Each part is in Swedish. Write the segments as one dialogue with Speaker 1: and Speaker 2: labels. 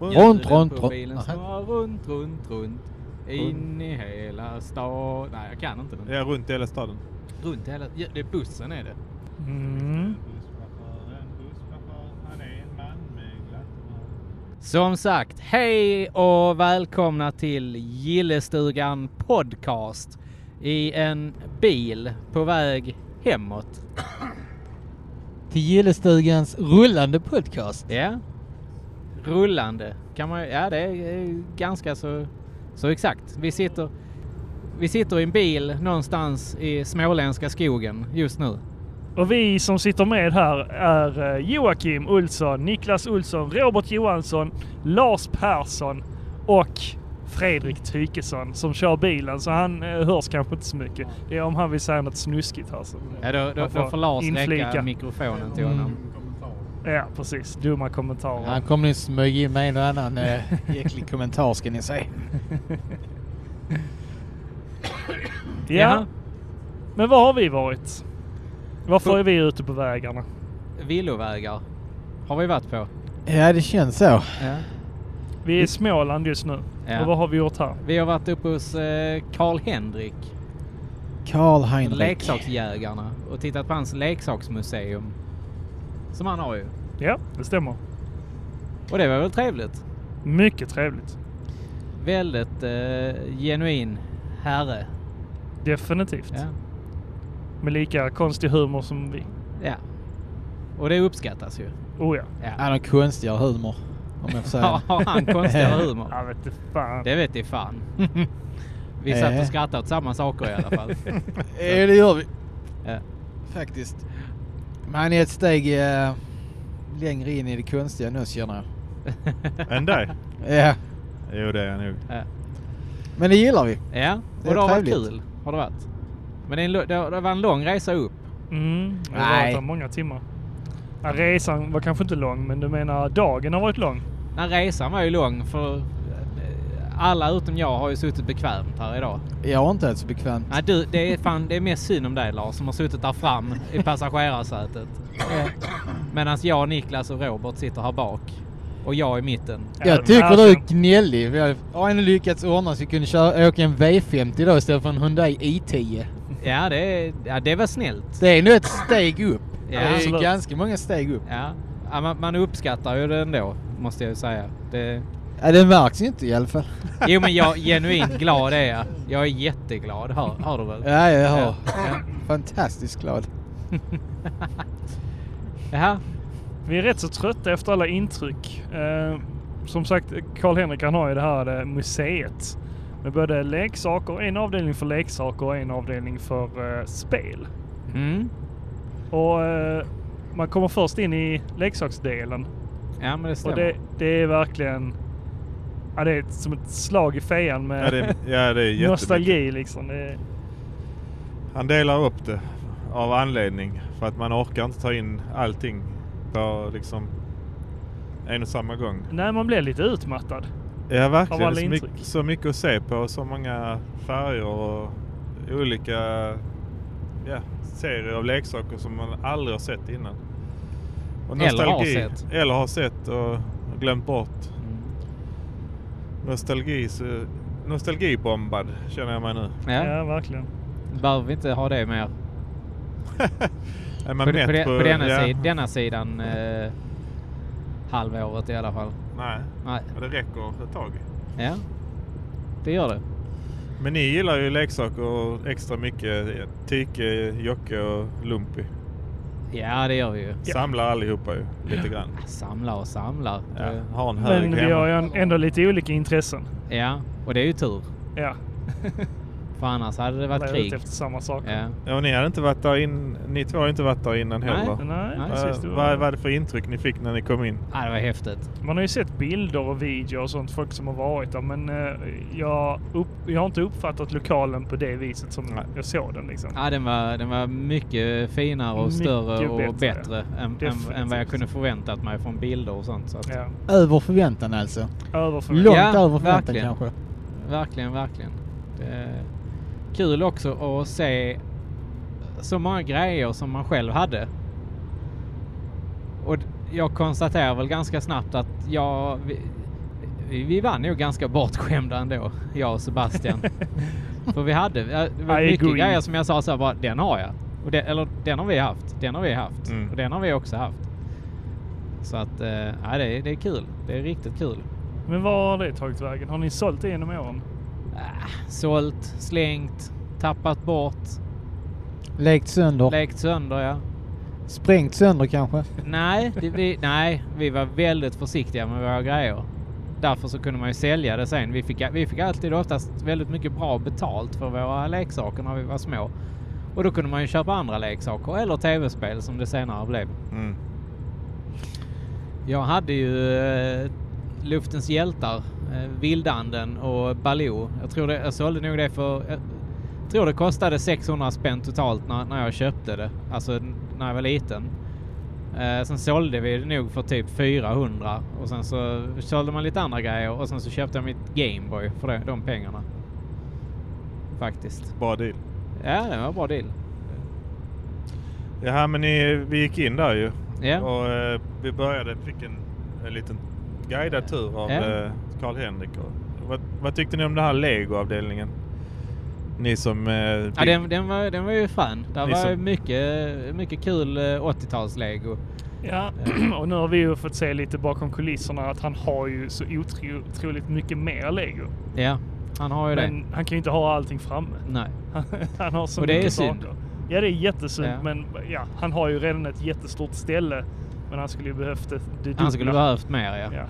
Speaker 1: Runt,
Speaker 2: Gällde den
Speaker 1: runt,
Speaker 2: profilen
Speaker 1: runt.
Speaker 2: som var
Speaker 1: Aha.
Speaker 2: runt, runt, runt. In i hela stan. Nej, jag kan inte den.
Speaker 3: Ja, runt i hela staden.
Speaker 2: Runt hela... Ja, det är bussen är det.
Speaker 3: Mm.
Speaker 2: Som sagt, hej och välkomna till Gillestugan Podcast i en bil på väg hemåt.
Speaker 1: Till Gillestugans rullande podcast.
Speaker 2: Ja. Rullande. Kan man, ja, det är ganska så, så exakt. Vi sitter, vi sitter i en bil någonstans i småländska skogen just nu.
Speaker 4: Och vi som sitter med här är eh, Joakim Olsson, Niklas Olsson, Robert Johansson, Lars Persson och Fredrik Tykesson som kör bilen. Så han eh, hörs kanske inte så mycket. Det är om han vill säga något snuskigt här. Så.
Speaker 2: Ja, då, då,
Speaker 4: Man får
Speaker 2: då får Lars räcka
Speaker 4: inflika. Mm.
Speaker 2: mikrofonen till honom.
Speaker 4: Ja, precis. Dumma kommentarer.
Speaker 1: Mm. Han kommer nu smyga in med en och annan eh, äcklig kommentar ska ni se.
Speaker 4: ja.
Speaker 2: Jaha.
Speaker 4: Men var har vi varit? Varför
Speaker 2: På-
Speaker 4: är vi ute på vägarna?
Speaker 2: Villovägar har vi varit på.
Speaker 1: Ja, det känns så.
Speaker 2: Ja.
Speaker 4: Vi är i Småland just nu.
Speaker 2: Ja.
Speaker 4: Och vad har vi gjort här?
Speaker 2: Vi har varit uppe hos eh, Karl-Henrik,
Speaker 1: Karl-Heinrich.
Speaker 2: leksaksjägarna, och tittat på hans leksaksmuseum. Som han har ju.
Speaker 4: Ja, det stämmer.
Speaker 2: Och det var väl trevligt.
Speaker 4: Mycket trevligt.
Speaker 2: Väldigt eh, genuin herre.
Speaker 4: Definitivt.
Speaker 2: Ja.
Speaker 4: Med lika konstig humor som vi.
Speaker 2: ja. Och det uppskattas ju.
Speaker 4: Oh ja.
Speaker 2: Ja.
Speaker 1: Han har konstigare humor. Om jag får säga.
Speaker 2: Har han konstigare humor?
Speaker 4: Jag vet inte fan.
Speaker 2: Det vet i fan. Vi satt
Speaker 1: Eh.
Speaker 2: och skrattade åt samma saker i alla fall.
Speaker 1: Ja, det gör vi.
Speaker 2: Ja.
Speaker 1: Faktiskt. Men han är ett steg eh, längre in i det konstiga nu känner jag.
Speaker 3: Än dig?
Speaker 1: Ja,
Speaker 3: Jo, det är jag nog.
Speaker 2: Ja.
Speaker 1: men det gillar vi.
Speaker 2: Ja,
Speaker 1: Det
Speaker 2: och
Speaker 1: är
Speaker 2: det har varit
Speaker 1: trevligt.
Speaker 2: kul. Har det varit. Men det, är en, lo- det har- det var en lång resa upp.
Speaker 4: Mm, det har
Speaker 1: Nej.
Speaker 4: varit här många timmar. Ja, resan var kanske inte lång, men du menar dagen har varit lång?
Speaker 2: Den resan var ju lång för eh, alla utom jag har ju suttit bekvämt här idag.
Speaker 1: Jag har inte varit så bekvämt.
Speaker 2: Nej, du, det är fan, det är mest synd om dig Lars som har suttit där fram i passagerarsätet. Medan jag, Niklas och Robert sitter här bak. Och jag i mitten.
Speaker 1: Jag tycker
Speaker 4: alltså,
Speaker 1: du
Speaker 2: alltså-
Speaker 1: är gnällig. Vi har- har ändå lyckats ordna så vi kunde köra, åka en V50 idag istället för en Hyundai i10.
Speaker 2: Ja, det, är- ja, det var snällt.
Speaker 1: Det är nu ett steg upp.
Speaker 2: Ja,
Speaker 1: det är
Speaker 4: absolut.
Speaker 1: ganska många steg upp.
Speaker 2: Ja, ja man, man uppskattar ju det ändå, måste jag ju säga. Det,
Speaker 1: Ja, det märks ju inte i alla fall.
Speaker 2: jo, men jag genuint glad är jag. Jag är jätteglad, hör, hör du väl?
Speaker 1: Ja, jag har.
Speaker 2: Ja. Ja.
Speaker 1: Fantastiskt glad.
Speaker 2: Jaha.
Speaker 4: Vi är rätt så trötta efter alla intryck. Eh, som sagt, Karl-Henrik han har ju det här eh, museet. Med både leksaker, en avdelning för leksaker och en avdelning för eh, spel.
Speaker 2: Mm.
Speaker 4: Och eh, man kommer först in i leksaksdelen.
Speaker 2: Ja, men det stämmer.
Speaker 4: Och det, det är verkligen... Ja, det är som ett slag i fejan med
Speaker 3: Ja, det är, ja, det är jättemycket.
Speaker 4: nostalgi liksom. Det är,
Speaker 3: Han delar upp det av anledning. För att man orkar inte ta in allting på liksom en och samma gång.
Speaker 4: nej, man blir lite utmattad.
Speaker 3: Ja,
Speaker 4: Av
Speaker 3: verkligen.
Speaker 4: alla
Speaker 3: Så
Speaker 4: intryck.
Speaker 3: mycket, så mycket att se på. Så många färger och olika ja, serier av leksaker som man aldrig har sett innan. Och
Speaker 2: Eller har
Speaker 3: nostalgi-
Speaker 2: sett. Mm.
Speaker 3: Eller har sett och glömt bort. Nostalgi, så- nostalgibombad känner jag mig nu.
Speaker 2: Ja,
Speaker 4: ja verkligen.
Speaker 2: behöver vi inte ha det mer.
Speaker 3: Är man
Speaker 2: På,
Speaker 3: mätt
Speaker 2: på, de- på denna,
Speaker 3: ja,
Speaker 2: sid, denna sidan eh, halvåret i alla fall.
Speaker 3: Nej,
Speaker 2: Nej.
Speaker 3: ja, det räcker ett tag.
Speaker 2: Ja, det gör det.
Speaker 3: Men ni gillar ju leksaker extra mycket. Tyke, Jocke och Lumpy.
Speaker 2: Ja, det gör vi ju.
Speaker 3: Samlar allihopa ju lite grann.
Speaker 2: Samlar och samlar.
Speaker 3: Ja,
Speaker 2: Det-
Speaker 3: har en hög
Speaker 4: Men vi
Speaker 3: hemma.
Speaker 4: har ju en- ändå lite olika intressen.
Speaker 2: ja, och det är ju tur.
Speaker 4: Ja,
Speaker 2: För annars hade det
Speaker 4: alla
Speaker 2: varit
Speaker 4: är
Speaker 2: krig.
Speaker 4: ute efter samma sak.
Speaker 2: Ja.
Speaker 3: Ja, och ni, hade inte varit där in, ni två har inte varit där innan
Speaker 2: Nej.
Speaker 3: heller.
Speaker 4: Nej,
Speaker 2: Nej.
Speaker 3: Vad-
Speaker 4: precis. Det
Speaker 3: vad
Speaker 4: var,
Speaker 3: var det för intryck ni fick när ni kom in?
Speaker 2: ja, det var häftigt.
Speaker 4: man har ju sett bilder och videor och sånt, folk som har varit där. Men eh, jag, upp, jag har inte uppfattat lokalen på det viset som
Speaker 3: Nej.
Speaker 4: jag såg den liksom.
Speaker 2: Ja, den, var, den var mycket finare och
Speaker 4: Mycket
Speaker 2: större och
Speaker 4: bättre.
Speaker 2: bättre än, än, än vad jag
Speaker 4: Definitivt.
Speaker 2: kunde förväntat mig från bilder och sånt. Så att,
Speaker 4: Ja.
Speaker 1: Över förväntan alltså.
Speaker 4: Över för
Speaker 1: Långt
Speaker 2: Ja,
Speaker 1: över förväntan
Speaker 2: verkligen.
Speaker 1: kanske.
Speaker 2: Verkligen, verkligen. Det är kul också att se så många grejer som man själv hade. Och d- jag konstaterar väl ganska snabbt att jag, vi- vi vi var nog ganska bortskämda ändå, jag och Sebastian. För vi hade, det var
Speaker 4: I
Speaker 2: mycket
Speaker 4: agree.
Speaker 2: grejer som jag sa så här bara, den har jag. Och den, eller den har vi haft, den har vi haft
Speaker 3: Mm.
Speaker 2: och den har vi också haft. Så att, eh, ja, det, är- det är kul. Det är riktigt kul.
Speaker 4: Men var har det tagit vägen? Har ni sålt det genom åren?
Speaker 2: Ah, Sålt, slängt, tappat bort,
Speaker 1: Lekt sönder.
Speaker 2: lekt sönder ja.
Speaker 1: Sprängt sönder kanske.
Speaker 2: Nej, det, vi, nej, vi var väldigt försiktiga med våra grejer. Därför så kunde man ju sälja det sen. Vi fick, vi fick alltid oftast väldigt mycket bra betalt för våra leksaker när vi var små. Och då kunde man ju köpa andra leksaker eller tv-spel som det senare blev.
Speaker 3: Mm.
Speaker 2: Jag hade ju eh, Luftens hjältar, eh, Vildanden och Baloo. Jag tror det, jag sålde nog det för... eh, Jag tror det kostade 600 spänn totalt när, när jag köpte det. Alltså n- när jag var liten. Eh, sen sålde vi det nog för typ 400 och sen så sålde man lite andra grejer och sen så köpte jag mitt Gameboy för det, de pengarna. Faktiskt.
Speaker 3: Bra deal.
Speaker 2: Ja, det var en bra deal.
Speaker 3: Jaha, men ni, vi gick in där ju.
Speaker 2: Ja.
Speaker 3: Och eh, vi började, fick en, en liten guidad tur av
Speaker 2: Ja.
Speaker 3: eh, Karl-Henrik. Och Vad, vad tyckte ni om den här Lego-avdelningen? Ni som... Eh,
Speaker 2: Ja, den, den, var, den var ju fan. Där
Speaker 3: Ni
Speaker 2: var
Speaker 3: som-
Speaker 2: mycket, mycket kul eh, 80-tals-lego.
Speaker 4: Ja,
Speaker 2: Eh.
Speaker 4: och nu har vi ju fått se lite bakom kulisserna att han har ju så otro- otroligt mycket mer lego.
Speaker 2: Ja, han har ju det.
Speaker 4: Men han kan ju inte ha allting framme.
Speaker 2: Nej.
Speaker 4: han har så
Speaker 2: Och det är
Speaker 4: mycket
Speaker 2: synd.
Speaker 4: saker. Ja, det är jättesynd,
Speaker 2: Ja.
Speaker 4: men ja, han har ju redan ett jättestort ställe. Men han skulle ju behövt det, det dubbla.
Speaker 2: Han skulle behövt mer ja.
Speaker 4: Ja.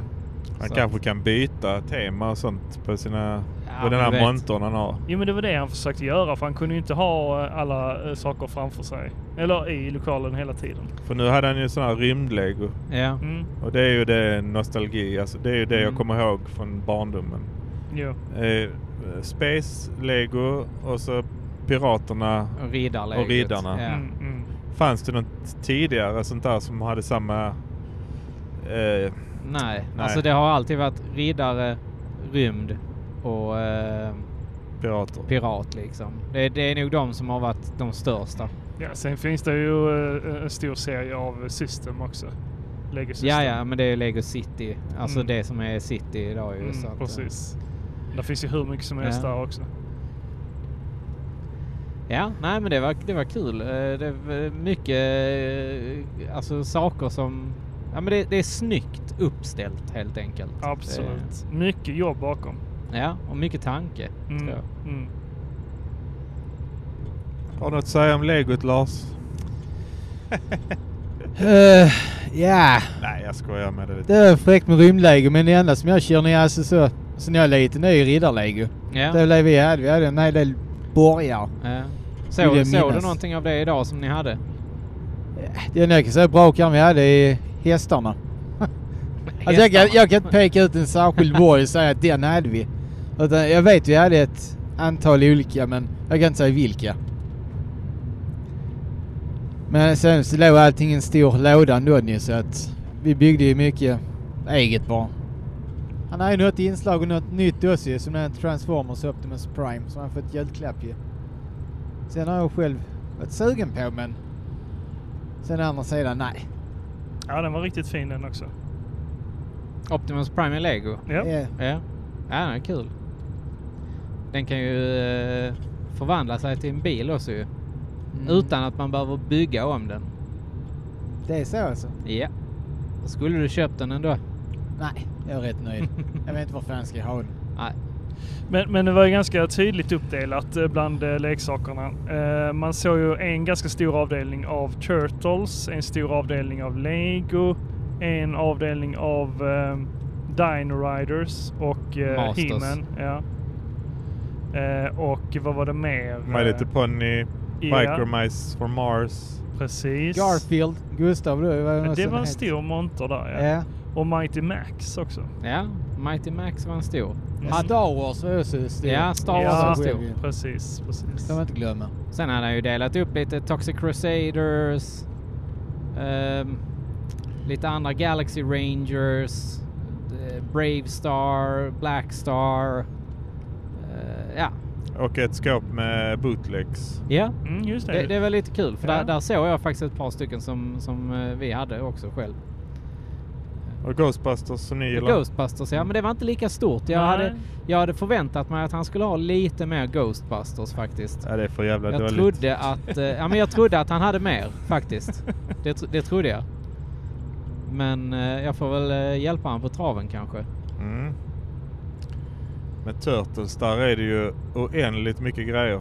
Speaker 3: Han
Speaker 2: Så
Speaker 3: kanske kan byta tema och sånt på, sina,
Speaker 2: Ja,
Speaker 3: på
Speaker 2: men
Speaker 3: den
Speaker 2: du
Speaker 3: här
Speaker 2: vet.
Speaker 3: montern han har.
Speaker 4: Jo men det var det han försökte göra för han kunde ju inte ha eh, alla eh, saker framför sig. Eller i lokalen hela tiden.
Speaker 3: För nu hade han ju sån här rymdlego.
Speaker 2: Ja.
Speaker 4: Mm.
Speaker 3: Och det är ju det nostalgi, alltså det är ju det jag
Speaker 2: Mm.
Speaker 3: kommer ihåg från barndomen.
Speaker 4: Jo.
Speaker 3: Eh, Space, Lego och så Piraterna.
Speaker 2: Och riddarläget.
Speaker 3: Och riddarna.
Speaker 2: Ja.
Speaker 4: Mm, mm.
Speaker 3: Fanns det något tidigare sånt där som hade samma... Eh,
Speaker 2: Nej.
Speaker 3: Nej.
Speaker 2: alltså det har alltid varit riddare, rymd och eh,
Speaker 3: pirater?
Speaker 2: pirat liksom. Det, det är nog de som har varit de största.
Speaker 4: Ja, sen finns det ju eh, en stor serie av system också. Lego system.
Speaker 2: Ja, ja, men det är Lego City. Alltså
Speaker 4: Mm.
Speaker 2: det som är City idag ju.
Speaker 4: Mm,
Speaker 2: så att, eh,
Speaker 4: precis. Där finns ju hur mycket som helst
Speaker 2: Ja.
Speaker 4: där också.
Speaker 2: Ja, nej men det var, det var kul. Eh, Det var mycket eh, alltså, saker som... Ja, men det, det är snyggt uppställt helt enkelt. Eh,
Speaker 4: Absolut. Mycket jobb bakom.
Speaker 2: Det, ja, och mycket tanke
Speaker 4: Mm.
Speaker 2: tror jag.
Speaker 4: Mm.
Speaker 3: Har du något att säga om legot Lars?
Speaker 1: Eh, Ja,
Speaker 3: Nej, jag skojar med det lite.
Speaker 1: det är fräckt med rymdlego men det enda som jag känner är alltså så... Sen jag är liten är ju riddarlego.
Speaker 2: Ja.
Speaker 1: Det var det vi hade. Vi hade en hel del borgar.
Speaker 2: Ja.
Speaker 1: Vill
Speaker 2: Så,
Speaker 1: jag
Speaker 2: såg du
Speaker 1: minnas.
Speaker 2: någonting av det idag som ni hade?
Speaker 1: Det enda jag kan säga brakaren vi hade är hästarna. Alltså jag, kan,
Speaker 2: Hästarna.
Speaker 1: jag kan inte peka ut en särskild borg och säga att den hade vi. Utan jag vet vi hade ett antal olika men jag kan inte säga vilka. Men sen så låg allting i en stor låda ändå ni, så att vi byggde ju mycket eget bara. Han har ju något inslag och något nytt också ju, som den Transformers Optimus Prime som han fått julklapp ju. Sen har jag själv varit sugen på men sen å andra sidan nej.
Speaker 4: Ja, den var riktigt fin den också.
Speaker 2: Optimus Prime i Lego?
Speaker 4: Ja.
Speaker 1: Eh,
Speaker 2: Ja. Ja, den är kul. Den kan ju eh, förvandla sig till en bil också ju.
Speaker 1: Mm.
Speaker 2: Utan att man behöver bygga om den.
Speaker 1: Det är så alltså?
Speaker 2: Ja. Då Skulle du köpt den ändå?
Speaker 1: Nej, jag är rätt nöjd. jag vet inte varför jag ska ha den.
Speaker 2: Nej.
Speaker 4: Men, men det var ju ganska tydligt uppdelat eh, bland eh, leksakerna. Eh, Man såg ju en ganska stor avdelning av Turtles, en stor avdelning av Lego, en avdelning av eh, Dino Riders och eh,
Speaker 2: Masters.
Speaker 4: He-Man. Ja. Eh, Och vad var det mer?
Speaker 3: My Little
Speaker 4: Eh,
Speaker 3: Pony,
Speaker 4: ja.
Speaker 3: Micromice for Mars.
Speaker 4: Precis.
Speaker 1: Garfield, Gustav då? Var
Speaker 4: Ja,
Speaker 1: någon
Speaker 4: Det
Speaker 1: som
Speaker 4: var en
Speaker 1: hette-
Speaker 4: stor monter där ja.
Speaker 1: Ja.
Speaker 4: Och Mighty Max också.
Speaker 2: Ja, Mighty Max var en stor.
Speaker 4: Mm.
Speaker 1: ja. Star Wars var också stor.
Speaker 2: Ja, Star
Speaker 4: Ja.
Speaker 2: Wars var
Speaker 1: Stor.
Speaker 2: stor.
Speaker 4: Precis, precis.
Speaker 1: Ska man inte glömma.
Speaker 2: Sen hade han ju delat upp lite Toxic Crusaders, ehm, lite andra Galaxy Rangers, eh, Brave Star, Black Star. eh, ja,
Speaker 3: Och ett skåp med bootlegs.
Speaker 2: ja.
Speaker 4: Mm, just det.
Speaker 2: Det, det var lite kul för
Speaker 4: Ja.
Speaker 2: där, där såg jag faktiskt ett par stycken som, som eh, vi hade också själv.
Speaker 3: Och Ghostbusters som ni gillar.
Speaker 2: Eh, Ghostbusters, ja men det var inte lika stort. Jag,
Speaker 4: Nej.
Speaker 2: hade, jag hade förväntat mig att han skulle ha lite mer Ghostbusters faktiskt.
Speaker 3: Ja, det är för jävla
Speaker 2: Jag
Speaker 3: dåligt.
Speaker 2: trodde, att, eh, ja, men jag trodde att han hade mer faktiskt. Det, tro- det trodde jag. Men eh, jag får väl eh, hjälpa honom på traven kanske.
Speaker 3: Mm. Med Turtles, där är det ju oändligt mycket grejer.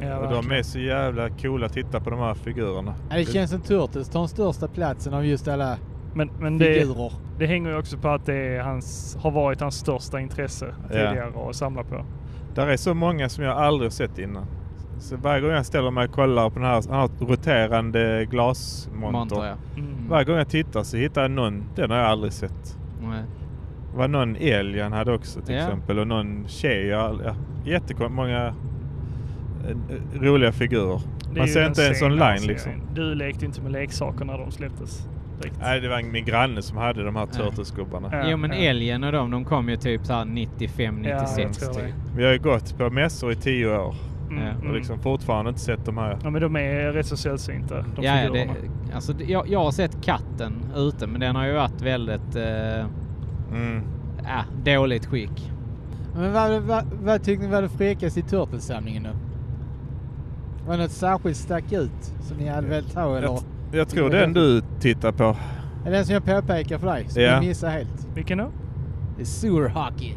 Speaker 4: Ja,
Speaker 3: och de
Speaker 4: verkligen.
Speaker 3: är så jävla coola att titta på de här figurerna.
Speaker 1: Ja, det känns som Turtles tar den största platsen av just alla
Speaker 4: Men, men det,
Speaker 1: figurer.
Speaker 4: det hänger ju också på att det är hans, har varit hans största intresse tidigare att samla på.
Speaker 3: Där är så många som jag aldrig sett innan. Så varje gång jag ställer mig och kollar på den här, han har ett roterande glasmonter.
Speaker 2: Monter, ja.
Speaker 4: Mm.
Speaker 3: Varje gång jag tittar så hittar jag någon, den har jag aldrig sett.
Speaker 2: Nej.
Speaker 3: Det var någon älg han hade också till
Speaker 2: Ja.
Speaker 3: exempel och någon tjej. jag aldrig- Ja, Jättemånga eh, roliga figurer.
Speaker 4: Det är
Speaker 3: Man
Speaker 4: ju
Speaker 3: ser
Speaker 4: den
Speaker 3: inte
Speaker 4: alltså.
Speaker 3: ens
Speaker 4: senare
Speaker 3: online
Speaker 4: serien.
Speaker 3: liksom.
Speaker 4: Du lekte inte med leksaker när de släpptes. direkt.
Speaker 3: Nej, det var min granne som hade de här Turtles-gubbarna.
Speaker 4: Ja,
Speaker 2: Jo men
Speaker 4: ja.
Speaker 2: älgen och de, de kom ju typ såhär
Speaker 1: Mm,
Speaker 2: 95,
Speaker 4: Ja, jag
Speaker 2: 96.
Speaker 4: tror
Speaker 2: typ.
Speaker 4: det. Mm,
Speaker 3: Vi har ju gått på mässor i tio år
Speaker 2: Ja, och
Speaker 3: och liksom fortfarande inte sett de här.
Speaker 4: Ja men de är rätt så sällsynta de
Speaker 2: ja, ja, det,
Speaker 4: figurerna.
Speaker 2: alltså, det- jag, jag har sett katten ute men den har ju varit väldigt eh,
Speaker 3: Mm.
Speaker 2: äh, dåligt skick.
Speaker 1: Men vad, vad, vad tyckte ni var det fräckaste i Turtles-samlingen då? Var det något särskilt stack ut som ni hade velat ha eller?
Speaker 3: Jag, jag tror den du tittar på.
Speaker 1: Är det den som jag påpekar för dig? Som
Speaker 3: Ja.
Speaker 1: jag missade helt.
Speaker 4: Vilken då?
Speaker 1: Det är sewer hockey.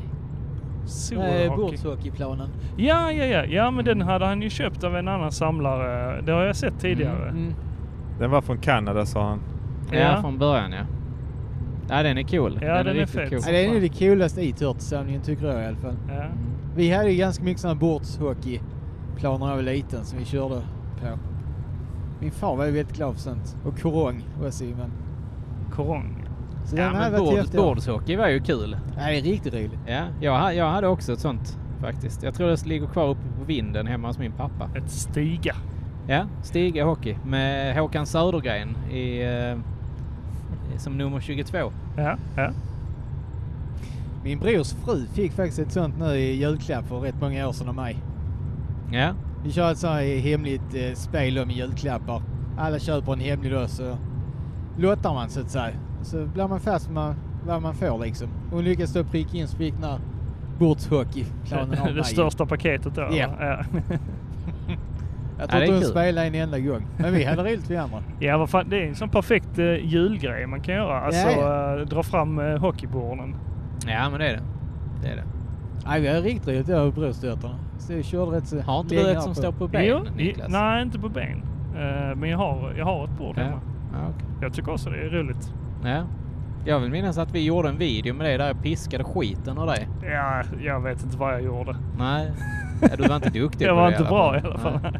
Speaker 4: Sewer
Speaker 1: Nej,
Speaker 4: hockey.
Speaker 1: bordshockeyplanen.
Speaker 4: Ja, ja, ja. Ja, men den hade han ju köpt av en annan samlare. Det har jag sett tidigare.
Speaker 1: Mm.
Speaker 3: Den var från Kanada sa han.
Speaker 2: Ja.
Speaker 4: Ja.
Speaker 2: från början ja. Ja den är cool.
Speaker 4: Ja, den är fet.
Speaker 1: Ja, det är nog det coolaste i Turtles-samlingen tycker jag i alla fall.
Speaker 4: Ja.
Speaker 1: Vi hade ju ganska mycket sådana bordshockeyplaner när jag var liten som vi körde på. Min far var ju väldigt glad för sånt. Och korong också ju, men...
Speaker 4: Korong.
Speaker 1: Så
Speaker 2: Ja,
Speaker 1: den hade
Speaker 2: men
Speaker 1: varit
Speaker 2: bord,
Speaker 1: häftig.
Speaker 2: bordshockey var ju kul.
Speaker 1: Ja, det är riktigt roligt.
Speaker 2: Ja, jag, ha- jag hade också ett sånt faktiskt. Jag tror det ligger kvar uppe på vinden hemma hos min pappa.
Speaker 4: Ett stiga.
Speaker 2: Ja, Stiga Hockey med Håkan Södergren i, eh, som nummer 22.
Speaker 4: Ja, ja.
Speaker 1: Min brors fru fick faktiskt ett sånt nu i julklapp för rätt många år sedan av mig.
Speaker 2: Ja,
Speaker 1: Vi kör ett sånt här hemligt eh, spel om julklappar. Alla köper en hemlig då så lottar man så att säga. Så blir man fast med man- vad man får liksom. Hon lyckas då pricka in så fick den här bordshockeyplanen av
Speaker 4: Det,
Speaker 1: mig.
Speaker 4: största paketet då.
Speaker 1: Ja.
Speaker 4: Ja.
Speaker 1: Jag
Speaker 2: Ja,
Speaker 1: tror
Speaker 2: det är
Speaker 1: inte hon
Speaker 2: kul.
Speaker 1: spelade en enda gång. Men vi hade roligt vi andra.
Speaker 4: ja, vad fan. Det är en sån perfekt eh, julgrej man kan göra. Alltså
Speaker 1: Ja,
Speaker 4: eh, dra fram eh, hockeyborden.
Speaker 2: ja men det är det. det, är det.
Speaker 1: Nej, vi hade riktigt roligt jag och brorsdöttrarna. Så vi körde rätt så
Speaker 2: Har inte
Speaker 1: länge
Speaker 2: du
Speaker 1: här
Speaker 2: ett som står på ben,
Speaker 4: Jo,
Speaker 2: Niklas?
Speaker 4: Nej, inte på ben. Eh, men jag har, jag har ett bord
Speaker 2: Ja.
Speaker 4: hemma.
Speaker 2: Ja, okej.
Speaker 4: Jag tycker också det är roligt.
Speaker 2: ja. Jag vill minnas att vi gjorde en video med dig där jag piskade skiten ur dig.
Speaker 4: Ja, jag vet inte vad jag gjorde.
Speaker 2: Nej, ja, du var inte duktig
Speaker 4: Jag
Speaker 2: på
Speaker 4: var
Speaker 2: det
Speaker 4: inte bra i alla
Speaker 2: Nej.
Speaker 4: fall.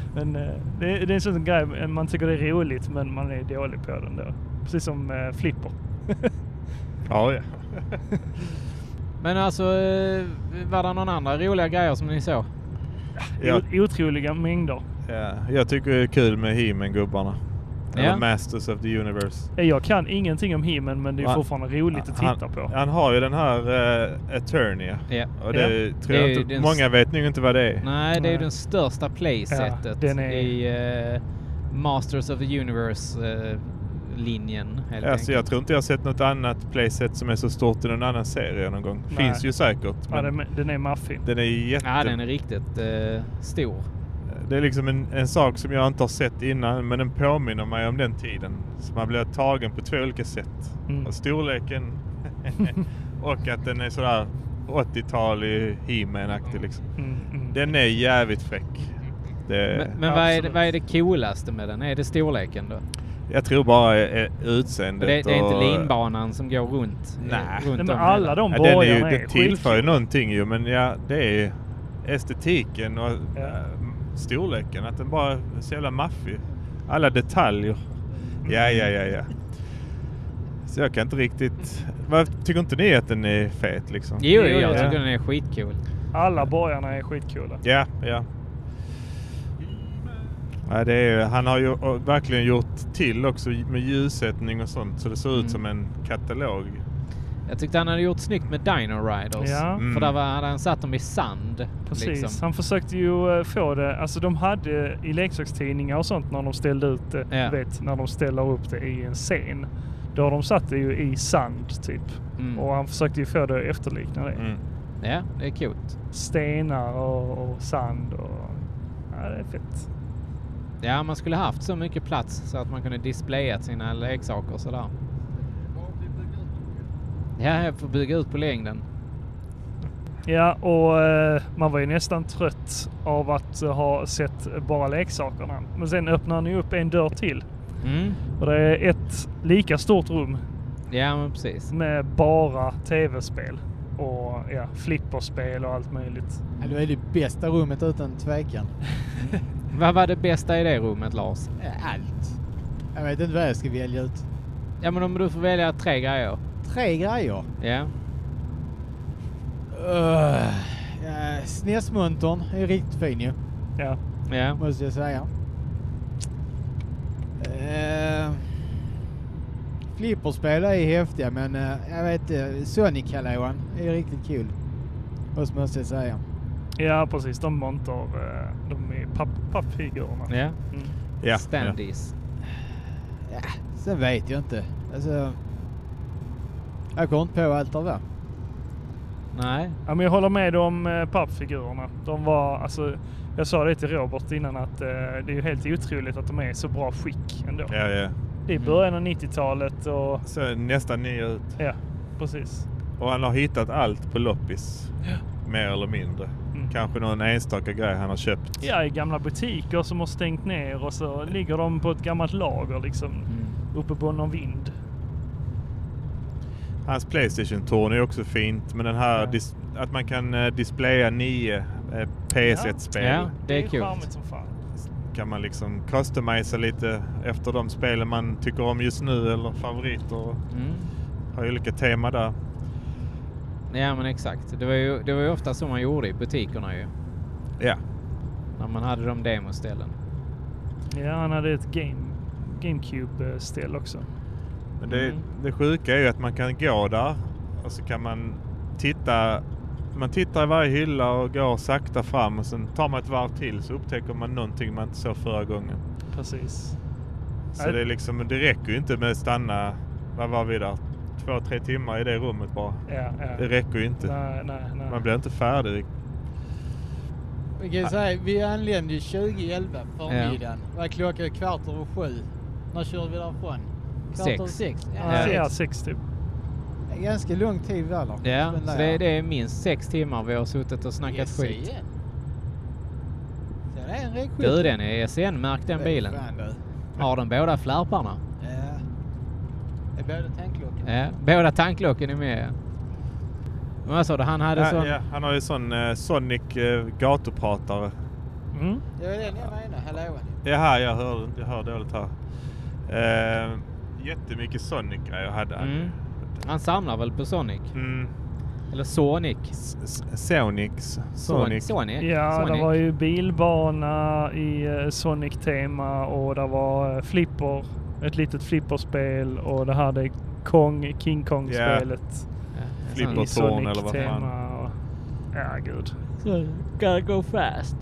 Speaker 4: men eh, det, är- det är en sån grej men man tycker det är roligt men man är dålig på den då. Precis som eh, flipper.
Speaker 3: Ja, ja.
Speaker 2: Men alltså, eh, var det någon andra roliga grejer som ni såg?
Speaker 3: ja.
Speaker 4: O- Otroliga mängder.
Speaker 3: ja. Jag tycker det är kul med He-Man-gubbarna.
Speaker 2: Ja.
Speaker 3: Eller Masters of the Universe.
Speaker 4: Eh, Jag kan ingenting om himen men det är
Speaker 3: Ja.
Speaker 4: fortfarande roligt att titta
Speaker 3: han,
Speaker 4: på.
Speaker 3: Han har ju den här uh, Eternia.
Speaker 2: Ja.
Speaker 3: Och det tror
Speaker 2: Det är
Speaker 3: jag
Speaker 2: ju
Speaker 3: inte,
Speaker 2: den
Speaker 3: många vet nog inte vad det är.
Speaker 2: Nej, det är ju
Speaker 4: Nej.
Speaker 2: den största playsetet
Speaker 4: Ja, den är-
Speaker 2: i eh, Masters of the Universe-linjen. helt
Speaker 3: Alltså, jag
Speaker 2: enkelt.
Speaker 3: tror inte jag har sett något annat playset som är så stort i någon annan serie någon gång.
Speaker 4: Nej.
Speaker 3: Finns ju säkert.
Speaker 4: Ja,
Speaker 3: Men
Speaker 4: den, den är maffig.
Speaker 3: den är jätte...
Speaker 2: Ja, den är riktigt eh, stor.
Speaker 3: Det är liksom en, en sak som jag inte har sett innan men den påminner mig om den tiden. Så man blir tagen på två olika sätt.
Speaker 4: Mm.
Speaker 3: Och storleken och att den är sådär 80-talig He-Man-aktig liksom.
Speaker 4: Mm, mm.
Speaker 3: Den är jävligt fräck. Det,
Speaker 2: Men, men vad, är det,
Speaker 4: absolut.
Speaker 2: vad är det coolaste med den? Är det storleken då?
Speaker 3: jag tror bara är, är
Speaker 2: Det,
Speaker 3: utseendet
Speaker 2: det, är
Speaker 3: och-
Speaker 2: inte linbanan som går runt? eh,
Speaker 3: Nej.
Speaker 2: runt
Speaker 4: Nej, men
Speaker 2: om
Speaker 4: alla
Speaker 2: hela.
Speaker 4: de
Speaker 3: Ja, den är ju,
Speaker 4: borgarna är,
Speaker 3: det tillför ju
Speaker 4: skitkul.
Speaker 3: någonting ju men ja, det är ju estetiken och
Speaker 4: Ja.
Speaker 3: eh, storleken. Att den bara är så jävla maffig. Alla detaljer. Ja,
Speaker 2: Mm.
Speaker 3: ja, ja, ja. Så jag kan inte riktigt... Vad, tycker inte ni att den är fet liksom?
Speaker 2: Jo, jo, jag
Speaker 4: Ja.
Speaker 2: tycker den är skitcool.
Speaker 4: Alla borgarna är skitcoola.
Speaker 3: Ja, ja. ja det är, ju- han har ju eh, verkligen gjort till också med ljussättning och sånt så det ser ut
Speaker 2: Mm.
Speaker 3: som en katalog.
Speaker 2: Jag tyckte han hade gjort snyggt med Dino Riders.
Speaker 4: Ja.
Speaker 3: Mm.
Speaker 2: För där var, hade han satt dem i sand.
Speaker 4: Precis,
Speaker 2: Liksom.
Speaker 4: han försökte ju eh, få det, alltså de hade i leksakstidningar och sånt när de ställde ut det,
Speaker 2: Ja.
Speaker 4: du vet när de ställer upp det i en scen. Då har de satt det ju i sand typ.
Speaker 2: Mm.
Speaker 4: Och han försökte ju få det att efterlikna det.
Speaker 3: Mm.
Speaker 2: Ja, det är coolt.
Speaker 4: Stenar och, och sand och... Ja, det är fett.
Speaker 2: Ja, man skulle haft så mycket plats så att man kunde displayat sina leksaker sådär. Ja, jag får bygga ut på längden.
Speaker 4: Ja, och eh, man var ju nästan trött av att eh, ha sett bara leksakerna. Men sen öppnar han ju upp en dörr till.
Speaker 2: Mm.
Speaker 4: Och det är ett lika stort rum
Speaker 2: Ja, men precis.
Speaker 4: med bara tv-spel och ja, flipperspel och allt möjligt.
Speaker 1: Ja, det är det bästa rummet utan tvekan.
Speaker 2: Vad var det bästa i det rummet, Lars?
Speaker 1: Eh, Allt. Jag vet inte vad jag ska välja ut.
Speaker 2: Ja, men om du får välja tre grejer.
Speaker 1: Tre grejer.
Speaker 2: Ja.
Speaker 1: Uh, ja, SNES-montern är riktigt fin ju,
Speaker 4: Ja.
Speaker 2: Ja.
Speaker 1: måste jag säga. Uh, flipperspel är häftiga men eh, jag vet uh, Sonic-hallåan är riktigt kul. Måste måste jag säga.
Speaker 4: ja, precis. De montar eh, de är papp- pappfigurerna.
Speaker 2: Ja.
Speaker 4: Mm.
Speaker 3: Ja, ja.
Speaker 2: Standees.
Speaker 1: Ja, sen vet jag inte. Alltså, jag kommer inte på allt av det.
Speaker 2: Nej.
Speaker 4: Ja, men jag håller med om eh, pappfigurerna. De var, alltså, jag sa det till Robert innan att eh, det är ju helt otroligt att de är i så bra skick ändå.
Speaker 3: ja, ja.
Speaker 4: Det är början av 90-talet och
Speaker 3: Ser nästan ny ut.
Speaker 4: ja, precis.
Speaker 3: Och han har hittat allt på loppis. Mer eller mindre.
Speaker 4: Mm.
Speaker 3: Kanske någon enstaka grej han har köpt.
Speaker 4: Ja, i gamla butiker som har stängt ner och så ligger de på ett gammalt lager liksom
Speaker 2: Mm.
Speaker 4: uppe på någon vind.
Speaker 3: Hans Playstation-torn är också fint. Men den här
Speaker 4: Ja.
Speaker 3: dis- att man kan eh, displaya nio eh, PS1-spel.
Speaker 2: Ja, det är
Speaker 4: ju charmigt
Speaker 2: coolt.
Speaker 4: som fan.
Speaker 3: Kan man liksom customisa lite efter de spelen man tycker om just nu eller favoriter.
Speaker 2: Mm.
Speaker 3: Har ju olika tema där.
Speaker 2: Ja, men exakt. Det var, ju, det var ju ofta så man gjorde i butikerna ju.
Speaker 3: Ja.
Speaker 2: När man hade de demoställen.
Speaker 4: Ja, han hade ett game, GameCube-ställ också.
Speaker 3: Men det,
Speaker 2: Mm.
Speaker 3: det sjuka är ju att man kan gå där och så kan man titta. Man tittar i varje hylla och går sakta fram och sen tar man ett varv till så upptäcker man någonting man inte såg förra gången.
Speaker 4: Precis.
Speaker 3: Så
Speaker 4: Nej.
Speaker 3: det, är liksom, det räcker ju inte med att stanna, vad var vi där, två, tre timmar i det rummet bara.
Speaker 4: Ja, ja.
Speaker 3: Det räcker ju inte.
Speaker 4: Nej, nej, nej.
Speaker 3: Man blir inte färdig.
Speaker 1: Vi kan ju säga, vi anlände ju 2011 förmiddagen. Ja. Var klockan kvart över sju. När körde vi därifrån? Kvart
Speaker 2: Sex.
Speaker 1: över sex.
Speaker 4: Ja,
Speaker 2: Ja.
Speaker 4: ja, typ. 60.
Speaker 1: Det är ganska lång tid vi alla.
Speaker 2: Ja, så det, det är minst sex timmar vi har suttit och snackat skit.
Speaker 1: Så det är en räck
Speaker 2: Du, den E är SN-märkt den bilen. Har den båda flärparna?
Speaker 1: Ja. Det är både tankklockan.
Speaker 2: Ja, båda tanklocken är med. Men vad sa du? Han hade
Speaker 3: Ja,
Speaker 2: sån...
Speaker 3: ja, han har ju sån eh, Sonic eh, gatupratare.
Speaker 4: Mm.
Speaker 1: Det var den jag menade, hallåan.
Speaker 3: Det här jag hör, jag hör dåligt här. Eh, jättemycket Sonic-grejer hade han.
Speaker 2: Mm. Han samlar väl på Sonic?
Speaker 3: Mm.
Speaker 2: Eller Sonic?
Speaker 3: S- S- Sonics.
Speaker 2: Sonic.
Speaker 3: Sonic.
Speaker 2: Sonic.
Speaker 4: Ja,
Speaker 2: Sonic.
Speaker 4: det var ju bilbana i eh, Sonic-tema och det var eh, flipper, ett litet flipperspel och det här det Kong, King Kong-spelet
Speaker 2: Ja, sån-
Speaker 3: Flipper.
Speaker 4: i
Speaker 3: Flippertorn eller vad fan.
Speaker 4: Sonic-tema. och- Ja, gud.
Speaker 2: Gotta go fast.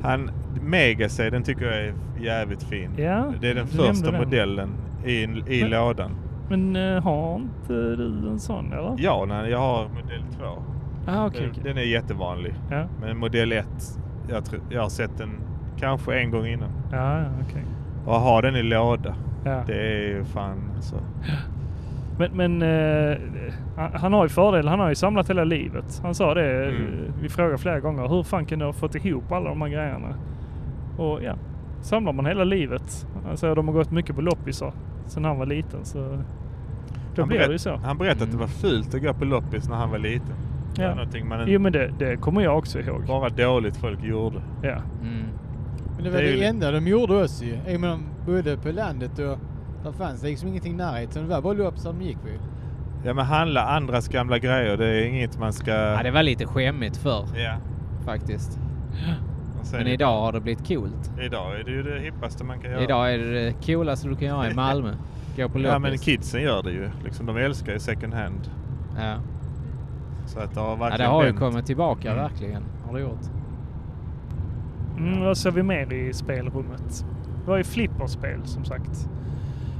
Speaker 3: Han, Megasay, den tycker jag är jävligt fin.
Speaker 4: Ja,
Speaker 3: det är den
Speaker 4: du nämnde
Speaker 3: första
Speaker 4: den.
Speaker 3: modellen i, i
Speaker 4: Men-
Speaker 3: lådan.
Speaker 4: Men eh, har inte du en sån eller?
Speaker 3: Ja, nej, jag har modell 2.
Speaker 4: Ah, okej,
Speaker 3: den,
Speaker 4: okej.
Speaker 3: den är jättevanlig.
Speaker 4: Ja,
Speaker 3: Men modell 1, jag, tror- jag har sett den kanske en gång innan.
Speaker 4: ja, ja, okej.
Speaker 3: Och att ha den i låda,
Speaker 4: Ja.
Speaker 3: det är ju fan alltså.
Speaker 4: Men, men eh, han- han har ju fördel, han har ju samlat hela livet. Han sa det,
Speaker 3: Mm.
Speaker 4: eh, vi frågade flera gånger, hur fan kan du ha fått ihop alla de här grejerna? Och ja, samlar man hela livet. Alltså de har gått mycket på loppisar sedan han var liten så då
Speaker 3: Han
Speaker 4: blir
Speaker 3: berätt-
Speaker 4: det ju så. Mm.
Speaker 3: Han berättade att det var fult att gå på loppis när han var liten. Det var
Speaker 4: Ja.
Speaker 3: någonting man
Speaker 4: Jo men det, det kommer jag också ihåg.
Speaker 3: bara dåligt folk gjorde.
Speaker 4: Ja,
Speaker 2: Mm.
Speaker 1: Men det var
Speaker 3: Det är
Speaker 1: det,
Speaker 3: ju-
Speaker 1: enda de gjorde också ju. I och med de bodde på landet och där fanns det liksom ingenting i närheten. Det var bara loppsar de gick på ju.
Speaker 3: Ja men handla andras gamla grejer, det är inget man ska...
Speaker 2: Ja, det var lite skämmigt förr
Speaker 3: Ja.
Speaker 2: faktiskt.
Speaker 3: Och sen
Speaker 2: Men idag har det blivit coolt.
Speaker 3: Idag är det ju det hippaste man kan göra.
Speaker 2: Idag är det det coolaste du kan göra i Malmö. Gå på loppis.
Speaker 3: ja men kidsen gör det ju. Liksom, de älskar ju second hand.
Speaker 2: Ja.
Speaker 3: Så att det har
Speaker 2: Ja,
Speaker 3: verkligen
Speaker 2: det har ju
Speaker 3: vänt.
Speaker 2: kommit tillbaka
Speaker 3: Mm.
Speaker 2: verkligen. Har det gjort.
Speaker 4: mm, vad ser vi mer i spelrummet? Det var ju flipperspel som sagt.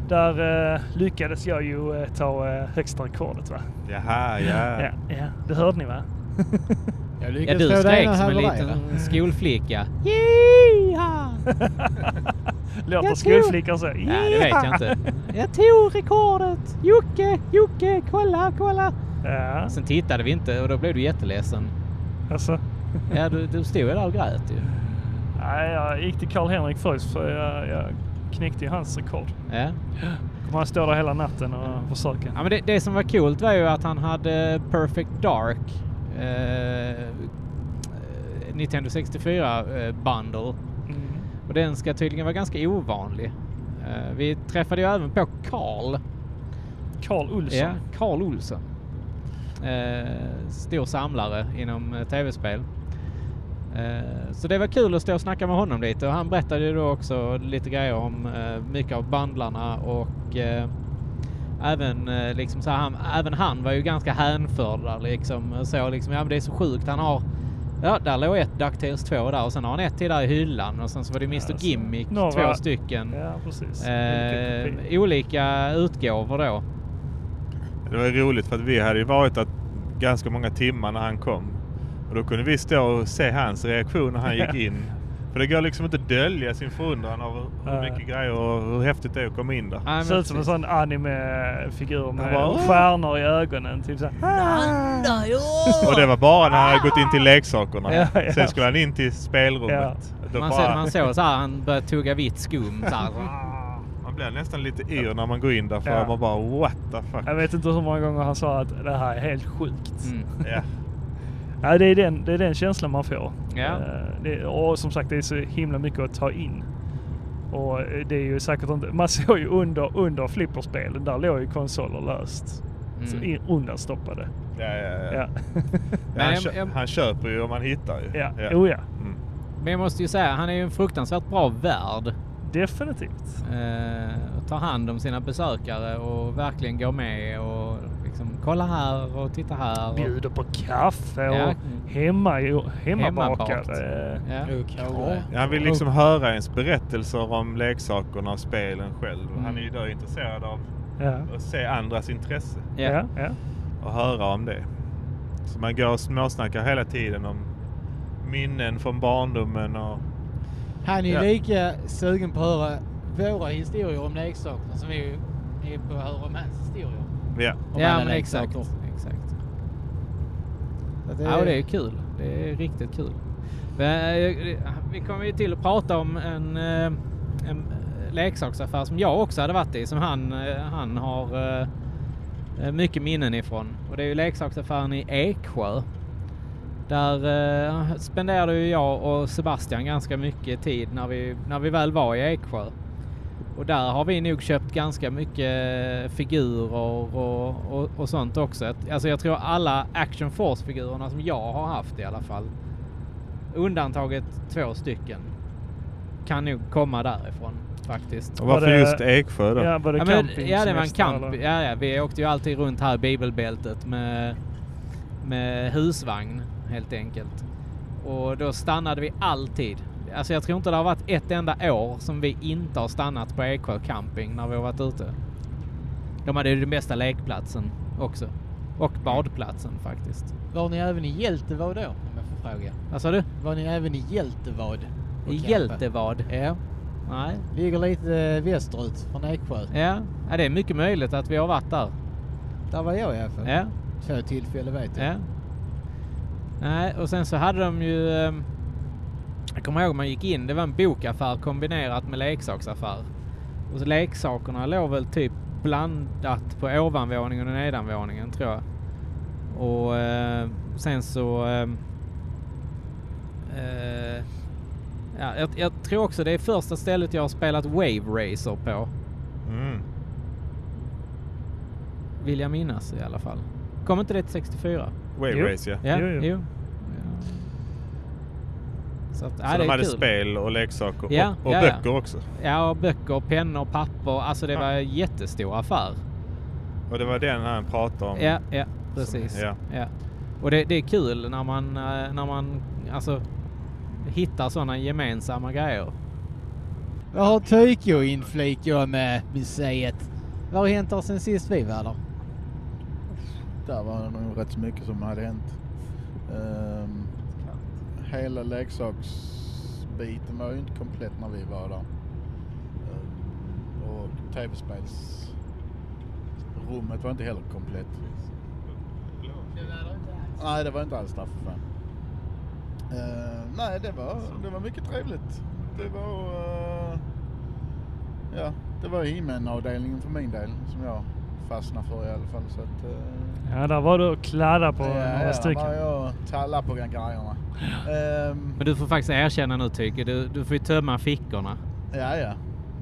Speaker 4: Där eh, lyckades jag ju eh, ta eh, högsta rekordet va?
Speaker 3: Jaha,
Speaker 4: Ja.
Speaker 3: ja.
Speaker 4: ja, det hörde ni va?
Speaker 2: Ja,
Speaker 1: Jag lyckades
Speaker 2: du
Speaker 1: slå dig
Speaker 2: skrek
Speaker 1: ena
Speaker 2: som en
Speaker 1: haverera.
Speaker 2: liten skolflicka.
Speaker 4: Låter
Speaker 2: Jag
Speaker 4: skolflickor så?
Speaker 2: Nej, det vet jag inte. Jag tog rekordet! Jocke, Jocke, kolla, kolla!
Speaker 4: Ja,
Speaker 2: Sen tittade vi inte och då blev du jätteledsen.
Speaker 4: alltså.
Speaker 2: Ja, du, du stod ju där och grät ju.
Speaker 4: Nej, jag gick till Karl-Henrik först för jag, jag knäckte ju hans rekord.
Speaker 2: Ja.
Speaker 4: Kommer han stå där hela natten och försöka?
Speaker 2: Ja, men det, det som var coolt var ju att han hade Perfect Dark eh, Nintendo 64 eh, Bundle.
Speaker 4: Mm.
Speaker 2: Och den ska tydligen vara ganska ovanlig. Eh, vi träffade ju även på Carl.
Speaker 4: Karl Olsson.
Speaker 2: Ja, Carl Olsson. Eh, stor samlare inom eh, tv-spel. Eh, så det var kul att stå och snacka med honom lite och han berättade ju då också lite grejer om eh, mycket av bandlarna och eh, även, eh, liksom så här, han, även han var ju ganska hänförd där liksom. Och Så liksom, ja men det är så sjukt, han har Ja, där låg ett DuckTales 2 där och sen har han ett till där i hyllan och sen så var det Mr
Speaker 4: Alltså,
Speaker 2: Gimmick,
Speaker 4: några-
Speaker 2: två stycken.
Speaker 4: Ja, precis.
Speaker 2: Eh,
Speaker 4: Vilken kopi.
Speaker 2: olika utgåvor då.
Speaker 3: Det var ju roligt för att vi hade ju varit där ganska många timmar när han kom. Och då kunde vi stå och se hans reaktion när han gick in. För det går liksom inte att dölja sin förundran över hur
Speaker 4: Nej.
Speaker 3: mycket grejer och hur häftigt det är att komma in där.
Speaker 2: Ja, men
Speaker 4: Ser ut som en
Speaker 2: precis.
Speaker 4: sån anime-figur med
Speaker 3: Ja, bara-
Speaker 4: stjärnor i ögonen. Typ så här.
Speaker 2: Mm.
Speaker 3: Och det var bara när han hade gått in till leksakerna.
Speaker 4: Ja, ja.
Speaker 3: Sen skulle han in till spelrummet. Då
Speaker 2: Man,
Speaker 3: bara-
Speaker 2: ser, man såg så här, han började tugga vitt skum. Så här.
Speaker 3: Man blir nästan lite yr när man går in där för
Speaker 4: Ja.
Speaker 3: man bara what the fuck.
Speaker 4: Jag vet inte hur många gånger han sa att det här är helt sjukt.
Speaker 2: Mm.
Speaker 3: Ja.
Speaker 4: Ja, det, är den, det är den känslan man får.
Speaker 2: Ja.
Speaker 4: Eh, Det, och som sagt, det är så himla mycket att ta in. Och eh, det är ju säkert inte... Man såg ju under, under flipperspelen, där låg ju konsoler löst. Så
Speaker 2: Mm.
Speaker 4: in, undanstoppade.
Speaker 3: Ja, ja, ja.
Speaker 4: Ja.
Speaker 3: Ja, han,
Speaker 2: Men jag-
Speaker 3: kö-
Speaker 2: jag-
Speaker 3: han köper ju om han hittar ju.
Speaker 4: ja. Oh, ja.
Speaker 3: Mm.
Speaker 2: Men jag måste ju säga, han är ju en fruktansvärt bra värd.
Speaker 4: Definitivt.
Speaker 2: Eh, och tar hand om sina besökare och verkligen går med och liksom kolla här och titta här. Och,
Speaker 4: Bjuder på kaffe och
Speaker 2: Ja.
Speaker 4: hemma, Eh,
Speaker 2: Hemmabakat.
Speaker 4: hemmabakade.
Speaker 2: ja.
Speaker 1: Okej.
Speaker 3: Ja, Han vill
Speaker 2: Oh.
Speaker 3: liksom höra ens berättelser om leksakerna och spelen själv. Han är
Speaker 4: Mm.
Speaker 3: ju då intresserad av
Speaker 4: Ja.
Speaker 3: att se andras intresse
Speaker 2: Ja.
Speaker 4: Ja. Ja.
Speaker 3: och höra om det. Så man går och småsnackar hela tiden om minnen från barndomen och
Speaker 1: Han är
Speaker 3: Ja.
Speaker 1: lika sugen på att höra våra historier om leksaker som vi är på att höra om hans historier.
Speaker 3: ja.
Speaker 1: Om
Speaker 2: ja
Speaker 1: alla
Speaker 2: men
Speaker 1: leksaker.
Speaker 2: exakt. exakt.
Speaker 1: Så att
Speaker 2: Ja, och det är kul. Det är riktigt kul. Men, eh, Vi kommer ju till att prata om en, eh, en eh, leksaksaffär som jag också hade varit i, som han, eh, han har eh, mycket minnen ifrån. Och det är ju leksaksaffären i Eksjö. Där eh, spenderade ju jag och Sebastian ganska mycket tid när vi, när vi väl var i Eksjö. Och där har vi nog köpt ganska mycket eh, figurer och, och, och sånt också. Att- Alltså jag tror alla Action Force-figurerna som jag har haft i alla fall, undantaget två stycken, kan nog komma därifrån faktiskt.
Speaker 3: Och
Speaker 4: Var
Speaker 3: varför
Speaker 4: det-
Speaker 3: just Eksjö då?
Speaker 4: Ja, var det
Speaker 2: Ja, men,
Speaker 4: camping
Speaker 2: ja, det var en
Speaker 4: semester,
Speaker 2: camp.
Speaker 4: eller?
Speaker 2: Ja, ja, vi åkte ju alltid runt här i bibelbältet med, med husvagn helt enkelt. Och då stannade vi alltid. Alltså jag tror inte det har varit ett enda år som vi inte har stannat på Eksjö camping när vi har varit ute. De hade ju den bästa lekplatsen också. Och badplatsen faktiskt.
Speaker 1: Var ni även i Hjältevad då? Om jag får fråga.
Speaker 2: Vad sa du?
Speaker 1: Var ni även i Hjältevad? och
Speaker 2: I
Speaker 1: campade?
Speaker 2: Hjältevad?
Speaker 1: Ja.
Speaker 2: Nej.
Speaker 1: Ligger lite eh, västerut från Eksjö.
Speaker 2: Ja. ja, det är mycket möjligt att vi har varit där.
Speaker 1: Där var jag i alla fall.
Speaker 2: Ja.
Speaker 1: Två tillfällen vet jag.
Speaker 2: Ja. Nej, och sen så hade de ju... ehm, Jag kommer ihåg man gick in, det var en bokaffär kombinerat med leksaksaffär. Och så leksakerna låg väl typ blandat på ovanvåningen och nedanvåningen tror jag. Och eh, sen så... ehm, eh, ja, jag, jag tror också det är första stället jag har spelat Wave Racer på.
Speaker 3: Mm.
Speaker 2: Vill jag minnas i alla fall. Kom inte det till 64?
Speaker 3: Wave
Speaker 4: Jo.
Speaker 3: Race ja.
Speaker 2: Ja,
Speaker 4: Jo,
Speaker 2: jo.
Speaker 4: jo.
Speaker 2: Ja. Så att, ja,
Speaker 3: Så
Speaker 2: det
Speaker 3: de
Speaker 2: är
Speaker 3: hade
Speaker 2: kul.
Speaker 3: spel och leksaker
Speaker 2: Ja,
Speaker 3: och, och
Speaker 2: ja, ja.
Speaker 3: böcker också.
Speaker 2: Ja, och böcker, pennor, papper. Alltså det
Speaker 3: Ja.
Speaker 2: var en jättestor affär.
Speaker 3: Och det var den han pratade om.
Speaker 2: Ja, ja precis.
Speaker 3: ja.
Speaker 2: Ja. Och det, det är kul när man, eh, när man alltså, hittar sådana gemensamma grejer.
Speaker 1: Vad har Tokyo inflik jag med museet? Vad har hänt där sen sist vi var där?
Speaker 5: Där var det nog rätt så mycket som hade hänt. Ehm, hela leksaksbiten var ju inte komplett när vi var där. Ehm, och tv-spelsrummet var inte heller komplett. Nej, det var inte alls där för fan. Ehm, nej, det var, det var mycket trevligt. Det var... eh, ja, det var He-Man-avdelningen för min del som jag fastnade för i alla fall. Så att, eh,
Speaker 4: Ja, där var du och kladdade på
Speaker 5: ja,
Speaker 4: några
Speaker 5: ja,
Speaker 4: stycken.
Speaker 5: bara jag tallar på grejerna. Ehm,
Speaker 2: Men du får faktiskt erkänna nu Tyke, du, du får ju tömma fickorna.
Speaker 5: ja, ja.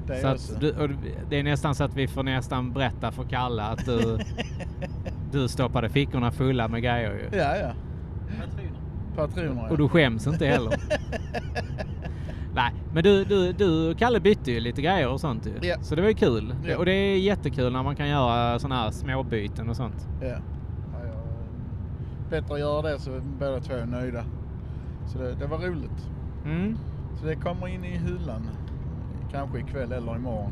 Speaker 5: Det
Speaker 2: Så
Speaker 5: är också.
Speaker 2: att du, och det är nästan så att vi får nästan berätta för Kalle att du, du stoppade fickorna fulla med grejer ju.
Speaker 5: Ja, ja. Patroner. ja.
Speaker 2: Och du skäms inte heller. Nej, men du, du, du och Kalle bytte ju lite grejer och sånt ju.
Speaker 5: Ja.
Speaker 2: Så det var ju kul.
Speaker 5: Ja.
Speaker 2: Och det är jättekul när man kan göra sådana här småbyten och sånt.
Speaker 5: Ja. Ja, jag- Bättre att göra det så är båda två är nöjda. Så det, det var roligt.
Speaker 2: Mm.
Speaker 5: Så det kommer in i hyllan. Kanske ikväll eller imorgon.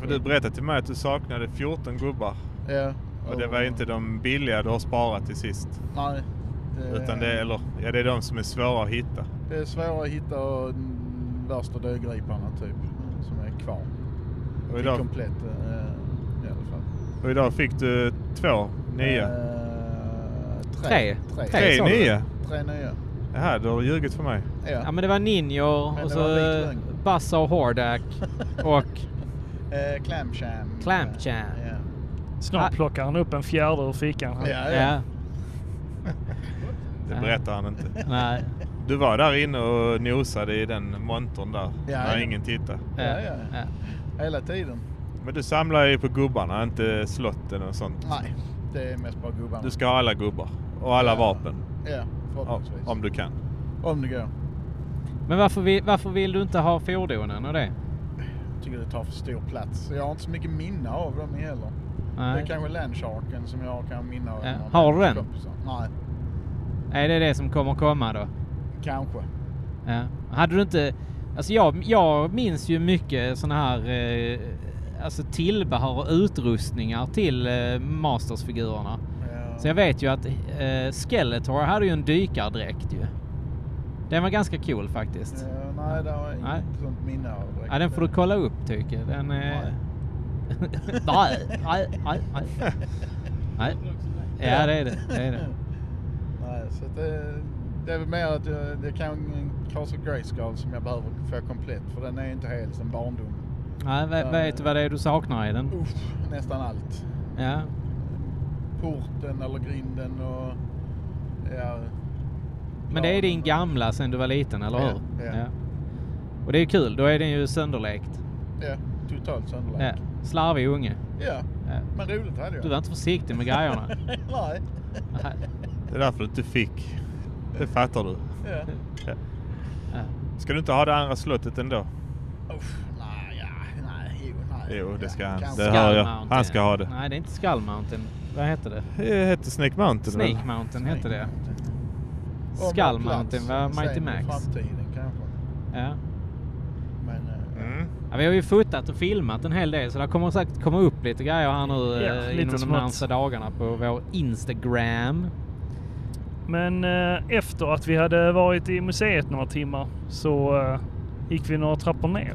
Speaker 3: För du berättade till mig att du saknade 14 gubbar.
Speaker 5: Ja.
Speaker 3: Och det var
Speaker 5: Oh.
Speaker 3: inte de billiga du har sparat till sist.
Speaker 5: Nej. Det,
Speaker 3: Utan det, eller, ja, det är de som är svåra att hitta.
Speaker 5: det är svårare att hitta de värsta dödgriparna typ. Som är kvar.
Speaker 3: Och
Speaker 5: Det är
Speaker 3: idag,
Speaker 5: komplett eh, i alla fall.
Speaker 3: och idag fick du två nya.
Speaker 5: Eh,
Speaker 2: Tre.
Speaker 5: tre. Tre.
Speaker 2: Tre.
Speaker 3: Tre
Speaker 2: sa du?
Speaker 3: nya?
Speaker 5: Tre nya.
Speaker 3: Jaha, du har ljugit för mig.
Speaker 2: Ja
Speaker 5: Ja.
Speaker 2: men det var ninjor
Speaker 5: det
Speaker 2: och så
Speaker 5: var en vit lögn.
Speaker 2: Bassa och Hordak och
Speaker 5: Eh, clam cham.
Speaker 2: Clam cham.
Speaker 5: Ja.
Speaker 4: Snart
Speaker 2: Ah.
Speaker 4: plockar han upp en fjärde ur fickan.
Speaker 5: Ja, ja.
Speaker 2: ja.
Speaker 3: Det
Speaker 2: Nej.
Speaker 3: berättar han inte.
Speaker 2: Nej.
Speaker 3: Du var där inne och nosade i den montern där.
Speaker 5: Ja,
Speaker 3: när
Speaker 5: ja.
Speaker 3: ingen tittade.
Speaker 5: Ja, ja. Hela tiden.
Speaker 3: Men du samlar ju på gubbarna, inte slotten och sånt.
Speaker 5: Nej, det är mest bara gubbarna.
Speaker 3: Du ska ha alla gubbar och alla
Speaker 5: Ja.
Speaker 3: vapen.
Speaker 5: Ja,
Speaker 3: Ja,
Speaker 5: förhoppningsvis.
Speaker 3: Om du kan.
Speaker 5: Om det går.
Speaker 2: Men varför vill, varför vill du inte ha fordonen och det?
Speaker 5: Tycker det tar för stor plats. Jag har inte så mycket minne av dem heller. Det är
Speaker 2: Nej.
Speaker 5: kanske Landsharken som jag kan minna av.
Speaker 2: Ja,
Speaker 5: någon
Speaker 2: har du
Speaker 5: av mina
Speaker 2: den?
Speaker 5: kompisar. Nej,
Speaker 2: Är det det som kommer komma då?
Speaker 5: kanske.
Speaker 2: Ja. Hade du inte... Alltså jag, jag minns ju mycket såna här eh, alltså tillbehör och utrustningar till eh, Masters-figurerna.
Speaker 5: Ja.
Speaker 2: Så jag vet ju att eh, Skeletor hade ju en dykardräkt ju. Den var ganska cool faktiskt.
Speaker 5: Ja, eh, nej, det har jag
Speaker 2: Nej.
Speaker 5: inget sånt minne av. direkt.
Speaker 2: Ja, den får du kolla upp tycker jag. Den är... nej, nej, nej, nej. nej. Ja, det är det. det, är det.
Speaker 5: Nej, så att det, det är väl mer att jag, det kan en Castle Grayskull som jag behöver få komplett. För den är ju inte hel som barndom.
Speaker 2: Nej, vet, vet du vad det är du saknar i den?
Speaker 5: Uff, nästan allt.
Speaker 2: Ja.
Speaker 5: porten eller grinden och... Ja,
Speaker 2: Men det är din gamla sen du var liten, eller hur?
Speaker 5: Ja, ja.
Speaker 2: Och det är kul, då är den ju sönderlekt.
Speaker 5: Ja, totalt
Speaker 2: Ja.
Speaker 5: sönderlagt.
Speaker 2: Slarvig unge.
Speaker 5: Ja.
Speaker 2: Ja.
Speaker 5: men roligt hade jag.
Speaker 2: Du var inte försiktig med grejerna.
Speaker 5: Nej.
Speaker 2: Nej.
Speaker 3: Det är därför du inte fick. Det fattar du.
Speaker 5: Ja.
Speaker 2: Ja.
Speaker 3: Ska du inte ha det andra slottet ändå?
Speaker 5: Uff, nej, ja, nej, jo, nej.
Speaker 3: Jo, det ska han.
Speaker 5: kanske.
Speaker 3: Det hör jag.
Speaker 2: Skull Mountain.
Speaker 3: Han ska ha det.
Speaker 2: Nej, det är inte Skull Mountain. Vad heter det?
Speaker 3: Det heter Snake Mountain väl?
Speaker 2: Snake Mountain heter det.
Speaker 5: Om
Speaker 2: Skull
Speaker 5: det är plats,
Speaker 2: Mountain var
Speaker 5: sen
Speaker 2: Mighty
Speaker 5: i
Speaker 2: Max.
Speaker 5: framtiden kanske.
Speaker 2: Ja.
Speaker 5: Men, eh,
Speaker 3: Mm.
Speaker 2: Ja, vi har ju fotat och filmat en hel del så det kommer säkert komma upp lite grejer här nu
Speaker 4: Ja,
Speaker 2: eh,
Speaker 4: lite
Speaker 2: inom de
Speaker 4: smått.
Speaker 2: närmsta dagarna på vår Instagram.
Speaker 4: Men eh, efter att vi hade varit i museet några timmar så eh, gick vi några trappor ner.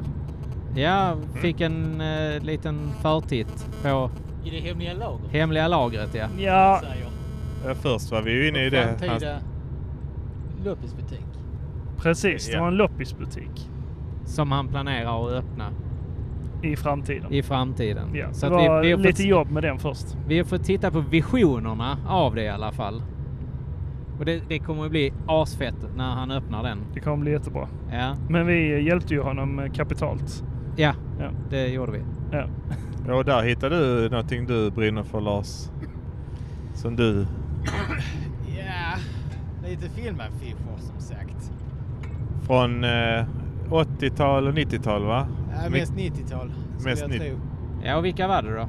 Speaker 2: Ja, fick en eh, liten förtitt på
Speaker 6: I det hemliga lagret?
Speaker 2: hemliga lagret ja.
Speaker 4: Ja,
Speaker 6: Säger
Speaker 3: Ja, först var vi ju inne i det.
Speaker 6: framtida loppisbutik.
Speaker 4: precis. Det
Speaker 3: Ja.
Speaker 4: var en loppisbutik
Speaker 2: Som han planerar att öppna
Speaker 4: i framtiden.
Speaker 2: i framtiden.
Speaker 4: Ja,
Speaker 2: Så
Speaker 4: det
Speaker 2: att vi,
Speaker 4: var
Speaker 2: vi, har
Speaker 4: lite
Speaker 2: fått,
Speaker 4: jobb med den först.
Speaker 2: vi har fått titta på visionerna av det i alla fall. Och det, det kommer att bli asfett när han öppnar den.
Speaker 4: Det kommer bli jättebra.
Speaker 2: Ja,
Speaker 4: Men vi eh, hjälpte ju honom eh, kapitalt.
Speaker 2: ja
Speaker 4: Ja.
Speaker 2: det gjorde vi.
Speaker 4: Ja.
Speaker 3: Ja, och där hittade du någonting du brinner för Lars. Som du.
Speaker 1: Ja, lite filmaffischer som sagt.
Speaker 3: Från eh, 80-tal och 90-tal va?
Speaker 1: Ja, mest 90-tal skulle
Speaker 3: mest
Speaker 1: jag
Speaker 3: 90.
Speaker 1: tro.
Speaker 2: Ja, och vilka var det då?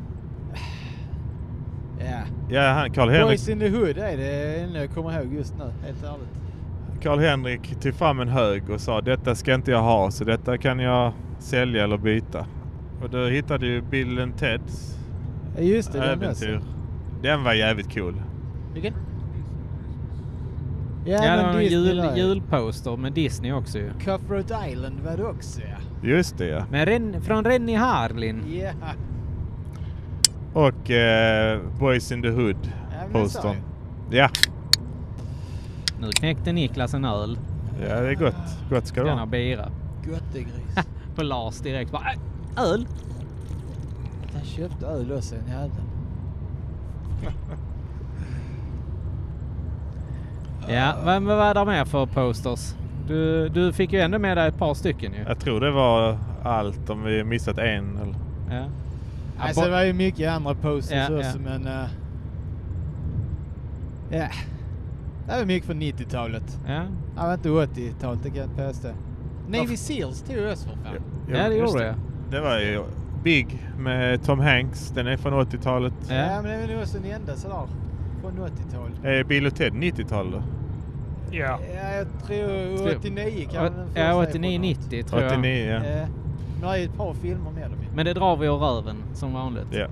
Speaker 1: Ja.
Speaker 3: Ja, han, Carl Henrik,
Speaker 1: Boys in the Hood är det enda jag kommer ihåg just nu, helt ärligt.
Speaker 3: Carl Henrik tog fram en hög och sa detta ska inte jag ha så detta kan jag sälja eller byta. Och då hittade ju bilden Teds
Speaker 1: Ja, Just det, den där
Speaker 3: äventyr.
Speaker 1: sen.
Speaker 3: Den var jävligt cool.
Speaker 6: Vilken?
Speaker 2: Ja, det
Speaker 1: men
Speaker 2: var en
Speaker 1: Disney
Speaker 2: jul,
Speaker 1: var ju-
Speaker 2: julposter med Disney också ju.
Speaker 6: Cuthbert Island var det också ja.
Speaker 3: Just det ja.
Speaker 2: Men Ren, från Rennie Harlin.
Speaker 6: Ja,
Speaker 3: Och eh, Boys in the Hood
Speaker 6: men det sa
Speaker 3: postern. Ja.
Speaker 2: Nu knäckte Niklas en öl.
Speaker 3: ja, det är gott. Gott ska det
Speaker 2: Denna
Speaker 3: vara.
Speaker 2: bira.
Speaker 6: göttegris.
Speaker 2: På Lars direkt bara "Äh, öl.
Speaker 6: Han köpte öl också den jäveln.
Speaker 2: Ja, men vad var det mer för posters? Du, du fick ju ändå med dig ett par stycken ju.
Speaker 3: Jag tror det var allt om vi missat en. Eller.
Speaker 2: Ja.
Speaker 1: Alltså det var ju mycket andra posters
Speaker 2: Ja,
Speaker 1: också
Speaker 2: ja.
Speaker 1: men... eh, Ja. Det var mycket från 90-talet.
Speaker 2: Ja.
Speaker 1: Det var inte 80-talet, det kan jag inte påstå.
Speaker 6: Navy Seals tog jag också för fan.
Speaker 2: ja, det
Speaker 3: just
Speaker 2: gjorde jag.
Speaker 3: Det var ju Big med Tom Hanks. Den är från 80-talet.
Speaker 1: Ja.
Speaker 2: Ja.
Speaker 1: men det var nog också den enda sådär från 80-talet.
Speaker 3: Eh, Bill och Ted 90-tal då?
Speaker 4: Ja.
Speaker 1: Ja, jag tror
Speaker 2: Tror-
Speaker 1: 89 kan den första
Speaker 2: Ja,
Speaker 1: är från
Speaker 2: 89, 90 tror jag.
Speaker 3: 89 ja.
Speaker 6: Eh,
Speaker 1: Ja. Nu är ju ett par filmer med dem ju.
Speaker 2: Men det drar vi ur röven som vanligt.
Speaker 3: ja.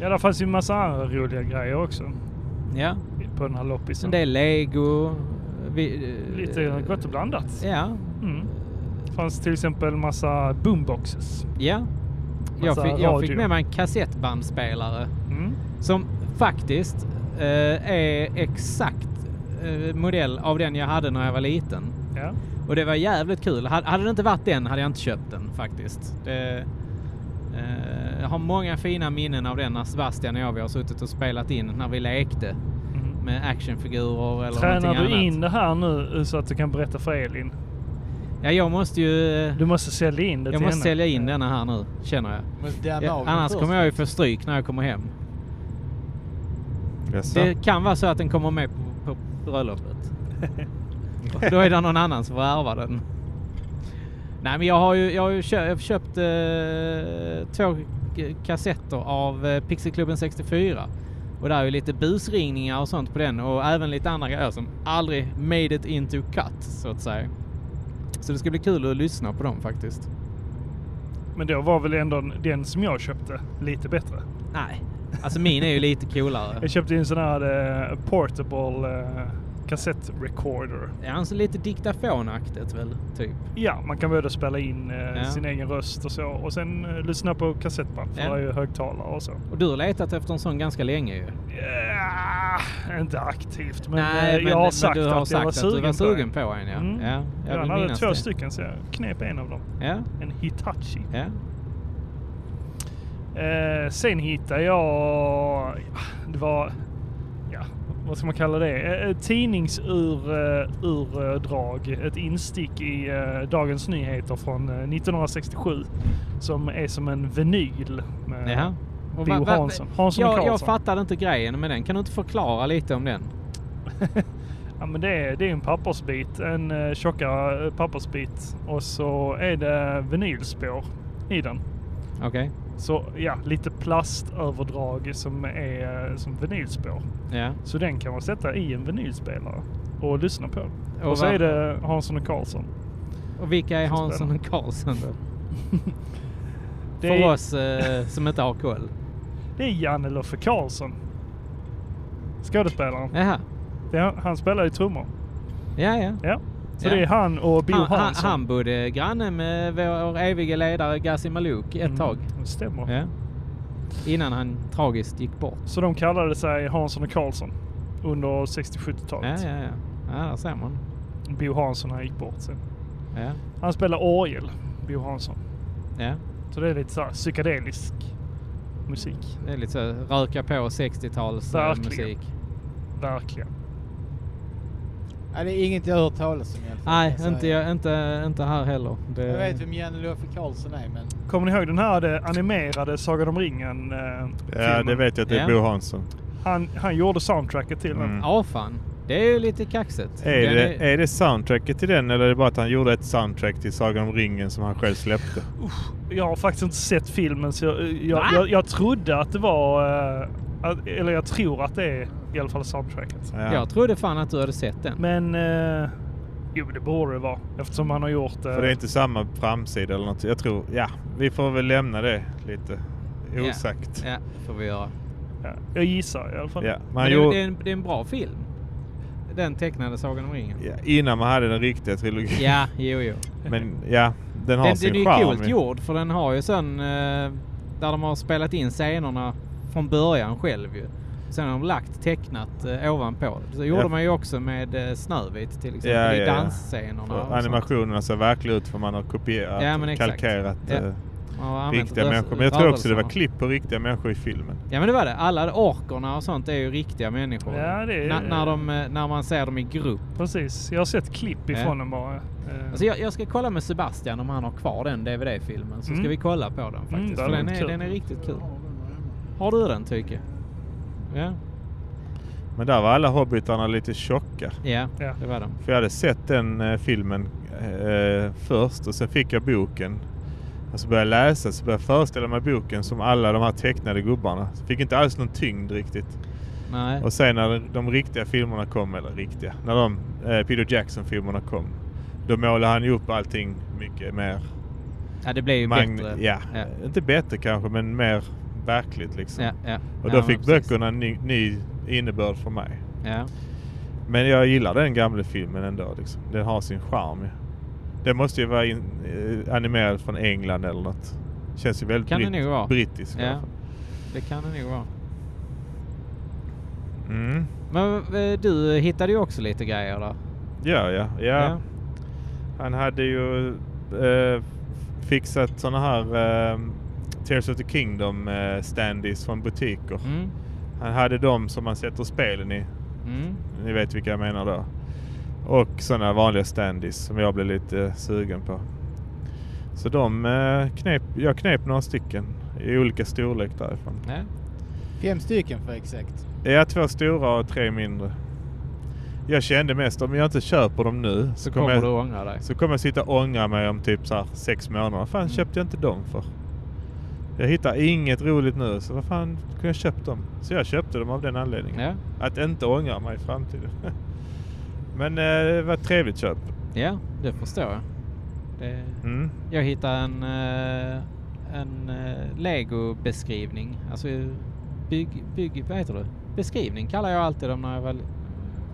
Speaker 4: ja, där fanns ju en massa andra roliga grejer också
Speaker 2: Ja.
Speaker 4: på den här
Speaker 2: En
Speaker 4: loppisen.
Speaker 2: del lego. eh, Vi,
Speaker 4: Lite gott och blandat.
Speaker 2: Ja.
Speaker 4: Mm. Det fanns till exempel massa boomboxes.
Speaker 2: Ja. Jag
Speaker 4: Massa
Speaker 2: fick, jag fick
Speaker 4: radio.
Speaker 2: med mig en kassettbandspelare.
Speaker 4: Mm.
Speaker 2: Som faktiskt eh, är exakt eh, modell av den jag hade när jag var liten.
Speaker 4: Ja.
Speaker 2: Och det var jävligt kul. Hade, hade det inte varit den hade jag inte köpt den faktiskt. Det, eh, jag har många fina minnen av den när Sebastian och jag vi har suttit och spelat in när vi lekte
Speaker 4: Mm.
Speaker 2: med actionfigurer eller
Speaker 4: Tränar
Speaker 2: någonting
Speaker 4: du
Speaker 2: annat.
Speaker 4: in det här nu eh, så att du kan berätta för Elin?
Speaker 2: Ja, jag måste ju... eh,
Speaker 4: Du måste sälja in det
Speaker 2: Jag
Speaker 4: till
Speaker 2: måste
Speaker 4: henne.
Speaker 2: sälja in denna här nu, känner jag.
Speaker 1: Måste damma
Speaker 2: Ja,
Speaker 1: av den
Speaker 2: annars
Speaker 1: först.
Speaker 2: kommer jag ju få stryk när jag kommer hem.
Speaker 3: Jaså?
Speaker 2: Det kan vara så att den kommer med på, på bröllopet. Och Då är det någon annan som får ärva den. Nej men jag har ju, jag har ju köpt, jag har köpt eh, två k- kassetter av eh, Pixelklubben 64. Och där är ju lite busringningar och sånt på den och även lite andra grejer som aldrig made it into cut så att säga. Så det ska bli kul att lyssna på dem faktiskt.
Speaker 4: Men då var väl ändå den som jag köpte lite bättre.
Speaker 2: Nej, alltså min är ju lite coolare.
Speaker 4: Jag köpte ju en sån här eh, portable eh, kassettrecorder.
Speaker 2: Ja, han ser lite diktafonaktigt väl, typ.
Speaker 4: Ja, man kan både spela in eh,
Speaker 2: Ja.
Speaker 4: sin egen röst och så och sen eh, lyssna på kassettband för
Speaker 2: Ja.
Speaker 4: det är ju högtalare och så.
Speaker 2: Och du har letat efter en sån ganska länge ju.
Speaker 4: Ja, inte aktivt men,
Speaker 2: Nej,
Speaker 4: eh, jag har
Speaker 2: men
Speaker 4: sagt
Speaker 2: du har
Speaker 4: att
Speaker 2: sagt
Speaker 4: jag var
Speaker 2: att
Speaker 4: sugen,
Speaker 2: du var sugen
Speaker 4: på
Speaker 2: på en. Ja.
Speaker 4: Mm.
Speaker 2: Ja, jag
Speaker 4: han
Speaker 2: vill
Speaker 4: hade
Speaker 2: minnas
Speaker 4: två
Speaker 2: det.
Speaker 4: stycken så jag knep en av dem.
Speaker 2: Ja,
Speaker 4: En Hitachi.
Speaker 2: ja.
Speaker 4: Eh, sen hittade jag, det var, ja, vad ska man kalla det? Eh, Ett tidningsurdrag, ett instick i eh, Dagens Nyheter från eh, 1967 som är som en vinyl. Med,
Speaker 2: Jaha. Och
Speaker 4: Bo
Speaker 2: va- va-
Speaker 4: Hansson. Hansson och
Speaker 2: jag, jag
Speaker 4: Karlsson.
Speaker 2: fattade inte grejen med den. Kan du inte förklara lite om den?
Speaker 4: Ja, men det, är, det är en pappersbit, en eh, tjockare eh, pappersbit och så är det vinylspår i den.
Speaker 2: Okej.
Speaker 4: Så ja, lite plastöverdrag som är eh, som vinylspår.
Speaker 2: Ja.
Speaker 4: Så den kan man sätta i en vinylspelare och lyssna på.
Speaker 2: Och
Speaker 4: Och, så
Speaker 2: vad-
Speaker 4: är det Hansson och Karlsson.
Speaker 2: Och vilka är
Speaker 4: Så
Speaker 2: Hansson
Speaker 4: spännande.
Speaker 2: och Karlsson då?
Speaker 4: Det
Speaker 2: För
Speaker 4: är,
Speaker 2: oss eh, som inte har koll.
Speaker 4: det är Janne Loffe Karlsson. Skådespelaren.
Speaker 2: Jaha.
Speaker 4: Det är, han spelar ju trummor.
Speaker 2: Ja, ja.
Speaker 4: Ja. Så
Speaker 2: Ja.
Speaker 4: det är han och Bo
Speaker 2: Han, han,
Speaker 4: Hansson.
Speaker 2: han bodde granne med vår eviga ledare Gazi Maluk ett tag.
Speaker 4: Mm, det stämmer.
Speaker 2: Ja. Innan han tragiskt gick bort.
Speaker 4: Så de kallade sig Hansson och Karlsson under 60-70-talet.
Speaker 2: Ja, ja, ja. Ja, där ser man.
Speaker 4: Bo Hansson han gick bort sen.
Speaker 2: Ja,
Speaker 4: Han spelar orgel, Bo Hansson.
Speaker 2: ja.
Speaker 4: Så det är lite såhär psykedelisk musik.
Speaker 2: Det är lite så här, röka på 60-tals eh,
Speaker 4: Verkligen.
Speaker 2: musik.
Speaker 4: Verkligen.
Speaker 1: Ja, det är inget jag har hört talas om i alla fall.
Speaker 2: Nej,
Speaker 1: Alltså,
Speaker 2: inte, jag, inte, inte här heller. Det,
Speaker 1: Jag vet vem Janne Loffe Karlsson är men...
Speaker 4: Kommer ni ihåg den här eh, animerade Sagan om ringen? Eh,
Speaker 3: ja,
Speaker 4: filmen?
Speaker 3: det vet jag att det är
Speaker 2: Ja.
Speaker 3: Bo Hansson.
Speaker 4: Han, han gjorde soundtracket till den.
Speaker 3: Mm.
Speaker 2: Ja, fan. Det är ju lite kaxigt.
Speaker 3: Är
Speaker 2: Den
Speaker 3: det, är det soundtracket till den eller är det bara att han gjorde ett soundtrack till Sagan om ringen som han själv släppte?
Speaker 4: Jag har faktiskt inte sett filmen så jag, eh,
Speaker 2: Va?
Speaker 4: jag, jag, jag trodde att det var... eh, att, eller jag tror att det är i alla fall soundtracket.
Speaker 3: Ja.
Speaker 2: Jag trodde fan att du hade sett den.
Speaker 4: Men eh, Jo, det borde det vara. Eftersom han har gjort... eh,
Speaker 3: För det är inte samma framsida eller något. Jag tror, ja, vi får väl lämna det lite
Speaker 2: Ja.
Speaker 3: osagt.
Speaker 2: Ja, får vi göra.
Speaker 4: ja, jag gissar i alla fall.
Speaker 3: Ja, man
Speaker 2: Men det, är-
Speaker 3: gjorde,
Speaker 2: det, är en, det är en bra film. Den tecknade Sagan om ringen.
Speaker 3: ja, innan man hade den riktiga trilogin.
Speaker 2: Ja, jo, jo.
Speaker 3: Men ja, den har
Speaker 2: Den,
Speaker 3: sin
Speaker 2: den är ju
Speaker 3: charm.
Speaker 2: coolt gjord för den har ju sen eh, där de har spelat in scenerna från början själv ju. Sen har de lagt tecknat eh, ovanpå. Så gjorde
Speaker 3: Ja.
Speaker 2: man ju också med eh, Snövit till exempel
Speaker 3: Ja,
Speaker 2: i
Speaker 3: ja, ja.
Speaker 2: dansscenerna.
Speaker 3: Och
Speaker 2: och sånt.
Speaker 3: Animationerna ser verkligen ut för man har kopierat
Speaker 2: Ja, men
Speaker 3: och
Speaker 2: exakt.
Speaker 3: kalkerat
Speaker 2: Ja.
Speaker 3: eh,
Speaker 2: Man har använt
Speaker 3: riktiga
Speaker 2: rö-
Speaker 3: människor. Men jag tror också det var
Speaker 2: rörelserna.
Speaker 3: klipp på riktiga människor i filmen.
Speaker 2: Ja men det var det. Alla orkorna och sånt är ju riktiga människor.
Speaker 4: Ja, det är-
Speaker 2: N- när, de, eh, när man ser dem i grupp.
Speaker 4: Precis. Jag har sett klipp
Speaker 2: Ja.
Speaker 4: ifrån den bara. Eh,
Speaker 2: Alltså jag, jag ska kolla med Sebastian om han har kvar den DVD-filmen. Så
Speaker 4: Mm.
Speaker 2: ska vi kolla på den faktiskt.
Speaker 4: det
Speaker 2: För
Speaker 4: hade
Speaker 2: den,
Speaker 4: varit
Speaker 2: är,
Speaker 4: kul.
Speaker 2: den är riktigt kul.
Speaker 5: Ja, den var hemma.
Speaker 2: Har du den Tyke? Ja.
Speaker 3: Men där var alla hobbitarna lite tjocka.
Speaker 2: ja,
Speaker 4: Ja.
Speaker 2: det var den.
Speaker 3: För jag hade sett den eh, filmen eh, först och sen fick jag boken. Och så började jag läsa så började jag föreställa mig boken som alla de här tecknade gubbarna. Så fick inte alls någon tyngd riktigt.
Speaker 2: Mm. Nej.
Speaker 3: Och sen när de riktiga filmerna kom, eller riktiga, när de eh, Peter Jackson-filmerna kom. Då målade han ju upp allting mycket mer.
Speaker 2: Ja, det blev ju
Speaker 3: magn-
Speaker 2: bättre.
Speaker 3: Ja,
Speaker 2: ja.
Speaker 3: inte bättre kanske men mer verkligt liksom.
Speaker 2: ja, ja.
Speaker 3: Och
Speaker 2: Ja,
Speaker 3: då
Speaker 2: men
Speaker 3: fick
Speaker 2: precis.
Speaker 3: böckerna en ny, ny innebörd för mig.
Speaker 2: Ja.
Speaker 3: Men jag gillar den gamla filmen ändå. Liksom. Den har sin charm. ju. Den måste ju vara in, eh, animerad från England eller något. Känns ju väldigt
Speaker 2: Kan det nog vara.
Speaker 3: brittisk. i alla
Speaker 2: ja.
Speaker 3: fall.
Speaker 2: Det kan det nog vara.
Speaker 3: Mm.
Speaker 2: Men eh, du hittade ju också lite grejer där.
Speaker 3: Ja, ja, ja,
Speaker 2: Ja.
Speaker 3: Han hade ju eh, fixat sådana här eh, Tears of the Kingdom eh, standees från butiker.
Speaker 2: Mm.
Speaker 3: Han hade dem som man sätter spelen i.
Speaker 2: Mm.
Speaker 3: Ni vet vilka jag menar då. Och sådana vanliga standees som jag blev lite sugen på. Så de eh, knep, jag knep några stycken i olika storlek därifrån.
Speaker 2: Ja.
Speaker 1: Fem stycken för exakt.
Speaker 3: Ja, två stora och tre mindre. Jag kände mest om jag inte köper dem nu
Speaker 2: Så
Speaker 3: så
Speaker 2: kommer
Speaker 3: kommer,
Speaker 2: du
Speaker 3: jag,
Speaker 2: ångra dig.
Speaker 3: så kommer jag sitta och ångra mig om typ så här sex månader. Vad fan
Speaker 2: Mm.
Speaker 3: köpte jag inte dem för? Jag hittar inget roligt nu så vad fan kunde jag köpt dem? Så jag köpte dem av den anledningen.
Speaker 2: Ja.
Speaker 3: Att inte ångra mig i framtiden. Men eh, det var ett trevligt köp.
Speaker 2: ja, det förstår jag. Det...
Speaker 3: Mm.
Speaker 2: Jag hittade en, eh, en eh, Lego-beskrivning. Alltså bygg, bygg... Vad heter det? Beskrivning kallar jag alltid dem när jag väl...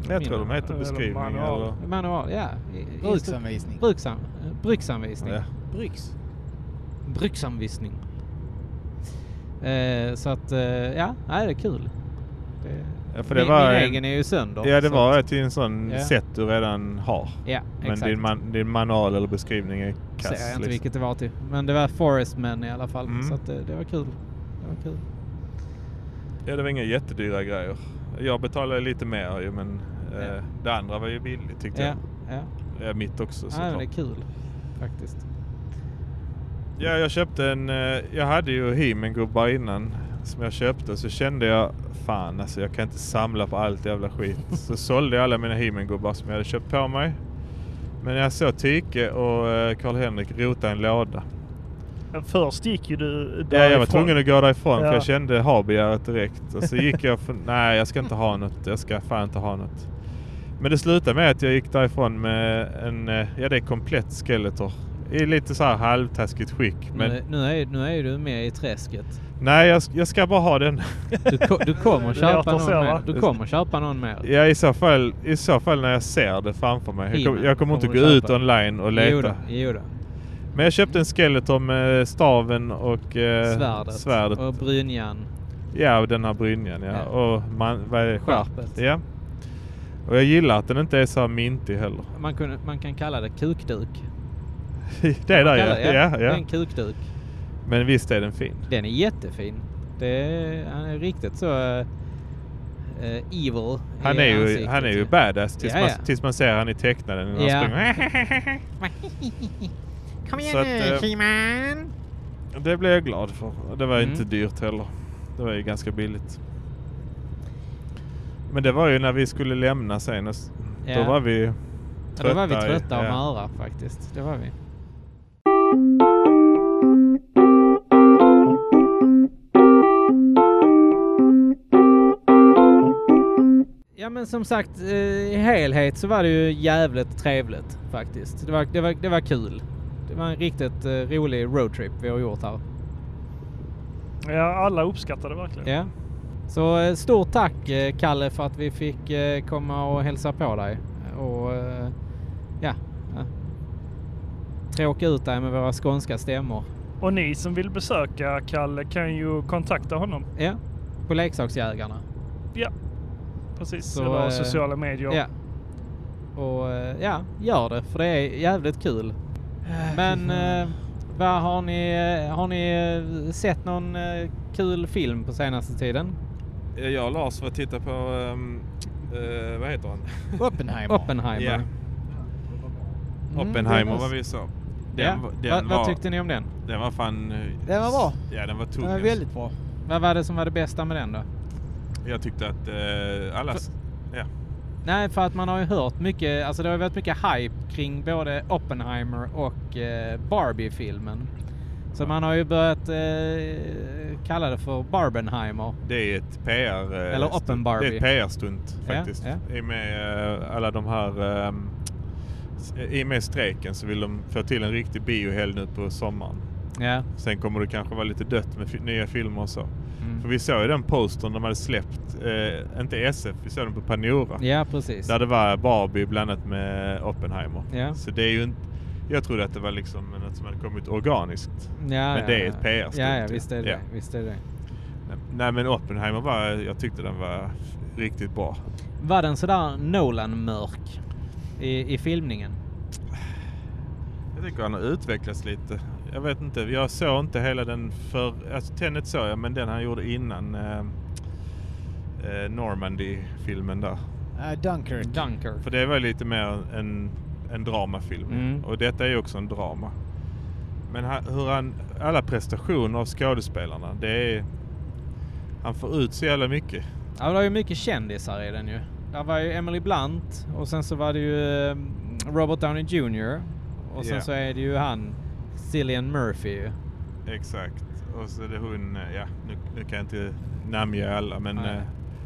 Speaker 3: Jag tror de heter
Speaker 4: Eller
Speaker 3: beskrivning
Speaker 4: manual.
Speaker 3: eller...
Speaker 2: Manual, ja. I- instru-
Speaker 1: Bruksanvisning.
Speaker 2: Bruksam, eh, bruksanvisning.
Speaker 3: Ja.
Speaker 1: Bruks.
Speaker 2: Bruksanvisning. Eh, så att, eh, ja, nej, det är kul. Det,
Speaker 3: Ja, för det
Speaker 2: min,
Speaker 3: var
Speaker 2: min
Speaker 3: en-
Speaker 2: egen är ju sönder.
Speaker 3: Ja, det
Speaker 2: så
Speaker 3: var
Speaker 2: att-
Speaker 3: ett typ till en sån
Speaker 2: Ja.
Speaker 3: set du redan har.
Speaker 2: Ja,
Speaker 3: Men
Speaker 2: exakt.
Speaker 3: din, man, din manual eller beskrivning är kass.
Speaker 2: Ser jag inte
Speaker 3: liksom.
Speaker 2: vilket det var till. Men det var Forest Men i alla fall.
Speaker 3: Mm.
Speaker 2: Så att det, det var kul. Det var kul.
Speaker 3: Ja, det var inga jättedyra grejer. Jag betalade lite mer ju, men
Speaker 2: Ja.
Speaker 3: eh, det andra var ju billigt tyckte
Speaker 2: Ja, ja.
Speaker 3: jag. Ja, mitt också
Speaker 2: Nej, men
Speaker 3: såklart.
Speaker 2: det är kul faktiskt.
Speaker 3: Ja, jag köpte en... eh, Jag hade ju He-Man-gubbar innan som jag köpte. Så kände jag, fan alltså jag kan inte samla på allt jävla skit. Så sålde jag alla mina He-Man-gubbar som jag hade köpt på mig. Men jag såg Tyke och eh, Karl-Henrik rota en låda.
Speaker 4: Men Först gick ju du
Speaker 3: Ja, jag var tvungen att gå därifrån
Speaker 4: Ja.
Speaker 3: för jag kände ha-begäret direkt. Och så gick jag för, nej jag ska inte ha något, jag ska fan inte ha något. Men det slutade med att jag gick därifrån med en, eh, ja det är komplett Skeletor. I lite så här halvtaskigt skick. Men
Speaker 2: Nu, nu, är, nu är du med i träsket.
Speaker 3: nej jag, jag ska bara ha den.
Speaker 2: Du, ko- du kommer köpa
Speaker 4: låter
Speaker 2: någon
Speaker 4: så, va?
Speaker 2: mer. Du kommer köpa någon mer.
Speaker 3: Ja i så fall, i så fall när jag ser det framför mig. Jag, kom,
Speaker 2: He-Man.
Speaker 3: jag kommer inte
Speaker 2: Kommer
Speaker 3: gå
Speaker 2: du
Speaker 3: ut
Speaker 2: köpa?
Speaker 3: online och leta.
Speaker 2: Jo då, jo då.
Speaker 3: Men jag köpte en Skeletor med staven och eh,
Speaker 2: Svärdet,
Speaker 3: svärdet.
Speaker 2: och brynjan.
Speaker 3: Ja, och den här brynjan ja.
Speaker 2: Ja.
Speaker 3: Och man, vad är det?
Speaker 2: Skärpet.
Speaker 3: Ja. Och jag gillar att den inte är så här mintig heller.
Speaker 2: Man, kunde, man kan kalla det kukduk.
Speaker 3: det är
Speaker 2: Man
Speaker 3: där
Speaker 2: kallar-
Speaker 3: ja. Ja,
Speaker 2: Det är
Speaker 3: ja.
Speaker 2: en kukduk.
Speaker 3: Men visst är den fin.
Speaker 2: Den är jättefin. Det är, han är riktigt så eh, eh, evil
Speaker 3: Han
Speaker 2: i
Speaker 3: är, ju,
Speaker 2: ansiktet
Speaker 3: han är ju badass tills,
Speaker 2: Ja,
Speaker 3: man,
Speaker 2: ja.
Speaker 3: tills man ser han i tecknaden. när
Speaker 2: Ja.
Speaker 3: Han springer.
Speaker 7: Kom
Speaker 3: Så
Speaker 7: igen
Speaker 3: att,
Speaker 7: nu,
Speaker 3: eh,
Speaker 7: He-Man!
Speaker 3: Det blev jag glad för. Och Det var
Speaker 2: Mm.
Speaker 3: inte dyrt heller. Det var ju ganska billigt. Men det var ju när vi skulle lämna senast. Då
Speaker 2: Ja.
Speaker 3: var vi
Speaker 2: Ja, då var vi
Speaker 3: trötta i-
Speaker 2: trötta och
Speaker 3: ja.
Speaker 2: möra faktiskt. Det var vi. Ja men men som sagt, eh, i helhet så var det ju jävligt trevligt faktiskt. Det var, det var, det var kul. Det var en riktigt eh, rolig roadtrip vi har gjort här.
Speaker 4: Ja, alla uppskattade verkligen.
Speaker 2: Ja. Så eh, stort tack eh, Kalle för att vi fick eh, komma och hälsa på dig. Och eh, ja, ja. tråka ut dig med våra skånska stämmor.
Speaker 4: Och ni som vill besöka Kalle kan ju kontakta honom.
Speaker 2: Ja, på leksaksjägarna.
Speaker 4: Ja, precis.
Speaker 2: Så,
Speaker 4: Eller
Speaker 2: eh,
Speaker 4: sociala medier.
Speaker 2: Ja. Och eh, ja, gör det för det är jävligt kul.
Speaker 7: Äh,
Speaker 2: Men eh, vad har ni, eh, har ni eh, sett någon eh, kul film på senaste tiden?
Speaker 7: Eh, Jag och Lars var och tittade på, ehm, eh, vad heter han?
Speaker 1: Oppenheimer.
Speaker 2: Oppenheimer. Mm,
Speaker 7: Ja. Oppenheimer var vi så. Den,
Speaker 2: Ja.
Speaker 7: var-
Speaker 2: Va,
Speaker 7: den,
Speaker 2: Vad
Speaker 7: var,
Speaker 2: tyckte ni om den?
Speaker 7: den var fan... eh,
Speaker 1: Den var bra.
Speaker 7: Ja, den var tung.
Speaker 1: Den är
Speaker 7: alltså.
Speaker 1: väldigt bra.
Speaker 2: Vad var det som var det bästa med den då?
Speaker 7: Jag tyckte att eh, alla... s- Ja.
Speaker 2: Nej, för att man har ju hört mycket, alltså det har ju varit mycket hype kring både Oppenheimer och eh, Barbie-filmen. Så man har ju börjat eh, kalla det för Barbenheimer.
Speaker 3: Det är ett PR... eh,
Speaker 2: Eller
Speaker 3: stu-
Speaker 2: Oppenbarbie.
Speaker 3: Det är ett PR-stunt
Speaker 2: Ja,
Speaker 3: faktiskt.
Speaker 2: ja.
Speaker 3: I och med eh, alla de här... ehm, s- I och med strejken så vill de få till en riktig biohelg nu på sommaren.
Speaker 2: Ja.
Speaker 3: Sen kommer det kanske vara lite dött med fi- nya filmer och så.
Speaker 2: Mm.
Speaker 3: För vi såg ju den postern de hade släppt, eh, inte SF, vi såg den på Panora.
Speaker 2: ja, precis.
Speaker 3: Där det var Barbie blandat med Oppenheimer.
Speaker 2: Ja.
Speaker 3: Så det är ju inte... Jag trodde att det var liksom något som hade kommit organiskt.
Speaker 2: Ja,
Speaker 3: Men
Speaker 2: ja,
Speaker 3: det är
Speaker 2: ja.
Speaker 3: ett PR-stunt.
Speaker 2: Ja, ja, visst är det
Speaker 3: Ja.
Speaker 2: det. visst är det.
Speaker 3: Nej men Oppenheimer var, jag tyckte den var riktigt bra.
Speaker 2: Var den sådär Nolan-mörk i, i filmningen?
Speaker 3: Jag tycker han har utvecklats lite. Jag vet inte, jag såg inte hela den för... Alltså Tenet såg jag, men den han gjorde innan eh, eh, Normandy-filmen där.
Speaker 1: Uh, Dunkirk.
Speaker 2: Dunker.
Speaker 3: För det var lite mer en, en dramafilm.
Speaker 2: Mm.
Speaker 3: Och detta är ju också en drama. Men han, hur han, alla prestationer av skådespelarna, det är... Han får ut så jävla mycket.
Speaker 2: Ja, det var ju mycket kändisar i den ju. Där var ju Emily Blunt och sen så var det ju eh, Robert Downey Jr. Och sen
Speaker 3: Ja.
Speaker 2: så är det ju han, Cillian Murphy ju.
Speaker 3: Exakt. Och så är det hon, eh, ja nu, nu kan jag inte namnge alla men
Speaker 2: Nej.
Speaker 3: eh,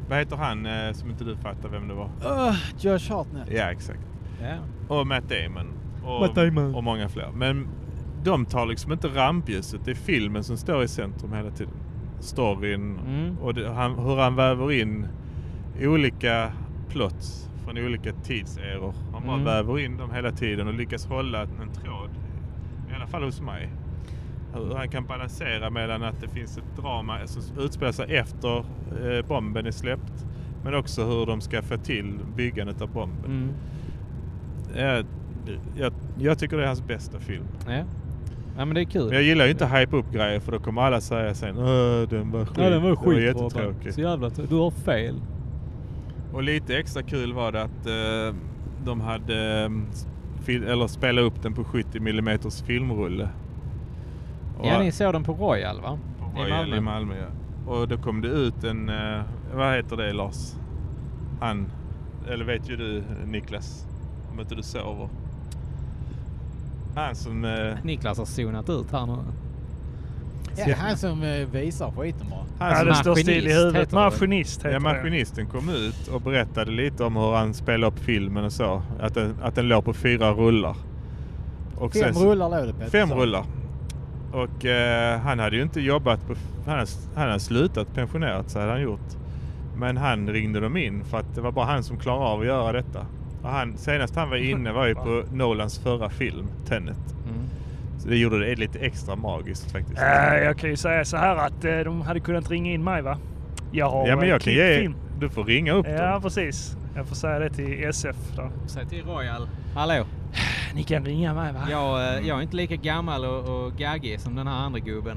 Speaker 3: vad heter han eh, som inte du fattar vem det var?
Speaker 6: Öh, Josh Hartnett.
Speaker 3: Ja exakt.
Speaker 2: Ja.
Speaker 3: Och Matt Damon. Och,
Speaker 4: Matt Damon.
Speaker 3: och många fler. Men de tar liksom inte rampljuset. Det är filmen som står i centrum hela tiden. Storyn
Speaker 2: Mm.
Speaker 3: och det, han, hur han väver in olika plots från olika tidseror. Han bara
Speaker 2: Mm.
Speaker 3: väver in dem hela tiden och lyckas hålla en tråd. I alla fall hos mig. Hur han kan balansera mellan att det finns ett drama som utspelar sig efter eh, bomben är släppt. Men också hur de ska få till byggandet av bomben.
Speaker 2: Mm.
Speaker 3: Jag, jag, jag tycker det är hans bästa film.
Speaker 2: Ja. ja, men det är kul.
Speaker 3: Men jag gillar ju inte hype upp grejer för då kommer alla säga sen Åh, den var skit. den var jättetråkig.
Speaker 2: jävla Du har fel.
Speaker 7: Och lite extra kul var det att eh, de hade
Speaker 3: mm,
Speaker 7: ehm, fil- eller spelat upp den på 70 mm filmrulle. Och-
Speaker 2: Ja, ni såg den på Royal va?
Speaker 7: på Royal i Malmö. ja.
Speaker 3: Och då kom det ut en, eh, vad heter det Lars? Han, eller vet ju du Niklas, om inte du sover. Han som, eh,
Speaker 2: Niklas har zonat ut här nu.
Speaker 3: Mm.
Speaker 1: Ja, det är han som eh, visar skiten bara.
Speaker 3: han
Speaker 4: Ja,
Speaker 3: som
Speaker 4: det
Speaker 2: Alltså,
Speaker 4: står
Speaker 2: maskinist
Speaker 4: still i huvudet.
Speaker 2: heter det.
Speaker 4: Maskinist heter
Speaker 3: Ja,
Speaker 4: det.
Speaker 3: maskinisten kom ut och berättade lite om hur han spelade upp filmen och så. Att den, att den låg på fyra rullar. Och
Speaker 1: Fem
Speaker 3: sen så-
Speaker 1: rullar låg det Peter.
Speaker 3: Fem
Speaker 1: sa.
Speaker 3: rullar. Och eh, han hade ju inte jobbat på... Han hade, han hade slutat, pensionerat sig hade han gjort. Men han ringde dem in för att det var bara han som klarade av att göra detta. Och han, senast han var inne var ju på Nolans förra film, Tenet.
Speaker 2: Mm.
Speaker 3: Så det gjorde det lite extra magiskt faktiskt.
Speaker 4: Eh, jag kan ju säga så här att eh, de hade kunnat ringa in mig va? Jag har
Speaker 3: ja men
Speaker 4: eh,
Speaker 3: jag kan
Speaker 4: klippt
Speaker 3: ge...
Speaker 4: film.
Speaker 3: Du får ringa upp
Speaker 4: Ja
Speaker 3: dem.
Speaker 4: precis. Jag får säga det till SF där.
Speaker 2: Säg till Royal. Hallå.
Speaker 4: Ni kan ringa mig va?
Speaker 2: Jag, eh, jag är inte lika gammal och, och gaggig som den här andra gubben.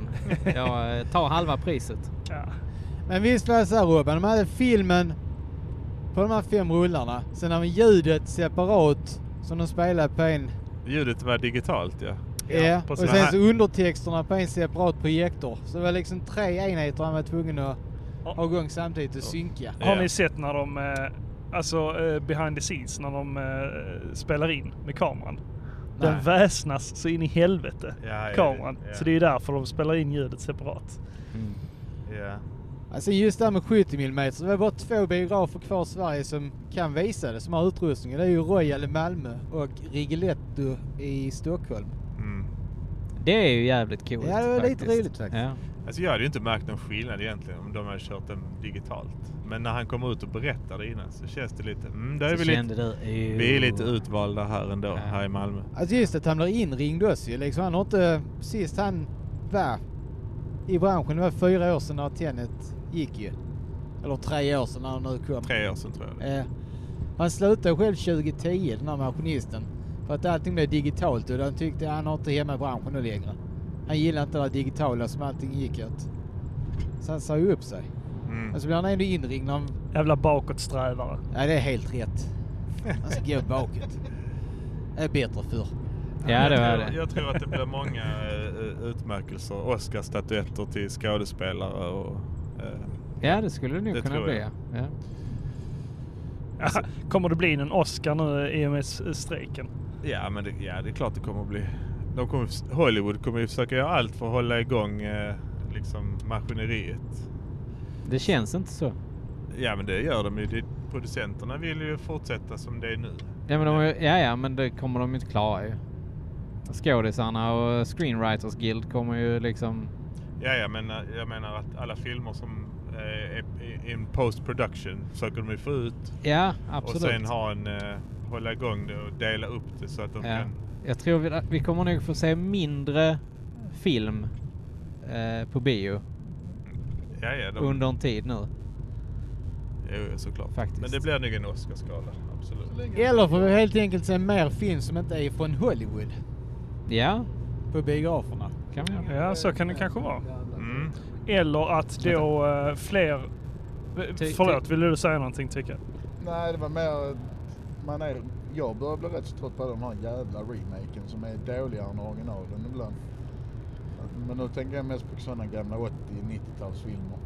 Speaker 2: Jag eh, tar halva priset.
Speaker 4: Ja.
Speaker 1: Men visst var det så här Robin, de hade filmen på de här fem rullarna. Sen hade de ljudet separat som de spelade på en.
Speaker 3: Ljudet var digitalt ja.
Speaker 1: Ja, och
Speaker 4: precis.
Speaker 1: sen så undertexterna på en separat projektor. Så det var liksom tre enheter han var tvungen att ha igång samtidigt och synka.
Speaker 4: Har
Speaker 3: Ja.
Speaker 4: ni sett när de, eh, alltså eh, behind the scenes, när de eh, spelar in med kameran? Den
Speaker 1: Nej.
Speaker 4: väsnas så in i helvete,
Speaker 3: Ja, ja,
Speaker 4: kameran.
Speaker 3: ja. Mm.
Speaker 4: Så det är därför de spelar in ljudet separat.
Speaker 3: Ja.
Speaker 1: Alltså just det här med 70 mm, det är bara två biografer kvar i Sverige som kan visa det, som har utrustningen. Det är ju Royal i Malmö och Rigoletto i Stockholm.
Speaker 3: Mm.
Speaker 2: Det är ju jävligt coolt
Speaker 1: Ja, det var lite
Speaker 2: faktiskt.
Speaker 1: roligt faktiskt.
Speaker 2: Ja.
Speaker 3: Alltså jag hade ju inte märkt någon skillnad egentligen om de hade kört den digitalt. Men när han kommer ut och berättar det innan så känns det lite... Mm, där är
Speaker 2: Så
Speaker 3: vi, lite,
Speaker 2: kände du, "Ew."
Speaker 3: vi är lite utvalda här ändå, här i Malmö.
Speaker 1: Alltså just att han blir inringd också ju. Liksom han har inte... Sist han var i branschen, det var fyra år sedan när Tenet gick ju. Eller tre år sedan när han nu kom.
Speaker 3: Tre år sedan tror jag.
Speaker 1: Eh, han slutade själv 2010, den här maskinisten. För att allting blev digitalt och han tyckte han har inte hemma i branschen nu längre. Han gillar inte det här digitala som allting gick åt. Så han sa ju upp sig.
Speaker 2: Eh,
Speaker 3: Mm.
Speaker 2: alltså,
Speaker 1: Och så blir han ändå inringd av...
Speaker 4: Jävla bakåtsträvare.
Speaker 1: Ja, det är helt rätt. Han
Speaker 2: alltså,
Speaker 1: ska gå bakåt. Det är bättre för.
Speaker 2: Ja, det var
Speaker 3: jag, tror-
Speaker 2: det.
Speaker 3: jag tror att det blir många eh, utmärkelser, Oscarsstatyetter till skådespelare och... eh,
Speaker 2: Ja, det skulle det nog
Speaker 3: Det
Speaker 2: kunna
Speaker 3: tror
Speaker 2: bli.
Speaker 3: jag.
Speaker 2: ja. Ja.
Speaker 4: Alltså, Kommer det bli någon Oscar nu eh, E i och med s- strejken?
Speaker 3: Ja, men det, ja, det är klart det kommer att bli. De kommer, Hollywood kommer ju försöka göra allt för att hålla igång eh, liksom maskineriet.
Speaker 2: Det känns inte så.
Speaker 3: Ja, men det gör de ju. Det, producenterna vill ju fortsätta som det är nu.
Speaker 2: Ja men, de, har ju- ja, ja, men det kommer de ju inte klara ju. Skådisarna och Screenwriters Guild kommer ju liksom...
Speaker 3: Ja, ja men eh, jag menar att alla filmer som eh, är i- in post production försöker de ju få ut
Speaker 2: Ja,
Speaker 3: och
Speaker 2: absolut.
Speaker 3: sen ha en, eh, hålla igång det och dela upp det så att de
Speaker 2: ja.
Speaker 3: kan...
Speaker 2: Jag tror vi, vi kommer nog få se mindre film eh, på bio
Speaker 3: Ja, ja, de,
Speaker 2: under en tid nu.
Speaker 3: jo, såklart.
Speaker 2: Faktiskt.
Speaker 3: Men det blir nog en Oscarsgala, absolut.
Speaker 1: Eller får vi helt enkelt se mer film som inte är från Hollywood
Speaker 2: Ja,
Speaker 1: på biograferna.
Speaker 2: kan vi göra.
Speaker 4: Ja, så kan det kanske vara.
Speaker 3: Mm.
Speaker 4: Eller att då eh, fler...
Speaker 2: Ty-
Speaker 4: Förlåt,
Speaker 2: ty-
Speaker 4: ville du säga någonting tycker
Speaker 5: Nej, det var mer... att Man är, jag börjar bli rätt så trött på de här jävla remaken som är dåligare än originalen ibland. Men nu tänker jag mest på sådana gamla 80-90-talsfilmer.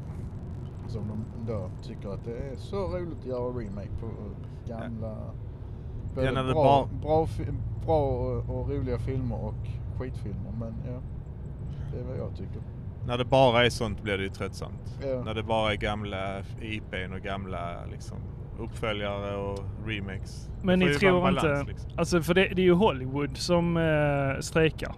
Speaker 5: Som de då tycker att det är så roligt att göra remake på eh, gamla... Både
Speaker 3: Ja, när det
Speaker 5: bra,
Speaker 3: bara-
Speaker 5: bra, fi- bra och, och roliga filmer och skitfilmer. Men ja, det är vad jag tycker.
Speaker 3: När det bara är sånt blir det ju tröttsamt.
Speaker 5: Ja.
Speaker 3: När det bara är gamla IPn och gamla liksom, uppföljare och remakes. Det
Speaker 4: Men
Speaker 3: får ju
Speaker 4: ni
Speaker 3: vara
Speaker 4: tror
Speaker 3: en
Speaker 4: inte...
Speaker 3: balans, liksom.
Speaker 4: Alltså för det, det är ju Hollywood som eh, strejkar.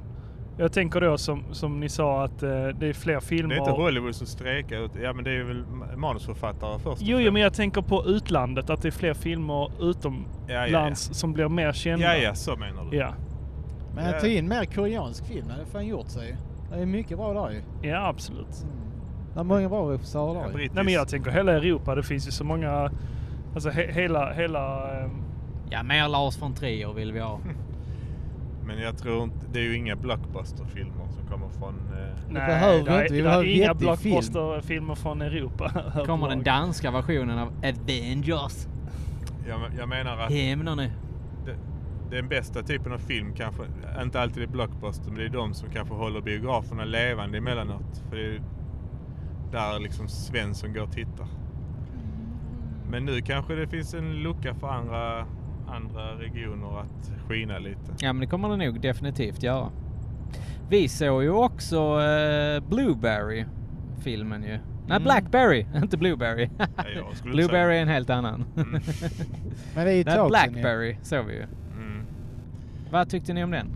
Speaker 4: Jag tänker då som, som ni sa att eh, det är fler filmer.
Speaker 3: Det är inte Hollywood som strejkar. ut- Ja men det är väl manusförfattare först. och
Speaker 4: Jo, jo,
Speaker 3: främst.
Speaker 4: men jag tänker på utlandet. Att det är fler filmer utomlands
Speaker 3: Ja, ja, ja.
Speaker 4: som blir mer kända.
Speaker 3: ja, ja, så menar du.
Speaker 4: ja.
Speaker 1: Men att ta in mer koreansk film, det hade fan gjort sig. Det är mycket bra där ju.
Speaker 4: Ja, absolut.
Speaker 1: Det är många bra regissörer där ju.
Speaker 3: Brittisk.
Speaker 4: Nej, men jag tänker hela Europa. Det finns ju så många... Alltså he, hela... hela eh,
Speaker 2: ja mer Lars von Trier vill vi ha.
Speaker 3: Men jag tror inte... Det är ju inga blockbusterfilmer som kommer från... Eh,
Speaker 1: behöver
Speaker 4: där är-
Speaker 1: inte. Vi vill
Speaker 4: där
Speaker 1: ha
Speaker 4: är
Speaker 1: en
Speaker 4: inga
Speaker 1: vettig film.
Speaker 4: blockbusterfilmer från Europa.
Speaker 2: Kommer den
Speaker 4: överlag.
Speaker 2: danska versionen av Avengers.
Speaker 3: jag, jag menar att
Speaker 2: Hämnarna.
Speaker 3: det, den bästa typen av film kanske inte alltid är blockbuster men det är de som kanske håller biograferna levande emellanåt. För det är där liksom Svensson går och tittar.
Speaker 2: Mm.
Speaker 3: Men nu kanske det finns en lucka för andra, andra regioner att skina lite.
Speaker 2: Ja, men det kommer det nog definitivt göra. Vi såg ju också eh, Blueberry-filmen ju. Nej, Blackberry, inte Blueberry.
Speaker 3: jag skulle inte säga
Speaker 2: Blueberry
Speaker 3: det.
Speaker 2: är en helt annan.
Speaker 1: Men det är ju
Speaker 2: Nej,
Speaker 1: ett tag sedan ju.
Speaker 2: Blackberry såg vi ju.
Speaker 3: Mm.
Speaker 2: Vad tyckte ni om den?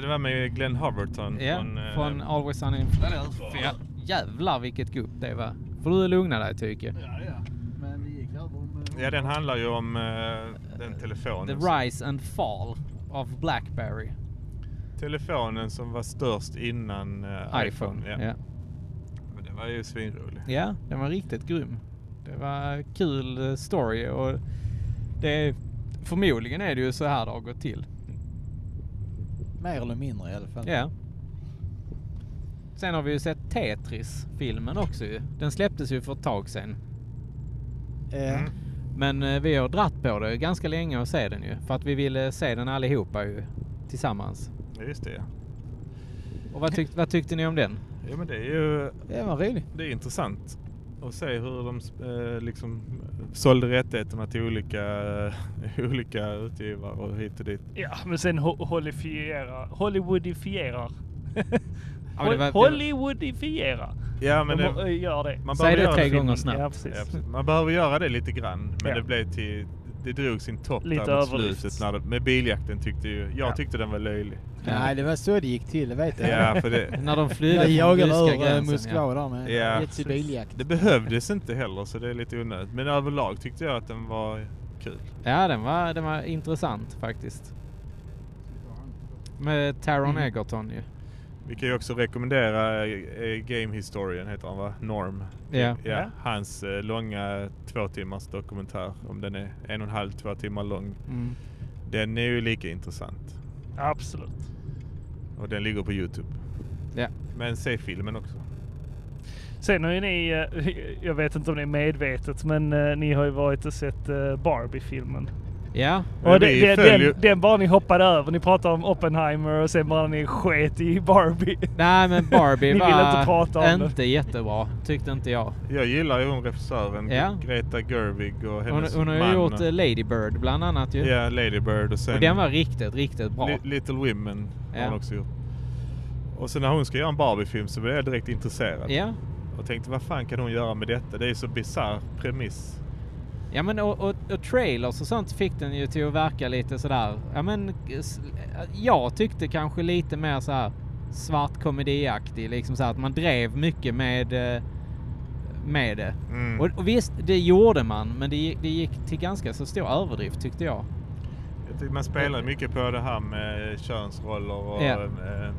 Speaker 3: Det var med Glenn Hoverton
Speaker 2: Ja,
Speaker 3: från... eh,
Speaker 2: från Always Sunny in Philadelphia. Jävlar vilket gupp det var. Får du lugna dig Tyke.
Speaker 6: Men det gick över
Speaker 5: eh,
Speaker 6: om...
Speaker 3: Ja, den handlar ju om eh, den telefonen.
Speaker 2: The
Speaker 3: som-
Speaker 2: Rise and Fall of Blackberry.
Speaker 3: Telefonen som var störst innan eh,
Speaker 2: iPhone.
Speaker 3: Ja.
Speaker 2: Ja.
Speaker 3: Men det var ju svinrolig.
Speaker 2: Ja, den var riktigt grym. Det var kul eh, story och det... Förmodligen är det ju så här det har gått till.
Speaker 1: Mer eller mindre i alla fall.
Speaker 2: Ja. Sen har vi ju sett Tetris-filmen också ju. Den släpptes ju för ett tag sedan.
Speaker 1: Eh,
Speaker 3: Mm.
Speaker 2: Men eh, vi har dratt på det ganska länge och se den ju. För att vi ville se den allihopa ju. Tillsammans.
Speaker 3: Ja, Just det ja.
Speaker 2: Och vad, tyck, vad tyckte ni om den?
Speaker 3: Ja men det är ju
Speaker 1: Det var roligt.
Speaker 3: det är intressant att se hur de eh, liksom sålde rättigheterna till olika, olika utgivare och hit och dit.
Speaker 4: Ja, men sen ho- holifierar... Hollywoodifierar.
Speaker 2: Ja, men det var-
Speaker 4: Hollywoodifierar.
Speaker 3: Ja, men
Speaker 4: de
Speaker 3: det,
Speaker 4: må- gör det.
Speaker 3: man
Speaker 2: Säg
Speaker 3: behöver
Speaker 2: det
Speaker 3: göra
Speaker 2: tre
Speaker 3: filmen.
Speaker 2: gånger
Speaker 4: Ja,
Speaker 2: snabbt.
Speaker 4: precis.
Speaker 3: Ja, precis. man behöver göra det lite grann, men
Speaker 4: Ja.
Speaker 3: det blev till... Det drog sin topp
Speaker 4: Lite
Speaker 3: där mot
Speaker 4: överdrift.
Speaker 3: slutet. När det, med biljakten tyckte ju... Jag
Speaker 4: Ja.
Speaker 3: tyckte den var löjlig.
Speaker 1: Nej, det var så det gick till, det vet jag.
Speaker 3: Ja, för det,
Speaker 2: När de flydde
Speaker 1: Jag
Speaker 2: från
Speaker 1: jagade
Speaker 2: ryska
Speaker 1: ur eh,
Speaker 2: gränsen. Ja.
Speaker 1: Moskva där med
Speaker 3: Ja.
Speaker 1: jättestor biljakt.
Speaker 3: det behövdes inte heller, så det är lite onödigt. Men överlag tyckte jag att den var kul.
Speaker 2: ja, den var, den var intressant faktiskt. Med Taron
Speaker 4: Mm.
Speaker 2: Egerton ju.
Speaker 3: Vi kan ju också rekommendera eh, eh, Game Historian, heter han va? Norm.
Speaker 2: Ja.
Speaker 4: Ja.
Speaker 3: Ja, hans eh, långa två timmars dokumentär, om den är en och en halv, två timmar lång.
Speaker 2: Mm.
Speaker 3: Den är ju lika intressant.
Speaker 4: Absolut.
Speaker 3: Och den ligger på Youtube.
Speaker 2: Ja.
Speaker 3: Men se filmen också.
Speaker 4: Sen har ju ni, eh, jag vet inte om det är medvetet, men eh, ni har ju varit och sett eh, Barbie-filmen.
Speaker 2: ja.
Speaker 4: Och
Speaker 3: vi
Speaker 4: det, det,
Speaker 3: följer-
Speaker 4: den, den bara ni hoppade över. Ni pratade om Oppenheimer och sen bara ni sket i Barbie.
Speaker 2: Nej men Barbie
Speaker 4: Ni
Speaker 2: var
Speaker 4: vill inte prata om det.
Speaker 2: inte jättebra, tyckte inte jag.
Speaker 3: Jag gillar ju hon regissören,
Speaker 2: Ja.
Speaker 3: Greta Gerwig och
Speaker 2: Hon,
Speaker 3: hennes
Speaker 2: hon har ju
Speaker 3: man.
Speaker 2: gjort eh, Lady Bird bland annat ju.
Speaker 3: Ja, Lady Bird och sen
Speaker 2: Och den var riktigt, riktigt bra.
Speaker 3: Li- Little Women har
Speaker 2: Ja.
Speaker 3: hon också gjort. Och sen när hon ska göra en Barbie-film så blev jag direkt intresserad.
Speaker 2: Ja.
Speaker 3: Och tänkte vad fan kan hon göra med detta? Det är ju så bisarr premiss.
Speaker 2: Ja men och, och, och trailers och sånt fick den ju till att verka lite sådär. Ja men s- jag tyckte kanske lite mer så här svart komediaktig liksom så här att man drev mycket med eh, med det.
Speaker 3: Mm.
Speaker 2: Och, och visst, det gjorde man, men det, gi- det gick till ganska så stor överdrift tyckte jag.
Speaker 3: Jag tycker man spelar mycket på det här med könsroller och
Speaker 2: Ja.
Speaker 3: eh,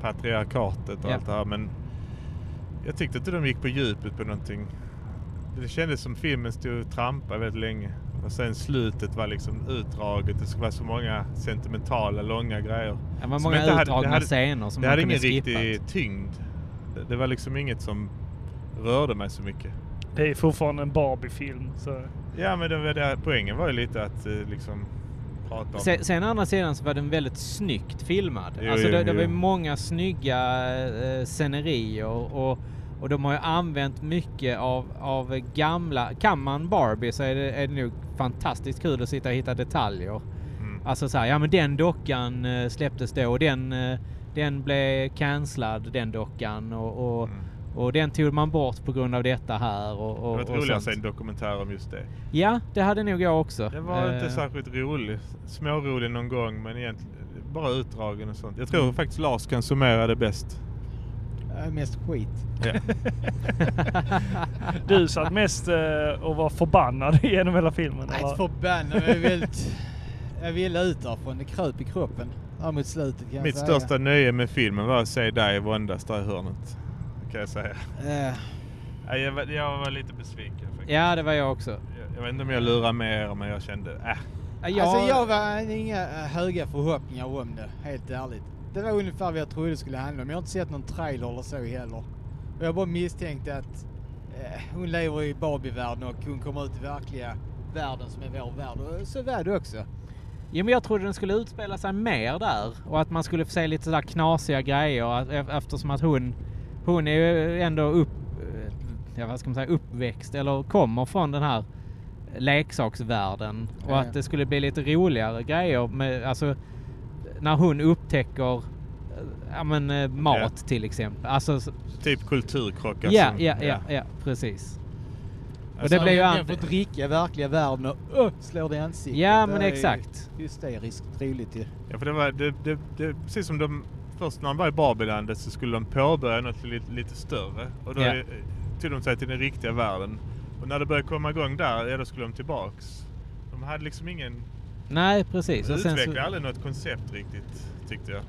Speaker 3: patriarkatet och
Speaker 2: Ja.
Speaker 3: allt det här. Men jag tyckte inte de gick på djupet på någonting. Det kändes som filmen stod och trampade väldigt länge. Och sen slutet var liksom utdraget. Det skulle vara så många sentimentala, långa grejer.
Speaker 2: Det var
Speaker 3: Som
Speaker 2: många
Speaker 3: inte hade-
Speaker 2: utdragna
Speaker 3: det hade-
Speaker 2: scener som
Speaker 3: det
Speaker 2: man
Speaker 3: hade
Speaker 2: kunde
Speaker 3: ingen
Speaker 2: skippat.
Speaker 3: riktig tyngd. Det, det var liksom inget som rörde mig så mycket.
Speaker 4: Det är fortfarande en Barbie-film. Så.
Speaker 3: Ja, men det, var det, poängen var ju lite att eh, liksom prata om...
Speaker 2: Sen, sen å andra sidan så var den väldigt snyggt filmad.
Speaker 3: Jo,
Speaker 2: alltså
Speaker 3: jo,
Speaker 2: det, det
Speaker 3: jo.
Speaker 2: var ju många snygga eh, scenerier och, och de har ju använt mycket av, av gamla... Kan man Barbie så är det, är det nog fantastiskt kul att sitta och hitta detaljer.
Speaker 3: Mm.
Speaker 2: Alltså så här, ja men den dockan eh, släpptes då och den, eh, den blev cancellad den dockan och, och,
Speaker 3: Mm.
Speaker 2: och den tog man bort på grund av detta här och,
Speaker 3: Det
Speaker 2: och,
Speaker 3: var ett
Speaker 2: och
Speaker 3: roligt att se
Speaker 2: sånt.
Speaker 3: en dokumentär om just det.
Speaker 2: Ja, det hade nog jag också.
Speaker 3: Den var inte
Speaker 2: Eh,
Speaker 3: särskilt rolig. Smårolig någon gång men egentligen bara utdragen och sånt. Jag tror
Speaker 2: Mm.
Speaker 3: faktiskt Lars kan summera det bäst.
Speaker 1: Eh, Mest skit.
Speaker 4: Du satt mest eh, och var förbannad genom hela filmen.
Speaker 1: Nej,
Speaker 4: eller?
Speaker 1: inte förbannad men jag är väldigt... Jag ville ut därifrån. Det kröp i kroppen. Där mot slutet kan jag
Speaker 3: Mitt
Speaker 1: säga.
Speaker 3: största nöje med filmen var att se dig våndas där i hörnet. Kan jag säga.
Speaker 1: Eh,
Speaker 3: Ja, Jag var, jag var lite besviken faktiskt.
Speaker 2: Ja, det var jag också.
Speaker 3: Jag, jag vet inte om jag lurar med er men jag kände, äh.
Speaker 2: Ja, Jag,
Speaker 1: Alltså jag var inga eh, höga förhoppningar om det, helt ärligt. Det var ungefär vad jag trodde det skulle handla om. Jag har inte sett någon trailer eller så heller. Och jag bara misstänkte att eh, hon lever i Barbie-världen och hon kommer ut i verkliga världen som är vår värld. Och så var det också.
Speaker 2: Jo, men jag trodde den skulle utspela sig mer där och att man skulle få se lite sådär knasiga grejer att- e- eftersom att hon, hon är ju ändå upp, eh, ja, vad ska man säga, uppväxt eller kommer från den här leksaksvärlden och
Speaker 1: Ja, ja.
Speaker 2: att det skulle bli lite roligare grejer med, alltså när hon upptäcker eh, Ja men eh, mat
Speaker 3: Ja.
Speaker 2: till exempel. Alltså, s-
Speaker 3: Typ kulturkrockar.
Speaker 2: ja,
Speaker 3: som-
Speaker 2: ja, ja, ja, precis. Och
Speaker 3: Alltså,
Speaker 2: det blev ju
Speaker 1: Jag får
Speaker 2: an-
Speaker 1: dricka i verkliga världen och öh, slår det i ansiktet.
Speaker 2: Ja
Speaker 1: Det
Speaker 2: men
Speaker 1: är ju
Speaker 2: exakt.
Speaker 1: Hysteriskt roligt ju.
Speaker 3: Ja, för det var, det, det, det, precis som de, först när de var i Barbilandet så skulle de påbörja något lite, lite större. Och då
Speaker 2: Ja.
Speaker 3: yeah. tog de sig till den riktiga världen. Och när det började komma igång där, ja då skulle de tillbaks. De hade liksom ingen,
Speaker 2: Nej
Speaker 3: de
Speaker 2: precis. Och sen,
Speaker 3: utvecklade
Speaker 2: så,
Speaker 3: aldrig något koncept riktigt tyckte jag.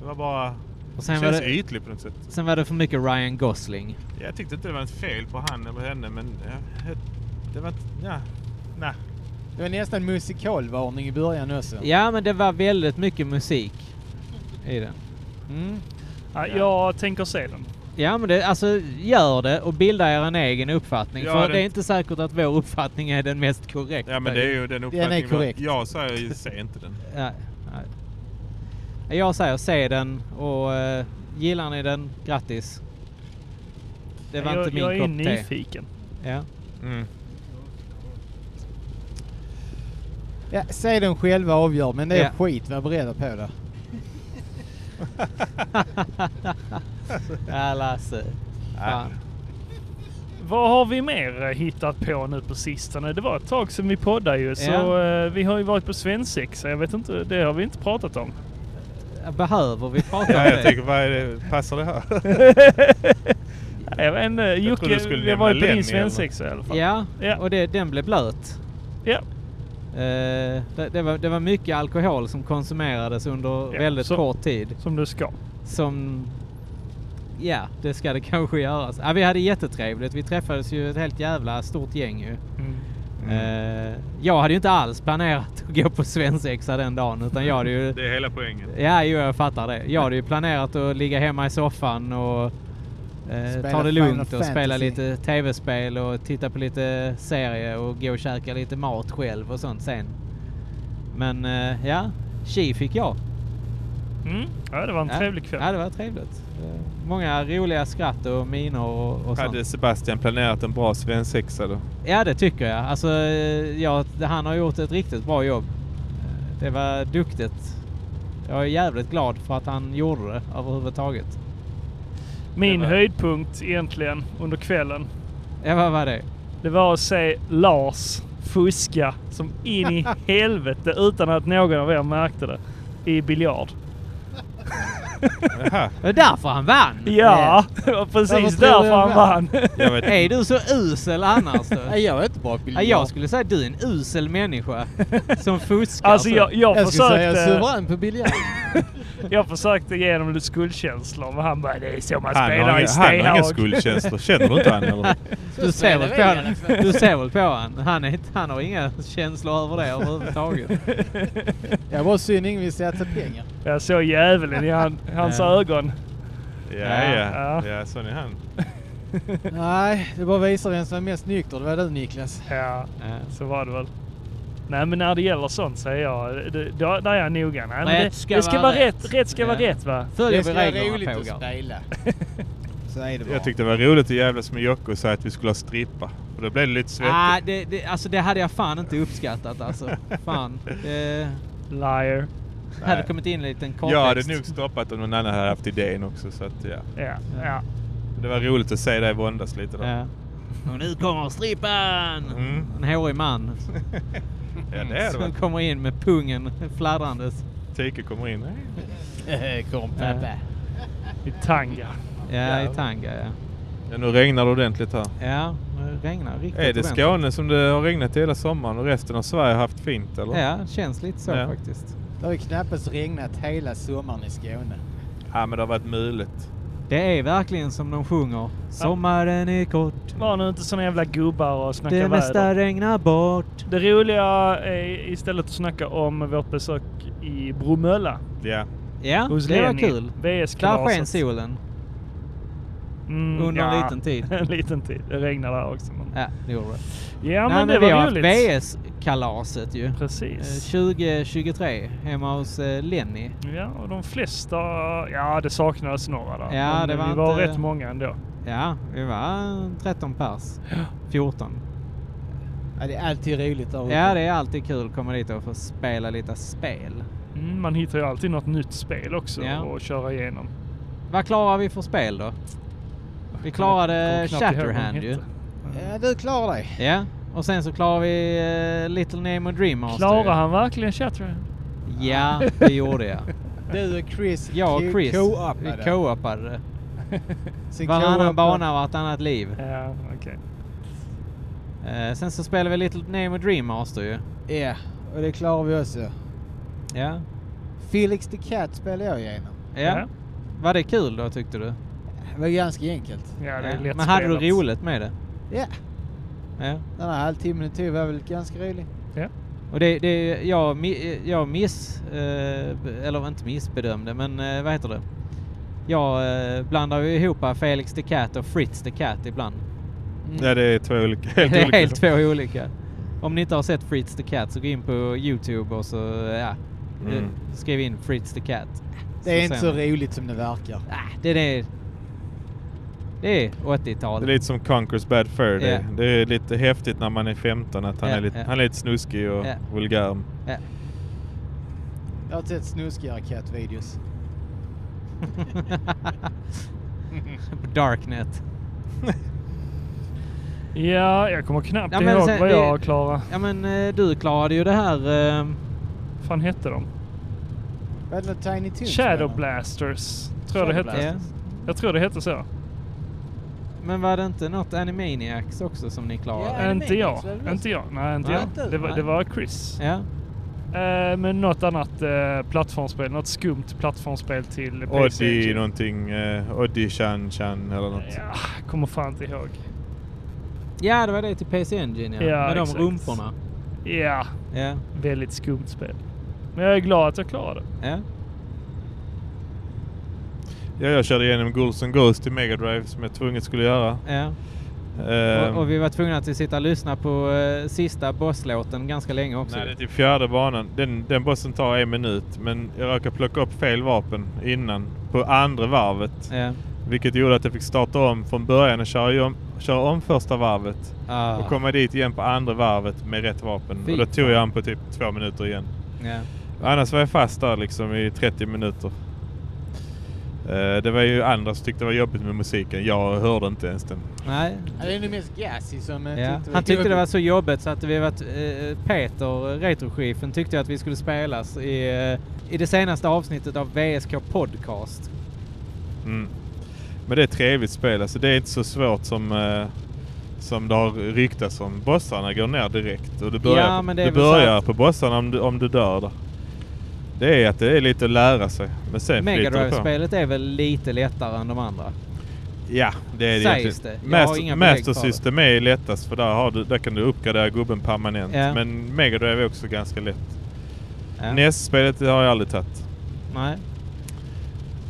Speaker 3: Det var bara,
Speaker 2: och
Speaker 3: det
Speaker 2: sen, var
Speaker 3: känns
Speaker 2: det,
Speaker 3: ytligt på något sätt.
Speaker 2: sen var det för mycket Ryan Gosling.
Speaker 3: Jag tyckte inte det var ett fel på han eller henne men ja, det var inte, ja, nej.
Speaker 1: Det var nästan musikalvarning i början också.
Speaker 2: Ja, men det var väldigt mycket musik i den. Mm.
Speaker 4: Ja, jag tänker se den.
Speaker 2: Ja, men det, alltså gör det och bilda er en egen uppfattning.
Speaker 3: Ja,
Speaker 2: för
Speaker 3: det-
Speaker 2: det är inte säkert att vår uppfattning är den mest korrekta.
Speaker 3: Ja men det är ju den
Speaker 1: Den är
Speaker 3: uppfattningen. vi har.
Speaker 1: korrekt.
Speaker 3: Jag säger ju, se inte den.
Speaker 2: Nej, nej. Jag säger se den och eh, gillar ni den, grattis. Det var
Speaker 4: jag,
Speaker 2: inte
Speaker 4: jag
Speaker 2: min
Speaker 4: är
Speaker 2: kopp te.
Speaker 4: nyfiken.
Speaker 2: Ja.
Speaker 3: Mm.
Speaker 1: Ja, se den själva och avgör, men det är
Speaker 2: Ja.
Speaker 1: skit. Var beredda på det.
Speaker 2: ja, Lasse.
Speaker 3: Nej,
Speaker 2: Ja.
Speaker 4: Vad har vi mer eh, hittat på nu på sistone? Det var ett tag sedan vi poddade ju, så
Speaker 2: Ja.
Speaker 4: eh, vi har ju varit på svensexa. Jag vet inte, det har vi inte pratat om.
Speaker 2: Behöver vi prata om
Speaker 3: Ja, jag
Speaker 2: det?
Speaker 3: tänker, vad är det? Passar det här?
Speaker 4: Nej, Jag vet inte,
Speaker 3: trodde
Speaker 4: Jocke,
Speaker 3: du skulle
Speaker 4: jag var ju
Speaker 3: nämna
Speaker 4: på din
Speaker 3: Lenny, eller?
Speaker 4: svensexa i alla fall.
Speaker 2: Ja,
Speaker 4: Ja.
Speaker 2: och det, den blev blöt.
Speaker 4: Ja.
Speaker 2: Eh, det, det, var, det var mycket alkohol som konsumerades under
Speaker 4: Ja,
Speaker 2: väldigt
Speaker 4: så-
Speaker 2: kort tid.
Speaker 4: Som du ska.
Speaker 2: Som... Ja, det ska det kanske göras. Ja, vi hade jättetrevligt. Vi träffades ju ett helt jävla stort gäng ju.
Speaker 4: Mm.
Speaker 2: Eh, jag hade ju inte alls planerat att gå på svensexa den dagen utan jag hade ju...
Speaker 7: Det är hela poängen.
Speaker 2: Ja, jo, jag fattar det. Jag hade ju planerat att ligga hemma i soffan och eh,
Speaker 1: Spela
Speaker 2: ta det
Speaker 1: Final
Speaker 2: lugnt och spela
Speaker 1: Fantasy.
Speaker 2: lite tv-spel och titta på lite serie och gå och käka lite mat själv och sånt sen. Men eh, ja, tji fick jag.
Speaker 4: Mm. Ja, det var en
Speaker 2: ja.
Speaker 4: trevlig kväll.
Speaker 2: Ja, det var trevligt. Eh, Många roliga skratt och miner och, och sånt.
Speaker 7: Hade Sebastian planerat en bra svensexa då?
Speaker 2: Ja, det tycker jag. Alltså, eh, ja, han har gjort ett riktigt bra jobb. Eh, Det var duktigt. Jag är jävligt glad för att han gjorde det överhuvudtaget.
Speaker 4: Min
Speaker 7: det var-
Speaker 4: höjdpunkt egentligen under kvällen,
Speaker 2: Ja, vad var det?
Speaker 4: det var att se Lars fuska som in i helvete utan att någon av er märkte det. I biljard.
Speaker 7: Jaha,
Speaker 2: Det var därför han vann!
Speaker 4: Ja, det var precis
Speaker 1: Varför tror du
Speaker 4: därför han
Speaker 1: jag
Speaker 4: vann.
Speaker 7: jag vet
Speaker 2: Är du så usel annars då?
Speaker 6: Nej, jag är inte bra på
Speaker 2: Ja, jag skulle säga att du är en usel människa som fuskar.
Speaker 4: Alltså
Speaker 2: så.
Speaker 4: jag, jag,
Speaker 1: Jag skulle säga
Speaker 4: försökte,
Speaker 1: suverän på biljard.
Speaker 4: jag försökte ge honom lite skuldkänslor men han bara det är så
Speaker 7: Han
Speaker 4: man
Speaker 7: har,
Speaker 4: spelar i
Speaker 7: han har inga
Speaker 4: Stehag.
Speaker 7: skuldkänslor. Känner du inte han eller?
Speaker 2: du, ser väl på han, du ser väl på han. Han, är, inte- han har inga känslor över det överhuvudtaget.
Speaker 1: Jag var synd ingen vill satsa pengar.
Speaker 4: Jag såg djävulen i han, hans
Speaker 2: Ja.
Speaker 4: ögon.
Speaker 7: Ja,
Speaker 4: Ja.
Speaker 7: ja. Ja, sån är han.
Speaker 1: Nej, det bara visar vem som är mest nykter. Det var du Niklas.
Speaker 4: Ja,
Speaker 2: Ja.
Speaker 4: så var det väl. Nej men när det gäller sånt säger jag, det, då, där är jag noga. Nej, men
Speaker 2: Rätt
Speaker 4: det,
Speaker 2: ska
Speaker 4: det ska
Speaker 2: vara
Speaker 4: vara
Speaker 2: rätt.
Speaker 4: rätt. Rätt ska vara
Speaker 2: Ja.
Speaker 4: rätt va?
Speaker 2: Följer vi
Speaker 1: roligt
Speaker 2: reglerna
Speaker 1: att
Speaker 2: pågar.
Speaker 1: spela. Så är det bara.
Speaker 7: Jag tyckte det var roligt att jävlas med Jocke och säga att vi skulle ha strippa. För då blev det lite svettigt.
Speaker 2: Ah, det, det, alltså det hade jag fan inte uppskattat alltså. Fan. Det
Speaker 4: Liar.
Speaker 2: hade kommit in en liten kontext.
Speaker 7: jag hade nog stoppat om någon annan hade haft idén också. Så att, ja.
Speaker 4: Ja, ja.
Speaker 7: Det var roligt att se dig våndas lite. Då.
Speaker 2: Ja. Och nu kommer strippan!
Speaker 7: Mm.
Speaker 2: En hårig man
Speaker 7: Ja, det är det.
Speaker 2: som
Speaker 7: väl.
Speaker 2: kommer in med pungen fladdrandes.
Speaker 7: Tike kommer in.
Speaker 1: Kom
Speaker 2: pappa.
Speaker 4: I tanga.
Speaker 2: Ja, i tanga ja.
Speaker 7: Ja, nu regnar det ordentligt här.
Speaker 2: Ja, det regnar riktigt
Speaker 7: Är det
Speaker 2: ordentligt.
Speaker 7: Skåne som det har regnat hela sommaren och resten av Sverige har haft fint eller?
Speaker 2: Ja, känns lite så
Speaker 7: Ja.
Speaker 2: faktiskt.
Speaker 1: Det har ju knappast regnat hela sommaren i Skåne.
Speaker 7: Ja, men det har varit mulet.
Speaker 2: Det är verkligen som de sjunger. Sommaren är kort,
Speaker 4: Var nu inte såna jävla gubbar och snacka
Speaker 2: det mesta
Speaker 4: väder.
Speaker 2: regnar bort.
Speaker 4: Det roliga är istället att snacka om vårt besök i Bromölla.
Speaker 7: Ja.
Speaker 2: Ja,
Speaker 4: Hos
Speaker 2: det var
Speaker 4: Lenny.
Speaker 2: kul. Där sken
Speaker 4: VS-kalaset.
Speaker 2: solen
Speaker 4: Mm,
Speaker 2: under en liten tid.
Speaker 4: en liten tid. Det regnar där också. Men... Ja,
Speaker 2: Ja, det gjorde det.
Speaker 4: men det
Speaker 2: vi
Speaker 4: var
Speaker 2: har
Speaker 4: roligt.
Speaker 2: haft VS-kalaset ju.
Speaker 4: Precis.
Speaker 2: Eh, 2023 hemma hos eh, Lenny.
Speaker 4: Ja, och de flesta... Ja, det saknades några där.
Speaker 2: Ja,
Speaker 4: men
Speaker 2: det var
Speaker 4: vi var
Speaker 2: inte-
Speaker 4: rätt många ändå.
Speaker 2: Ja, vi var 13 pers. 14.
Speaker 1: Ja, det är alltid roligt där uppe.
Speaker 2: Ja, det är alltid kul att komma dit och få spela lite spel.
Speaker 4: Mm, man hittar ju alltid något nytt spel också
Speaker 2: Ja.
Speaker 4: att köra igenom.
Speaker 2: Vad klarar vi för spel då? Vi klarade
Speaker 4: Kommer knappt ihåg vad de
Speaker 2: Shatterhand ju.
Speaker 4: hette.
Speaker 1: Ja, du klarar dig.
Speaker 2: Ja, och sen så klarar vi eh, Little Nemo Dream Master. ju.
Speaker 4: Klarar han verkligen Shatterhand?
Speaker 2: Ja, det gjorde jag.
Speaker 1: Du och Chris
Speaker 2: Jag och Chris, vi
Speaker 1: co-uppade.
Speaker 2: co-uppade det.
Speaker 1: Sen co-uppade-
Speaker 2: Varannan bana, vartannat liv.
Speaker 4: Ja, okej.
Speaker 2: Eh, sen så spelade vi Little Nemo Dream Master ju.
Speaker 1: Ja, och det klarar vi också.
Speaker 2: Ja.
Speaker 1: Felix the Cat spelade jag igenom.
Speaker 2: ja.
Speaker 4: Ja.
Speaker 2: Var det kul då tyckte du?
Speaker 1: Det var ganska enkelt.
Speaker 4: Ja, det
Speaker 2: Ja.
Speaker 4: är lätt
Speaker 2: Men hade du
Speaker 4: spelat.
Speaker 2: roligt med det?
Speaker 1: Ja,
Speaker 2: Ja.
Speaker 1: den här halvtimmen det tog var väl ganska rolig.
Speaker 4: Ja.
Speaker 2: Och det, det jag, mi- jag miss, eh, b- eller inte missbedömde, men eh, vad heter det? Jag eh, blandar ju ihop Felix the Cat och Fritz the Cat ibland.
Speaker 7: Ja, det är två olika. Helt
Speaker 2: det är
Speaker 7: olika.
Speaker 2: helt två olika. Om ni inte har sett Fritz the Cat så gå in på Youtube och så ja, eh,
Speaker 7: Mm.
Speaker 2: skriv in Fritz the Cat.
Speaker 1: Det är inte
Speaker 2: ser
Speaker 1: så
Speaker 2: ni.
Speaker 1: roligt som det verkar.
Speaker 2: Ah, det är... Det är 80-tal.
Speaker 7: Det är lite som Conquers Bad Fur Day.
Speaker 2: Ja.
Speaker 7: Det är lite häftigt när man är 15 att han,
Speaker 2: Ja,
Speaker 7: är, lite,
Speaker 2: ja.
Speaker 7: han är lite snuskig och
Speaker 2: Ja.
Speaker 7: vulgär.
Speaker 2: Ja.
Speaker 1: Jag har sett snuskigare kattvideos.
Speaker 2: På Darknet.
Speaker 4: Ja, jag kommer knappt
Speaker 2: Ja, men
Speaker 4: ihåg
Speaker 2: sen-
Speaker 4: vad
Speaker 2: det-
Speaker 4: jag klarade.
Speaker 2: Ja men eh, du klarade ju det här... eh,
Speaker 4: Vad fan hette de?
Speaker 1: Var det något Tiny Toons?
Speaker 4: Shadow Blasters, tror jag det
Speaker 1: Shadow
Speaker 4: hette.
Speaker 2: ja.
Speaker 4: Jag tror det hette så.
Speaker 2: Men var det inte något Animaniacs också som ni klarade?
Speaker 6: Ja.
Speaker 4: inte jag.
Speaker 6: Animaniacs, var det det
Speaker 4: Inte jag. Nej, inte
Speaker 2: Nej,
Speaker 4: jag.
Speaker 6: inte?
Speaker 4: Det var,
Speaker 2: Nej.
Speaker 4: det var Chris.
Speaker 2: Ja.
Speaker 4: Eh, men något annat eh, plattformsspel. Något skumt plattformsspel till PC.
Speaker 3: Oddi någonting, eh, Oddi Chan Chan eller något.
Speaker 4: Ja, kommer fan inte ihåg.
Speaker 2: ja, det var det till PC Engine ja.
Speaker 4: Ja,
Speaker 2: Med
Speaker 4: exakt.
Speaker 2: de rumporna.
Speaker 4: Ja,
Speaker 2: Ja.
Speaker 4: väldigt skumt spel. Men jag är glad att jag klarade det.
Speaker 2: ja.
Speaker 3: Ja, jag körde igenom Ghouls and Ghosts till Mega Drive som jag tvunget skulle göra.
Speaker 2: ja.
Speaker 3: Ehm,
Speaker 2: Och, och vi var tvungna att sitta och lyssna på eh, sista bosslåten ganska länge också.
Speaker 3: Nej, det är typ fjärde banan. Den, den bossen tar en minut, men jag råkade plocka upp fel vapen innan på andra varvet.
Speaker 2: Ja.
Speaker 3: Vilket gjorde att jag fick starta om från början och köra ju om, köra om första varvet
Speaker 2: Ah.
Speaker 3: och komma dit igen på andra varvet med rätt vapen.
Speaker 2: Fy
Speaker 3: Och då tog jag han på typ två minuter igen.
Speaker 2: Ja.
Speaker 3: Annars var jag fast där liksom i 30 minuter. Eh, det var ju andra som tyckte det var jobbigt med musiken. Jag hörde inte ens den.
Speaker 2: Nej.
Speaker 1: Ja, det är nog mest Gassy som eh,
Speaker 2: Ja.
Speaker 1: tyckte
Speaker 2: Han tyckte det var så jobbigt så att vi var eh, Peter, eh, retrochefen, tyckte att vi skulle spelas i, eh, i det senaste avsnittet av VSK Podcast.
Speaker 3: Mm. Men det är ett trevligt spel. Alltså det är inte så svårt som, eh, som det har ryktats om. Bossarna går ner direkt och du börjar,
Speaker 2: Ja, men det är
Speaker 3: du
Speaker 2: väl så
Speaker 3: börjar
Speaker 2: att-
Speaker 3: på bossarna om du, om du dör där. Det är att det är lite att lära sig. Men sen
Speaker 2: Mega
Speaker 3: flyter det på.
Speaker 2: Drive-spelet är väl lite lättare än de andra?
Speaker 3: Ja, det är det
Speaker 2: Sägs
Speaker 3: egentligen.
Speaker 2: det. Jag har
Speaker 3: Master-
Speaker 2: inga belägg
Speaker 3: Master
Speaker 2: för det.
Speaker 3: System är lättast för där, har du, där kan du uppgradera gubben permanent.
Speaker 2: Ja.
Speaker 3: Men Mega Drive är också ganska lätt.
Speaker 2: Ja.
Speaker 3: NES-spelet har jag aldrig tagit.
Speaker 2: Nej.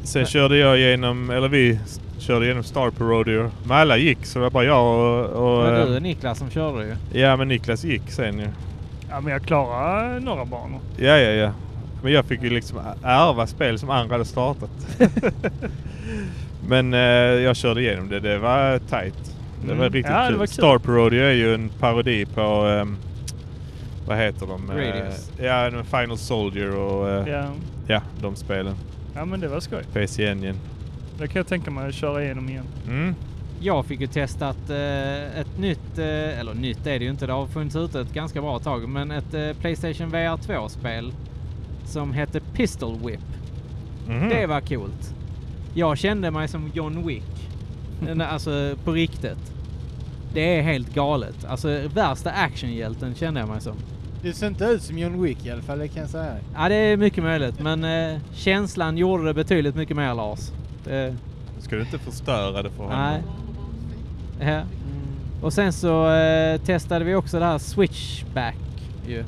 Speaker 3: Sen
Speaker 2: Nej.
Speaker 3: körde jag genom, eller vi s- körde genom Star Parodie. Men alla gick så det var bara jag och...
Speaker 2: Det
Speaker 3: och
Speaker 2: var
Speaker 3: eh,
Speaker 2: du och Niklas som körde ju.
Speaker 3: Ja, men Niklas gick sen ju.
Speaker 4: Ja, men jag klarade några banor.
Speaker 3: Ja, ja, ja. Men jag fick ju liksom ä- ärva spel som andra hade startat. men eh, jag körde igenom det. Det var tight. Det
Speaker 4: Mm.
Speaker 3: var riktigt
Speaker 4: Ja, det
Speaker 3: kul.
Speaker 4: var kul.
Speaker 3: Star Parody är ju en parodi på... ehm, vad heter de? Eh,
Speaker 2: Radius.
Speaker 3: ja, de- Final Soldier och... eh, ja.
Speaker 4: Ja.
Speaker 3: de spelen.
Speaker 4: ja, men det var skoj.
Speaker 3: PC Engine.
Speaker 4: Det kan jag tänka mig att köra igenom igen.
Speaker 3: Mm.
Speaker 2: Jag fick ju testat eh, ett nytt, eh, eller nytt är det ju inte, det har funnits ute ett ganska bra tag, men ett eh, Playstation VR 2-spel som hette Pistol Whip.
Speaker 3: Mhm.
Speaker 2: Det var coolt. Jag kände mig som John Wick. Men alltså på riktigt. Det är helt galet. Alltså värsta actionhjälten kände jag mig som.
Speaker 1: Du ser inte ut som John Wick i alla fall, det kan jag säga.
Speaker 2: Ja, det är mycket möjligt, men eh, känslan gjorde det betydligt mycket mer Lars. Det,
Speaker 3: Ska du inte förstöra det för honom?
Speaker 2: nej. Ja. Och sen så eh, testade vi också det här Switchback ju.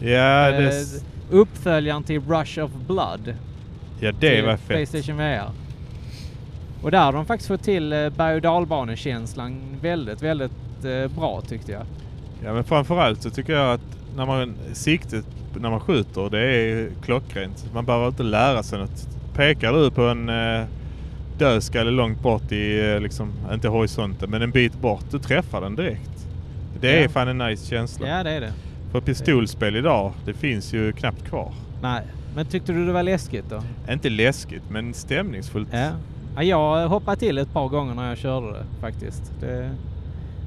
Speaker 3: Ja, det,
Speaker 2: Eh,
Speaker 3: s-
Speaker 2: uppföljaren till Rush of Blood.
Speaker 3: ja, det
Speaker 2: till
Speaker 3: var fett.
Speaker 2: Playstation VR. Och där har de faktiskt fått till eh, berg och dalbanekänslan väldigt, väldigt eh, bra tyckte jag.
Speaker 3: Ja, men framförallt så tycker jag att när man, siktet när man skjuter, det är klockrent. Man behöver inte lära sig något. Pekar du på en eh, dödskalle långt bort i, eh, liksom, inte horisonten, men en bit bort, du träffar den direkt. Det är
Speaker 2: Ja.
Speaker 3: fan en nice känsla.
Speaker 2: Ja, det är det.
Speaker 3: För pistolspel idag, det finns ju knappt kvar.
Speaker 2: Nej, men tyckte du det var läskigt då?
Speaker 3: Inte läskigt, men stämningsfullt.
Speaker 2: Ja. ja jag hoppade till ett par gånger när jag körde det faktiskt. Det,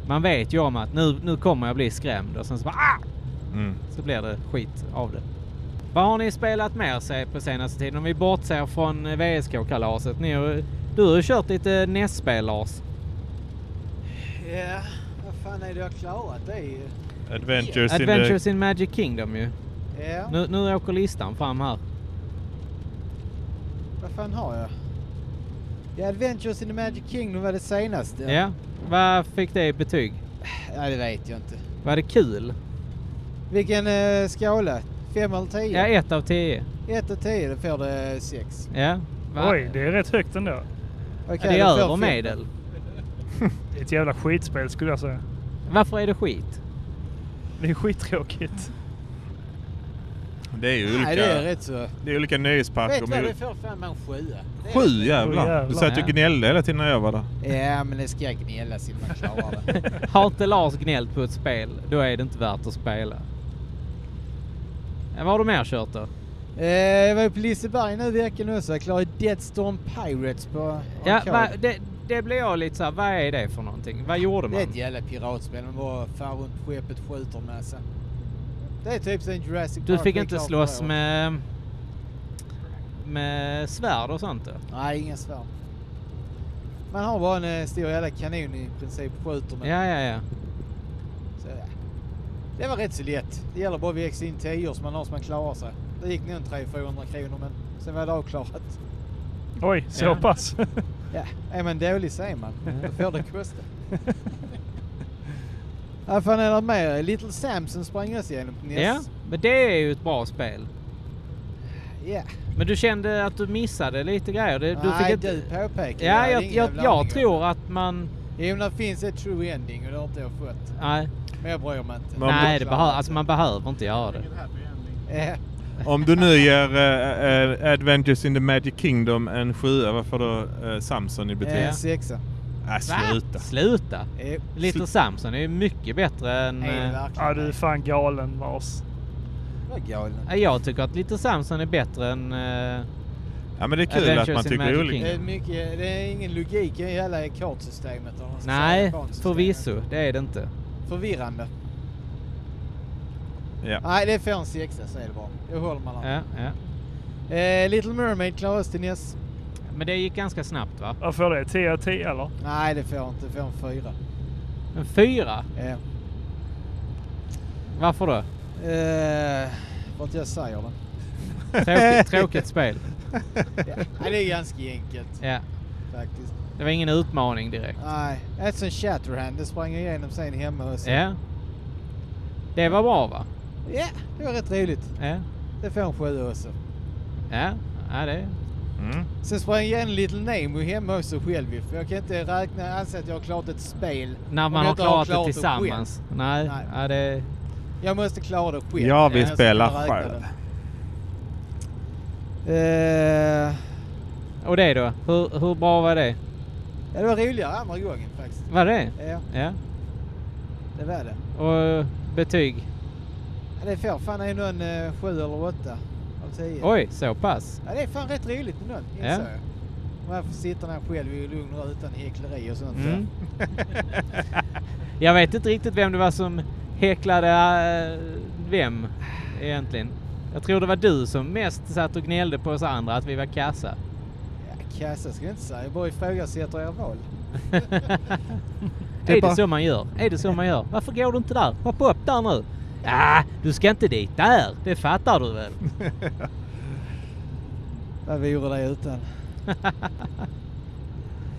Speaker 2: man vet ju om att nu, nu kommer jag bli skrämd och sen så bara ah!
Speaker 3: Mm.
Speaker 2: så blir det skit av det. Vad har ni spelat mer se- på senaste tiden? Om vi bortser från eh, VSK-kalaset. Ni har, du har ju kört lite NES-spel Lars.
Speaker 6: Ja, vad fan är det jag har klarat? Det är ju...
Speaker 3: Adventures, in
Speaker 2: Adventures in Magic Kingdom ju.
Speaker 6: Ja,
Speaker 2: Nu, nu åker listan fram här.
Speaker 6: vad fan har jag? Ja, Adventures in the Magic Kingdom var det senaste.
Speaker 2: Ja. Vad fick det i betyg?
Speaker 6: Ja, det vet jag inte.
Speaker 2: Var det kul?
Speaker 6: Vilken eh, skala? Fem eller tio?
Speaker 2: Ja, ett av tio.
Speaker 6: Ett och tio, då får det sex.
Speaker 2: Ja. Va?
Speaker 4: Oj, det är rätt högt ändå.
Speaker 6: Okej,
Speaker 2: Ja, det
Speaker 6: då
Speaker 2: är
Speaker 6: får
Speaker 2: över
Speaker 6: fem.
Speaker 2: medel.
Speaker 4: Det är ett jävla skitspel skulle jag säga.
Speaker 2: Varför är det skit?
Speaker 4: Det är skittråkigt.
Speaker 3: det, det är ju olika,
Speaker 6: Nej, det är rätt så.
Speaker 3: det är olika nöjesparker.
Speaker 6: Vet du vad, det får fan man sjua. Det är-
Speaker 3: Sju
Speaker 4: Åh,
Speaker 3: jävlar!
Speaker 4: jävlar.
Speaker 3: Du satt ju och
Speaker 2: Ja.
Speaker 3: gnällde hela tiden när jag var där.
Speaker 6: Ja, men det ska gnällas innan man klarar det.
Speaker 2: Har inte Lars gnällt på ett spel, då är det inte värt att spela. Ja, vad har du mer kört då?
Speaker 6: Eh, jag var ju på Liseberg nu i veckan också. Jag klarade Deadstorm Pirates på
Speaker 2: Ja,
Speaker 6: arcade.
Speaker 2: va, det, det blir jag lite så här, vad är det för någonting? Vad gjorde
Speaker 1: Det
Speaker 2: man?
Speaker 1: är ett jävla piratspel. Man bara far runt på skeppet skjuter en massa. Det är typ som Jurassic Park.
Speaker 2: Du fick
Speaker 1: det är
Speaker 2: inte
Speaker 1: klart
Speaker 2: slåss
Speaker 1: för år.
Speaker 2: med, med svärd och sånt? då?
Speaker 1: Nej, inga svärd. Man har bara en eh, stor jävla kanon i princip och skjuter med.
Speaker 2: Ja, ja, ja.
Speaker 1: Så, ja. det var rätt så lätt. Det gäller bara att växa in 10 så man har så man klarar sig. Det gick nog en 300-400 kronor men sen var det avklarat.
Speaker 4: Oj, så
Speaker 2: Ja.
Speaker 4: pass.
Speaker 1: Ja, är man dålig så är man. Då får det kosta. Vad fan är det mer? Little Samson sprang oss igenom på E NES.
Speaker 2: Ja, men det är ju ett bra spel.
Speaker 1: Ja.
Speaker 2: Men du kände att du missade lite grejer? Du, du fick
Speaker 1: Nej,
Speaker 2: inte...
Speaker 1: du påpekade
Speaker 2: Ja,
Speaker 1: hade
Speaker 2: jag,
Speaker 1: ingen
Speaker 2: jag,
Speaker 1: jävla aning om
Speaker 2: jag
Speaker 1: det.
Speaker 2: tror att man...
Speaker 1: Jo, men det finns ett true ending och det har inte jag fått.
Speaker 2: Nej,
Speaker 1: Men jag bryr mig inte.
Speaker 2: nej det behöver, alltså man behöver inte göra det.
Speaker 1: Ja.
Speaker 3: Om du nu ger eh, eh, Adventures in the Magic Kingdom en sjua, vad får då eh, Samson i betyg?
Speaker 1: Eh, Sexa.
Speaker 3: Äh, sluta.
Speaker 2: Sluta!
Speaker 1: Jo,
Speaker 2: Little Samson är ju mycket bättre än...
Speaker 1: är det
Speaker 2: eh,
Speaker 1: verkligen?
Speaker 4: Ja, du är fan galen Mars.
Speaker 1: Vad galen.
Speaker 2: eh, ja, jag tycker att Little Samson är bättre än... eh,
Speaker 3: Ja men det är kul
Speaker 2: Adventures
Speaker 3: att man
Speaker 2: in
Speaker 3: tycker
Speaker 2: Magic
Speaker 3: olika.
Speaker 2: Kingdom.
Speaker 1: Det är, mycket, det är ingen logik i hela kartsystemet. eller vad man ska säga,
Speaker 2: nej,
Speaker 1: bansystemet.
Speaker 2: förvisso. Det är det inte.
Speaker 1: Förvirrande.
Speaker 3: Ja.
Speaker 1: Nej, det får en sexa så är det bra. Det håller man av.
Speaker 2: Ja, ja.
Speaker 1: Eh, Little Mermaid klarades till näst.
Speaker 2: Men det gick ganska snabbt va?
Speaker 4: Vad får det? 10 av 10 eller?
Speaker 1: Nej, det får jag inte. Det får en fyra.
Speaker 2: En fyra?
Speaker 1: Eh,
Speaker 2: Varför då?
Speaker 1: eh, för att jag säger det.
Speaker 2: Tråkigt, tråkigt spel.
Speaker 1: Ja. Nej, det är ganska enkelt
Speaker 2: Ja.
Speaker 1: faktiskt.
Speaker 2: Det var ingen utmaning direkt.
Speaker 1: Nej, ett som Shatterhand. Det sprang jag igenom sen hemma hos...
Speaker 2: Ja. Det var bra va?
Speaker 1: Ja, det var rätt roligt.
Speaker 2: Ja.
Speaker 1: Det får en sjua också.
Speaker 2: Ja, ja det...
Speaker 3: Mm.
Speaker 1: Sen sprang jag igenom Little Nemo hemma också själv ju, för jag kan inte räkna, anse att jag har klart ett spel.
Speaker 2: När
Speaker 1: om
Speaker 2: man
Speaker 1: jag
Speaker 2: har
Speaker 1: inte
Speaker 2: klarat det
Speaker 1: själv.
Speaker 2: tillsammans. Nej,
Speaker 1: Nej.
Speaker 2: Ja, det...
Speaker 1: Jag måste klara det själv.
Speaker 3: Jag vill
Speaker 1: Jag ska
Speaker 3: spela
Speaker 1: kunna räkna
Speaker 3: själv.
Speaker 1: det. Eh,
Speaker 2: Och det då? Hur, hur bra var det?
Speaker 1: ja, det var roligare andra gången faktiskt.
Speaker 2: Var det?
Speaker 1: Ja,
Speaker 2: Ja.
Speaker 1: det var det.
Speaker 2: Och betyg?
Speaker 1: Ja, det får fan ändå en eh, sju eller åtta av tio.
Speaker 2: Oj, så pass?
Speaker 1: Ja, det är fan rätt roligt med någon,
Speaker 2: Ja.
Speaker 1: insåg jag. Man får sitta där själv i lugn och ro utan häckleri och sånt.
Speaker 2: Mm. Jag vet inte riktigt vem det var som häcklade eh, vem egentligen. Jag tror det var du som mest satt och gnällde på oss andra att vi var kassa.
Speaker 1: Ja, kassa ska jag inte säga, jag bara ifrågasätter era val.
Speaker 2: är det så man gör? Är det så man gör? Varför går du inte där? Hoppa upp där nu! Ah, du ska inte dit där! Det fattar du väl?
Speaker 1: Vad vore det utan?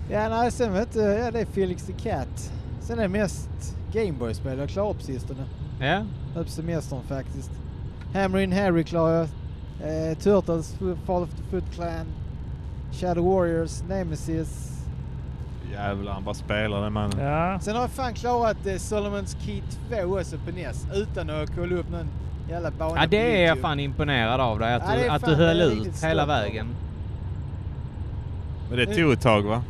Speaker 1: ja, nej, sen vet du, ja, det är Felix the Cat. Sen är det mest Gameboy-spel jag klarar på sistone.
Speaker 2: Ja,
Speaker 1: Nu på semestern faktiskt. Hammer in Harry klarar jag. Eh, Turtles, F- Fall of the Foot Clan, Shadow Warriors, Nemesis.
Speaker 3: Jävlar han bara spelar den mannen.
Speaker 4: Ja.
Speaker 1: Sen har jag fan klarat eh, Solomons Key 2 också på NES utan att kolla upp någon jävla bana
Speaker 2: ja
Speaker 1: på
Speaker 2: det är jag
Speaker 1: YouTube.
Speaker 2: fan imponerad av dig. Att
Speaker 1: Ja, det
Speaker 2: du,
Speaker 1: är
Speaker 2: att
Speaker 1: fan-
Speaker 2: du höll
Speaker 1: det är riktigt
Speaker 2: ut hela
Speaker 1: stolt av.
Speaker 2: vägen.
Speaker 3: Men det tog ett tag va?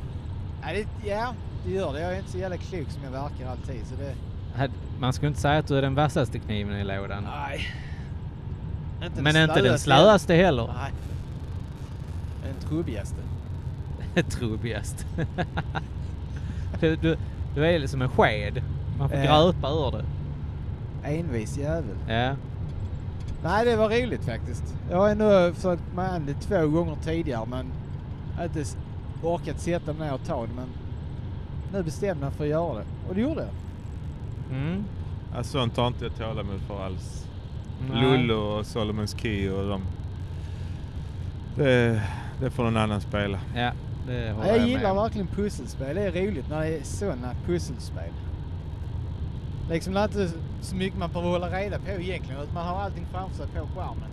Speaker 1: Ja det, ja, det gör det. Jag är inte så jävla klok som jag verkar alltid. Så det...
Speaker 2: Hade- Man skulle inte säga att du är den vassaste kniven i lådan.
Speaker 1: Nej. Inte
Speaker 2: Men inte den
Speaker 1: slöaste.
Speaker 2: slöaste heller.
Speaker 1: Nej. Den trubbigaste.
Speaker 2: Trubbigast. du, du, du är liksom en sked. Man får
Speaker 1: Ja.
Speaker 2: gröpa ur det.
Speaker 1: Envis jävel.
Speaker 2: Ja.
Speaker 1: Nej, det var roligt faktiskt. Jag har ändå försökt mig an det två gånger tidigare men jag har inte s- orkat sätta mig ner och ta det. Men nu bestämde jag mig för att göra det. Och det gjorde jag.
Speaker 2: Mm.
Speaker 3: Ja, Alltså, sånt har inte jag tålamod för alls.
Speaker 2: Nej.
Speaker 3: Lullo och Solomons Key och de. Det, det får någon annan spela.
Speaker 2: Ja, det håller
Speaker 1: jag
Speaker 2: med
Speaker 1: gillar
Speaker 2: om.
Speaker 1: verkligen pusselspel. Det är roligt när det är sådana pusselspel. Liksom det är inte så mycket man behöver hålla reda på egentligen utan man har allting framför sig på skärmen.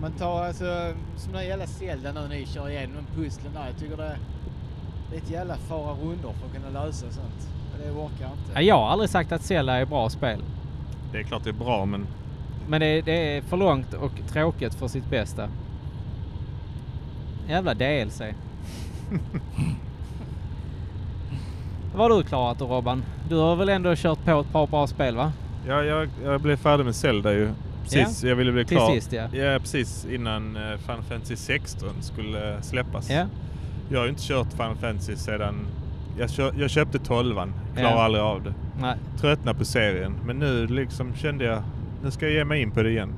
Speaker 1: Man tar alltså som den jävla Zelda nu ni kör igenom de pusslen där. Jag tycker det är, det är ett jävla fara rundor för att kunna lösa sånt. Men det orkar jag
Speaker 2: Ja,
Speaker 1: inte.
Speaker 2: jag har aldrig sagt att Zelda är bra spel.
Speaker 3: Det är klart det är bra men
Speaker 2: Men det, det är för långt och tråkigt för sitt bästa. Jävla DLC. Vad har du klarat då Robban? Du har väl ändå kört på ett par bra spel va?
Speaker 3: ja, jag, jag blev färdig med Zelda ju. Precis, jag ville bli
Speaker 2: Till
Speaker 3: klar.
Speaker 2: sist ja.
Speaker 3: Ja, precis innan eh, Final Fantasy 16 skulle eh, släppas.
Speaker 2: Ja.
Speaker 3: Jag har ju inte kört Final Fantasy sedan... Jag, kö- jag köpte 12 klarar
Speaker 2: Ja.
Speaker 3: aldrig av det.
Speaker 2: Nej.
Speaker 3: Tröttnade på serien, men nu liksom kände jag nu ska jag ge mig in på det igen.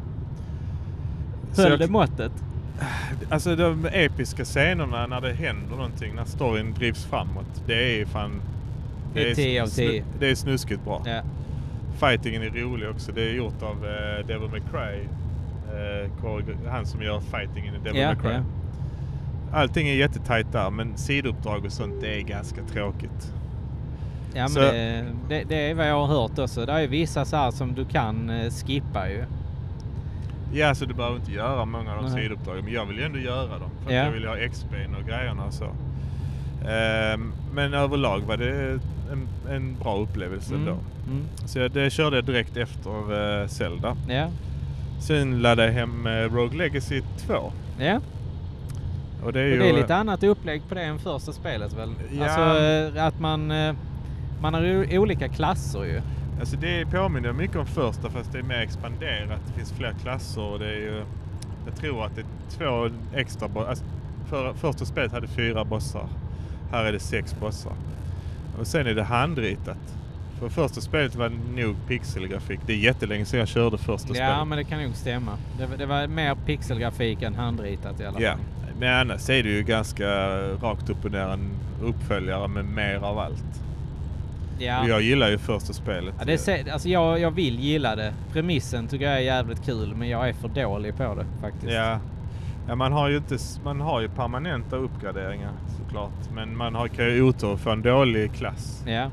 Speaker 3: Så
Speaker 2: Höll
Speaker 3: jag-
Speaker 2: det måttet?
Speaker 3: Alltså de episka scenerna när det händer någonting, när storyn drivs framåt. Det är fan...
Speaker 2: Det är 10 av 10.
Speaker 3: det är snuskigt bra.
Speaker 2: Ja.
Speaker 3: Fightingen är rolig också. Det är gjort av eh, Devil McCray. Eh, koreo- han som gör fightingen i Devil
Speaker 2: Ja,
Speaker 3: McCray.
Speaker 2: ja.
Speaker 3: Allting är jättetajt där men sidouppdrag och sånt det är ganska tråkigt.
Speaker 2: Ja, men
Speaker 3: Så-
Speaker 2: det, det, det är vad jag har hört också. Det är vissa så här som du kan eh, skippa ju.
Speaker 3: Ja, så du behöver inte göra många av de
Speaker 2: Nej.
Speaker 3: sidouppdragen men jag vill ju ändå göra dem för
Speaker 2: Ja.
Speaker 3: att jag vill ha XP'n och grejerna och så. Ehm, men överlag var det en, en bra upplevelse
Speaker 2: Mm,
Speaker 3: ändå.
Speaker 2: mm.
Speaker 3: Så jag, det körde jag direkt efter eh, Zelda.
Speaker 2: Ja.
Speaker 3: Sen laddade jag hem eh, Rogue Legacy 2.
Speaker 2: ja.
Speaker 3: Och det är
Speaker 2: Och
Speaker 3: ju...
Speaker 2: det är lite annat upplägg på det än första spelet väl?
Speaker 3: Ja.
Speaker 2: Alltså eh, att man, eh, man har ju olika klasser ju.
Speaker 3: Alltså det påminner mycket om första fast det är mer expanderat. Det finns fler klasser och det är ju... Jag tror att det är två extra bossar. Alltså för, första spelet hade fyra bossar. Här är det sex bossar. Och sen är det handritat. För första spelet var det nog pixelgrafik. Det är jättelänge sedan jag körde första
Speaker 2: Ja,
Speaker 3: spelet.
Speaker 2: men det kan nog stämma. Det, var- det var mer pixelgrafik än handritat i alla fall.
Speaker 3: Ja, men annars är det ju ganska rakt upp och ner en uppföljare med mer av allt.
Speaker 2: Ja.
Speaker 3: Och jag gillar ju första spelet.
Speaker 2: Ja, det är, se- alltså jag, jag vill gilla det. Premissen tycker jag är jävligt kul, men jag är för dålig på det faktiskt.
Speaker 3: Ja. Ja, man har ju inte, s- man har ju permanenta uppgraderingar såklart. Men man har, kan ju otur för en dålig klass.
Speaker 2: Ja.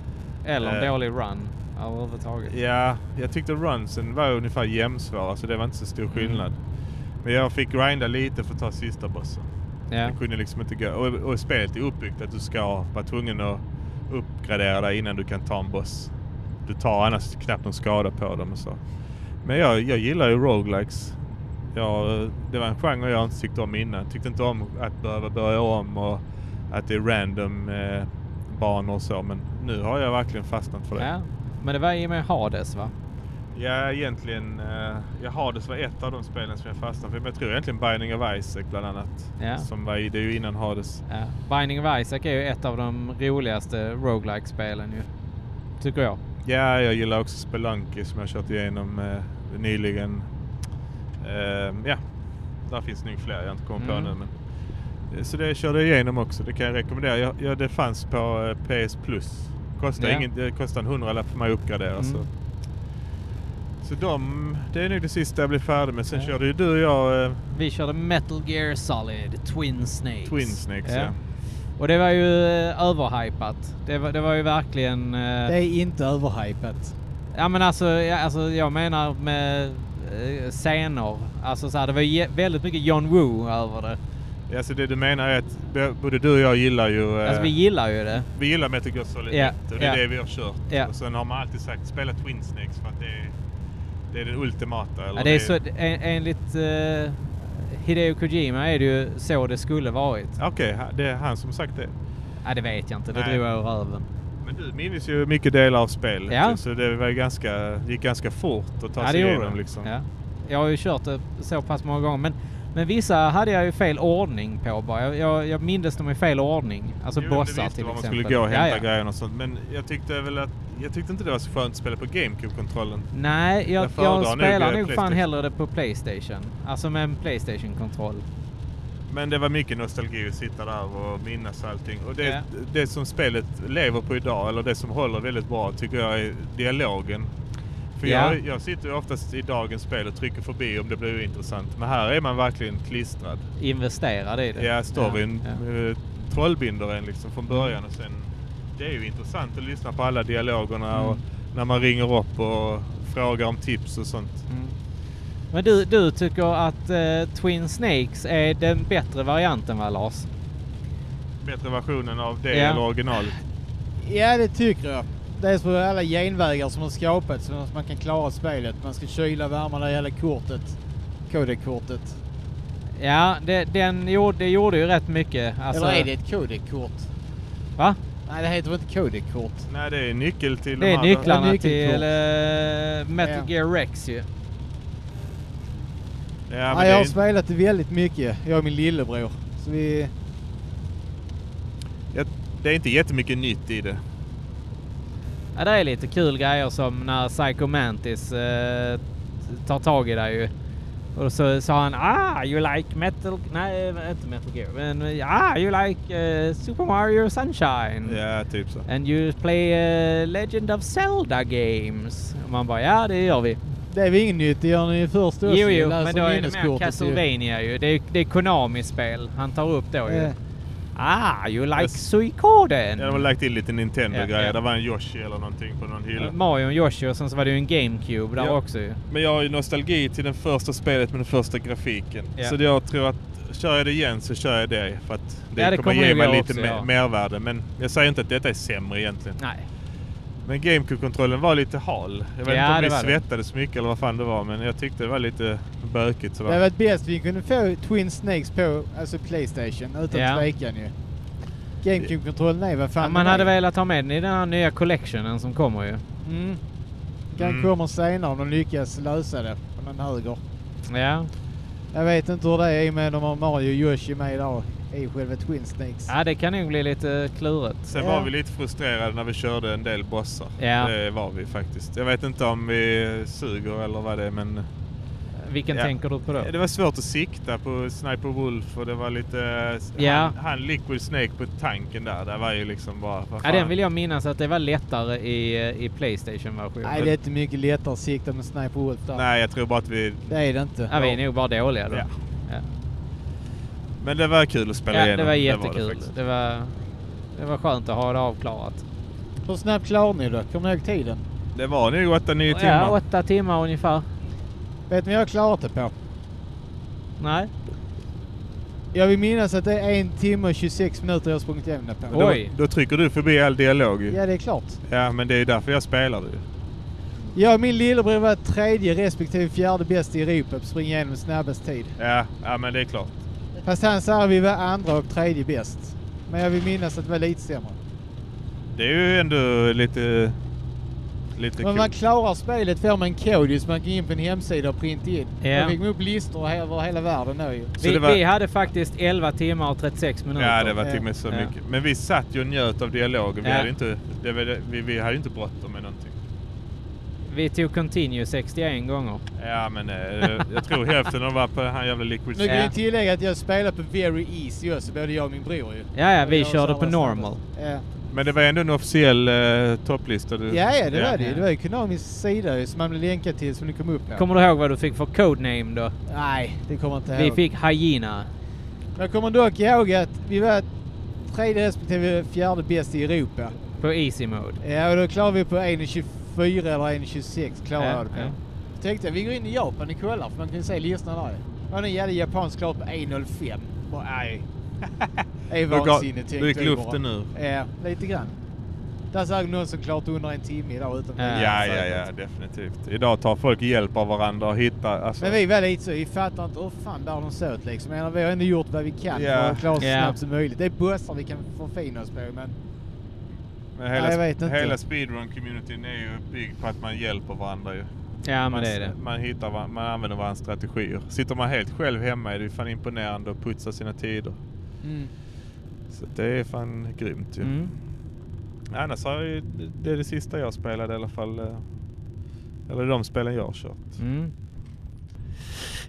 Speaker 2: Eller en
Speaker 3: Eh.
Speaker 2: dålig run överhuvudtaget.
Speaker 3: Ja, jag tyckte runsen var ungefär jämnsvåra så det var inte så stor skillnad.
Speaker 2: Mm.
Speaker 3: Men jag fick grinda lite för att ta sista bossen.
Speaker 2: Ja.
Speaker 3: Jag kunde liksom inte gå. Och, och spelet är uppbyggt att du ska vara tvungen att uppgradera dig innan du kan ta en boss. Du tar annars knappt någon skada på dem och så. Men jag, jag gillar ju roguelikes. Jag, det var en genre jag inte tyckte om innan. Tyckte inte om att behöva börja om och att det är random eh, banor och så. Men nu har jag verkligen fastnat för det.
Speaker 2: ja. Men det var i och med Hades va?
Speaker 3: Ja, egentligen. Eh, jag har det var ett av de spelen som jag fastnade för. Men jag tror egentligen Binding of Isaac bland annat.
Speaker 2: Ja.
Speaker 3: Som var i, det är ju innan Hades.
Speaker 2: Ja. Binding of Isaac är ju ett av de roligaste roguelike spelen ju. Tycker jag.
Speaker 3: Ja, jag gillar också Spelunky som jag kört igenom eh, nyligen. Ehm, ja, där finns nog fler jag inte kommer på
Speaker 2: Mm.
Speaker 3: nu. Men, Eh, så det körde jag igenom också. Det kan jag rekommendera. Jag, ja, det fanns på eh, PS Plus. Kostar
Speaker 2: Ja.
Speaker 3: ingen, det kostar en hundralapp för mig att uppgradera.
Speaker 2: Mm.
Speaker 3: Så. så de, det är nog det sista jag blev färdig med. Sen
Speaker 2: Ja.
Speaker 3: körde ju du och jag eh,
Speaker 2: Vi körde Metal Gear Solid, Twin Snakes.
Speaker 3: Twin Snakes. Ja.
Speaker 2: Och det var ju eh, överhypat. Det var, det var ju verkligen... eh,
Speaker 6: Det är inte överhypat.
Speaker 2: Ja men alltså, ja, alltså jag menar med eh, scener. Alltså så här, det var ju jä- väldigt mycket John Woo över det.
Speaker 3: Ja, så det du menar är att b- både du och jag gillar ju... eh,
Speaker 2: Alltså vi gillar ju det.
Speaker 3: Vi gillar Metal Gear Solid
Speaker 2: Ja,
Speaker 3: 1 och det är
Speaker 2: ja.
Speaker 3: det vi har kört.
Speaker 2: Ja.
Speaker 3: Och sen har man alltid sagt spela Twin Snakes för att det är, det är den ultimata. Eller
Speaker 2: Ja, det är så, en, enligt eh, Hideo Kojima är det ju så det skulle varit.
Speaker 3: Okej, ha- det är han som sagt det.
Speaker 2: Ja det vet jag inte, det
Speaker 3: Nej.
Speaker 2: drog jag ur röven.
Speaker 3: Men du minns ju mycket delar av spelet
Speaker 2: Ja.
Speaker 3: ju, så det var ju ganska, det gick ganska fort att ta
Speaker 2: Ja det
Speaker 3: sig
Speaker 2: gjorde
Speaker 3: igenom.
Speaker 2: det.
Speaker 3: Liksom.
Speaker 2: Ja. Jag har ju kört det så pass många gånger men, men vissa hade jag ju fel ordning på bara. Jag, jag, jag mindes dem i fel ordning. Alltså
Speaker 3: Jo, men du
Speaker 2: bossar till
Speaker 3: visste
Speaker 2: exempel.
Speaker 3: var man skulle gå och
Speaker 2: Ja,
Speaker 3: hämta
Speaker 2: ja.
Speaker 3: grejerna och sånt. Men jag tyckte väl att, jag tyckte inte det var så skönt att spela på GameCube-kontrollen.
Speaker 2: Nej, jag,
Speaker 3: Jag föredrar
Speaker 2: jag
Speaker 3: nog,
Speaker 2: spelar
Speaker 3: eh,
Speaker 2: nog fan
Speaker 3: Playstation.
Speaker 2: hellre det på Playstation. Alltså med en Playstation-kontroll.
Speaker 3: Men det var mycket nostalgi att sitta där och minnas allting. Och det,
Speaker 2: Ja.
Speaker 3: det som spelet lever på idag, eller det som håller väldigt bra, tycker jag är dialogen. För
Speaker 2: Ja.
Speaker 3: jag, jag sitter ju oftast i dagens spel och trycker förbi om det blir intressant. Men här är man verkligen klistrad.
Speaker 2: Investerad i det.
Speaker 3: Ja, storyn
Speaker 2: Ja, ja.
Speaker 3: eh, trollbinder en liksom från början och sen... Det är ju intressant att lyssna på alla dialogerna
Speaker 2: Mm.
Speaker 3: och när man ringer upp och frågar om tips och sånt.
Speaker 2: Mm. Men du, du tycker att eh, Twin Snakes är den bättre varianten va Lars?
Speaker 3: Bättre versionen av det
Speaker 2: Ja.
Speaker 3: eller originalet.
Speaker 6: Ja, det tycker jag. Dels för alla genvägar som har skapats så att man kan klara spelet. Man ska kyla, värma det hela kortet. Kodekortet.
Speaker 2: Ja, det, den gjorde, det gjorde ju rätt mycket. Alltså,
Speaker 6: Eller är det ett kodekort?
Speaker 2: Va?
Speaker 6: Nej, det heter väl inte kodekort?
Speaker 3: Nej, det är nyckel till
Speaker 2: Det
Speaker 3: de
Speaker 2: är
Speaker 3: andra.
Speaker 2: nycklarna
Speaker 6: nyckelkort.
Speaker 2: till eh, Metal
Speaker 6: Ja.
Speaker 2: Gear Rex ju.
Speaker 3: Ja, men
Speaker 6: Ja,
Speaker 3: det
Speaker 6: jag
Speaker 3: är
Speaker 6: har
Speaker 3: inte-
Speaker 6: spelat det väldigt mycket, jag och min lillebror. Så vi...
Speaker 3: Jag, det är inte jättemycket nytt i det.
Speaker 2: Ja, det är lite kul grejer som när Psycho Mantis eh, tar tag i dig ju. Och så sa han ah you like metal, nej inte metal gear, men ah you like eh, Super Mario Sunshine.
Speaker 3: Ja, typ så.
Speaker 2: And you play eh, Legend of Zelda games. Och man bara ja det gör vi.
Speaker 1: Det är väl inget nytt, det gör ni i första
Speaker 2: Jo,
Speaker 1: också.
Speaker 2: jo,
Speaker 1: Ni läser
Speaker 2: men då är det mer
Speaker 1: minneskortet ju.
Speaker 2: Castlevania ju. Det är, det är Konami-spel han tar upp då ju.
Speaker 1: Eh,
Speaker 2: Ah, you like
Speaker 3: Yes.
Speaker 2: Suikoden!
Speaker 3: Ja, de har lagt in lite Nintendo-grejer.
Speaker 2: Ja, ja.
Speaker 3: Det var en Yoshi eller någonting på någon hylla.
Speaker 2: Mario och Yoshi och sen så var det ju en GameCube där
Speaker 3: Ja.
Speaker 2: också ju.
Speaker 3: Men jag har ju nostalgi till det första spelet med den första grafiken.
Speaker 2: Ja.
Speaker 3: Så jag tror att kör jag det igen så kör jag det. För att det,
Speaker 2: Ja, det
Speaker 3: kommer
Speaker 2: kommer
Speaker 3: ge
Speaker 2: nog
Speaker 3: mig
Speaker 2: jag
Speaker 3: lite
Speaker 2: också,
Speaker 3: me-
Speaker 2: ja.
Speaker 3: mervärde. Men jag säger inte att detta är sämre egentligen.
Speaker 2: Nej.
Speaker 3: Men GameCube-kontrollen var lite hal. Jag vet
Speaker 2: Ja, det
Speaker 3: inte om
Speaker 2: var
Speaker 3: vi
Speaker 2: det.
Speaker 3: svettades så mycket eller vad fan det var. Men jag tyckte det var lite bökigt. Så
Speaker 1: Det hade varit bäst vi kunde få Twin Snakes på alltså Playstation utan
Speaker 2: Ja.
Speaker 1: tvekan ju. GameCube-kontrollen är vad fan
Speaker 2: Ja, man
Speaker 1: den är.
Speaker 2: hade velat ha med den i den här nya collectionen som kommer ju.
Speaker 1: Mm. Den
Speaker 3: Mm.
Speaker 1: kommer senare om de lyckas lösa det på någon höger.
Speaker 2: Ja.
Speaker 1: Jag vet inte hur det är med de har Mario och Yoshi med idag i själva Twin Snakes.
Speaker 2: ja, det kan nog bli lite klurigt.
Speaker 3: Sen
Speaker 1: Ja.
Speaker 3: var vi lite frustrerade när vi körde en del bossar.
Speaker 2: Ja.
Speaker 3: Det var vi faktiskt. Jag vet inte om vi suger eller vad det är men...
Speaker 2: Vilken
Speaker 3: Ja.
Speaker 2: tänker du på då?
Speaker 3: Det var svårt att sikta på Sniper Wolf och det var lite...
Speaker 2: Ja.
Speaker 3: Han, han Liquid Snake på tanken där. Det var ju liksom bara... vad
Speaker 2: Ja,
Speaker 3: fan.
Speaker 2: den vill jag minnas att det var lättare i, eh, i Playstation-versionen.
Speaker 1: Nej, det är inte mycket lättare att sikta med Sniper Wolf där.
Speaker 3: Nej, jag tror bara att vi...
Speaker 1: Det är det inte.
Speaker 2: Ja, vi är nog bara dåliga då.
Speaker 3: Ja.
Speaker 2: Ja.
Speaker 3: Men det var kul att spela
Speaker 2: Ja, det
Speaker 3: igenom.
Speaker 2: var
Speaker 3: det
Speaker 2: jättekul.
Speaker 3: faktiskt.
Speaker 2: Det var, det var skönt att ha det avklarat.
Speaker 1: Hur snabbt klarar ni det? Kommer ni ihåg tiden?
Speaker 3: det var nog 8-9 timmar.
Speaker 2: Ja, åtta timmar ungefär.
Speaker 1: Vet ni vad jag har klarat det på?
Speaker 2: Nej.
Speaker 1: Jag vill minnas att det är en timme och 26 minuter jag har sprungit igenom det på.
Speaker 3: Då,
Speaker 2: Oj.
Speaker 3: då trycker du förbi all dialog ju.
Speaker 1: Ja, det är klart.
Speaker 3: Ja, men det är ju därför jag spelar det ju.
Speaker 1: Jag och min lillebror var tredje respektive fjärde bäst i Europa på springa igenom snabbast tid.
Speaker 3: Ja, ja, men det är klart.
Speaker 1: Fast han sa att vi var andra och tredje bäst. Men jag vill minnas att det var lite sämre.
Speaker 3: Det är ju ändå lite... Lite
Speaker 1: Men
Speaker 3: kul.
Speaker 1: man klarar spelet får man en kod ju, så man kan gå in på en hemsida och printa in.
Speaker 2: Ja.
Speaker 1: Då fick man upp listor över hela världen då ju.
Speaker 3: Så
Speaker 2: Vi,
Speaker 3: det var-
Speaker 2: vi hade faktiskt 11 timmar och 36 minuter.
Speaker 3: Ja, det var till och med så
Speaker 2: Ja.
Speaker 3: mycket. Men vi satt ju och njöt av dialogen. Vi,
Speaker 2: Ja.
Speaker 3: hade inte, det var, det- vi, vi hade inte bråttom med någonting.
Speaker 2: Vi tog Continue 61 gånger.
Speaker 3: Ja, men eh, jag tror hälften av var på den här jävla Liquid
Speaker 1: Nu kan
Speaker 2: Ja.
Speaker 1: jag tillägga att jag spelar på Very Easy också, både jag och min bror ju.
Speaker 2: Ja, ja, vi
Speaker 1: Jag
Speaker 2: körde
Speaker 1: sa
Speaker 2: på
Speaker 1: vad
Speaker 2: normal.
Speaker 1: snabbast. Ja.
Speaker 3: Men det var ändå en officiell eh, topplista. Du...
Speaker 1: Ja, ja, det var det
Speaker 2: Ja.
Speaker 1: ju. Det var ju Konamis sida ju, som man blev länkad till som det kom upp. Ja.
Speaker 2: Kommer du ihåg vad du fick för codename då?
Speaker 1: Nej, det kommer jag inte
Speaker 2: Vi
Speaker 1: ihåg.
Speaker 2: fick Hyena.
Speaker 1: Men Jag kommer dock ihåg att vi var tredje respektive fjärde bäst i Europa.
Speaker 2: På Easy Mode.
Speaker 1: Ja, och då klarade vi på 1.24 eller 1.26 klarade
Speaker 2: Ja,
Speaker 1: jag det på.
Speaker 2: ja.
Speaker 1: Så tänkte jag, vi går in i Japan och kollar, för man kan ju se listorna där ju. Och den jävla japansk klar på 1.05. Bara, nej. Det är
Speaker 3: Då ga-
Speaker 1: vansinnigt
Speaker 3: då gick
Speaker 1: tänkte jag bara.
Speaker 3: luften ur.
Speaker 1: Ja, lite grann. Där såg någon som klart under en timme idag utan
Speaker 2: Ja.
Speaker 3: Ja, ja, ja, definitivt. Idag tar folk hjälp av varandra och hittar... Alltså,
Speaker 1: Men vi var lite så, vi fattar inte hur fan bär de sig åt liksom. Jag menar, vi har ändå gjort vad vi kan
Speaker 3: Ja.
Speaker 1: för att klara oss så
Speaker 2: Ja.
Speaker 1: snabbt som möjligt. Det är bussar vi kan förfina oss på, men
Speaker 3: men
Speaker 1: Nej, jag vet
Speaker 3: hela
Speaker 1: inte.
Speaker 3: hela speedrun-communityn är ju byggd på att man hjälper varandra ju.
Speaker 2: Ja,
Speaker 3: Man,
Speaker 2: men det är det.
Speaker 3: man, hittar, var- man använder varandras strategier. Sitter man helt själv hemma är det ju fan imponerande att putsa sina tider. Mm. Så det är fan grymt ju.
Speaker 2: Mm.
Speaker 3: Annars har jag, ju- det är det sista jag spelade i alla fall. eh, Eller de spelen jag har kört.
Speaker 2: Mm.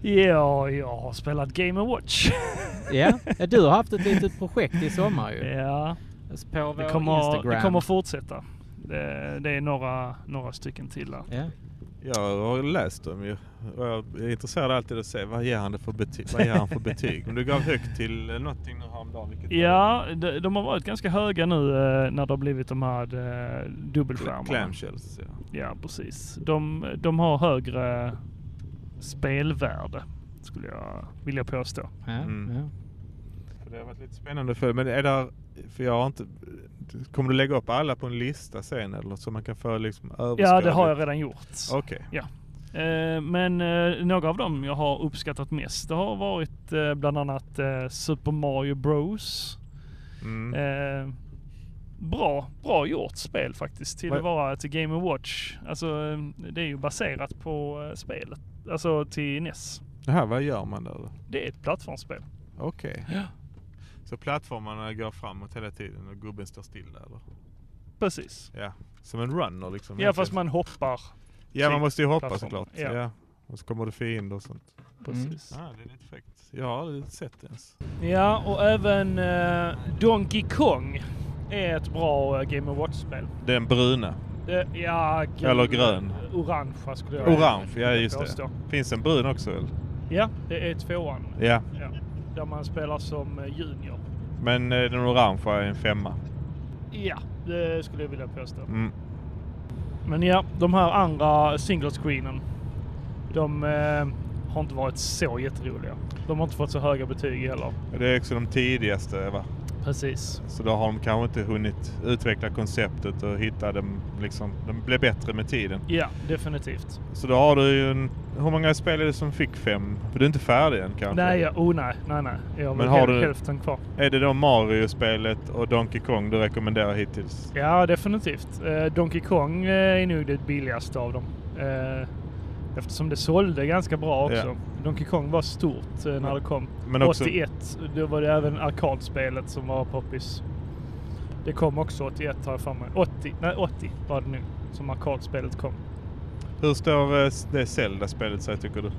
Speaker 4: Ja, jag har spelat Game Watch.
Speaker 2: Ja, Ja, du har haft ett litet projekt i sommar ju.
Speaker 4: ja,
Speaker 2: På vår
Speaker 4: det kommer,
Speaker 2: Instagram.
Speaker 4: det kommer fortsätta. Det, det är några, några stycken till där.
Speaker 2: Ja.
Speaker 3: Jag har läst dem ju. Och jag är intresserad alltid att se vad ger han det för betyg. Vad ger han för betyg? Men du gav högt till eh, någonting nu häromdagen. Vilket
Speaker 4: Ja, de, de har varit ganska höga nu eh, när det har blivit de här eh,
Speaker 3: var-
Speaker 4: dubbelskärmarna.
Speaker 3: Clamshells. Ja.
Speaker 4: Ja, precis. De, de har högre spelvärde, skulle jag vilja påstå.
Speaker 2: Ja,
Speaker 3: Mm.
Speaker 2: ja.
Speaker 3: För det har varit lite spännande för Men är där, för jag har inte... Kommer du lägga upp alla på en lista sen eller så man kan få liksom
Speaker 4: Ja, det har jag redan gjort.
Speaker 3: Okej.
Speaker 4: Eh, Men eh, några av dem jag har uppskattat mest, det har varit eh, bland annat eh, Super Mario Bros.
Speaker 3: Mm.
Speaker 4: Eh, bra, bra gjort spel faktiskt till att
Speaker 3: Vad-
Speaker 4: vara till Game Watch. Alltså eh, det är ju baserat på eh, spelet, alltså till NES.
Speaker 3: Det här, vad gör man där då?
Speaker 4: Det är ett plattformsspel.
Speaker 3: Okej.
Speaker 4: Ja.
Speaker 3: Så plattformarna går framåt hela tiden och gubben står still där eller?
Speaker 4: Precis.
Speaker 3: Ja, som en runner liksom.
Speaker 4: Ja fast man hoppar.
Speaker 3: ja man måste ju hoppa
Speaker 4: plattform.
Speaker 3: såklart.
Speaker 4: Ja.
Speaker 3: Ja. Och så kommer det fiender och sånt.
Speaker 4: Precis.
Speaker 3: Ja, det är lite fräckt. Jag har aldrig sett det ens.
Speaker 4: Ja och även eh, Donkey Kong är ett bra eh, Game of Watch-spel.
Speaker 3: Den bruna.
Speaker 4: Det- ja, gul-
Speaker 3: Eller grön.
Speaker 4: Orangea skulle jag
Speaker 3: Orange, ja just det.
Speaker 4: påstå.
Speaker 3: Finns en brun också eller?
Speaker 4: Ja, det är tvåan.
Speaker 3: Ja,
Speaker 4: Ja. Där man spelar som eh, junior.
Speaker 3: men eh, den orangea är en femma.
Speaker 4: Ja, det skulle jag vilja påstå.
Speaker 3: Mm.
Speaker 4: Men ja, de här andra single screenen. De eh, har inte varit så jätteroliga. De har inte fått så höga betyg heller.
Speaker 3: Det är också de tidigaste va?
Speaker 4: Precis.
Speaker 3: Så då har de kanske inte hunnit utveckla konceptet och hitta dem liksom. De blev bättre med tiden.
Speaker 4: Ja, definitivt.
Speaker 3: Så då har du ju en... Hur många spel är det som fick fem? För du är inte färdig än kanske?
Speaker 4: Nej, ja, oh nej, nej, nej. Jag har
Speaker 3: Men
Speaker 4: väl
Speaker 3: har
Speaker 4: har
Speaker 3: du-
Speaker 4: hälften kvar.
Speaker 3: Är det då Mario-spelet och Donkey Kong du rekommenderar hittills?
Speaker 4: Ja, definitivt. Eh, Donkey Kong eh, är nog det billigaste av dem. Eh, eftersom det sålde ganska bra också. Donkey Kong var stort eh, när det kom.
Speaker 3: Men också-
Speaker 4: 81, då var det även arkadspelet som var poppis. Det kom också 81 har jag för mig. 80, nej 80 var det nu som arkadspelet kom.
Speaker 3: Hur står eh, s- det Zelda-spelet sig tycker du?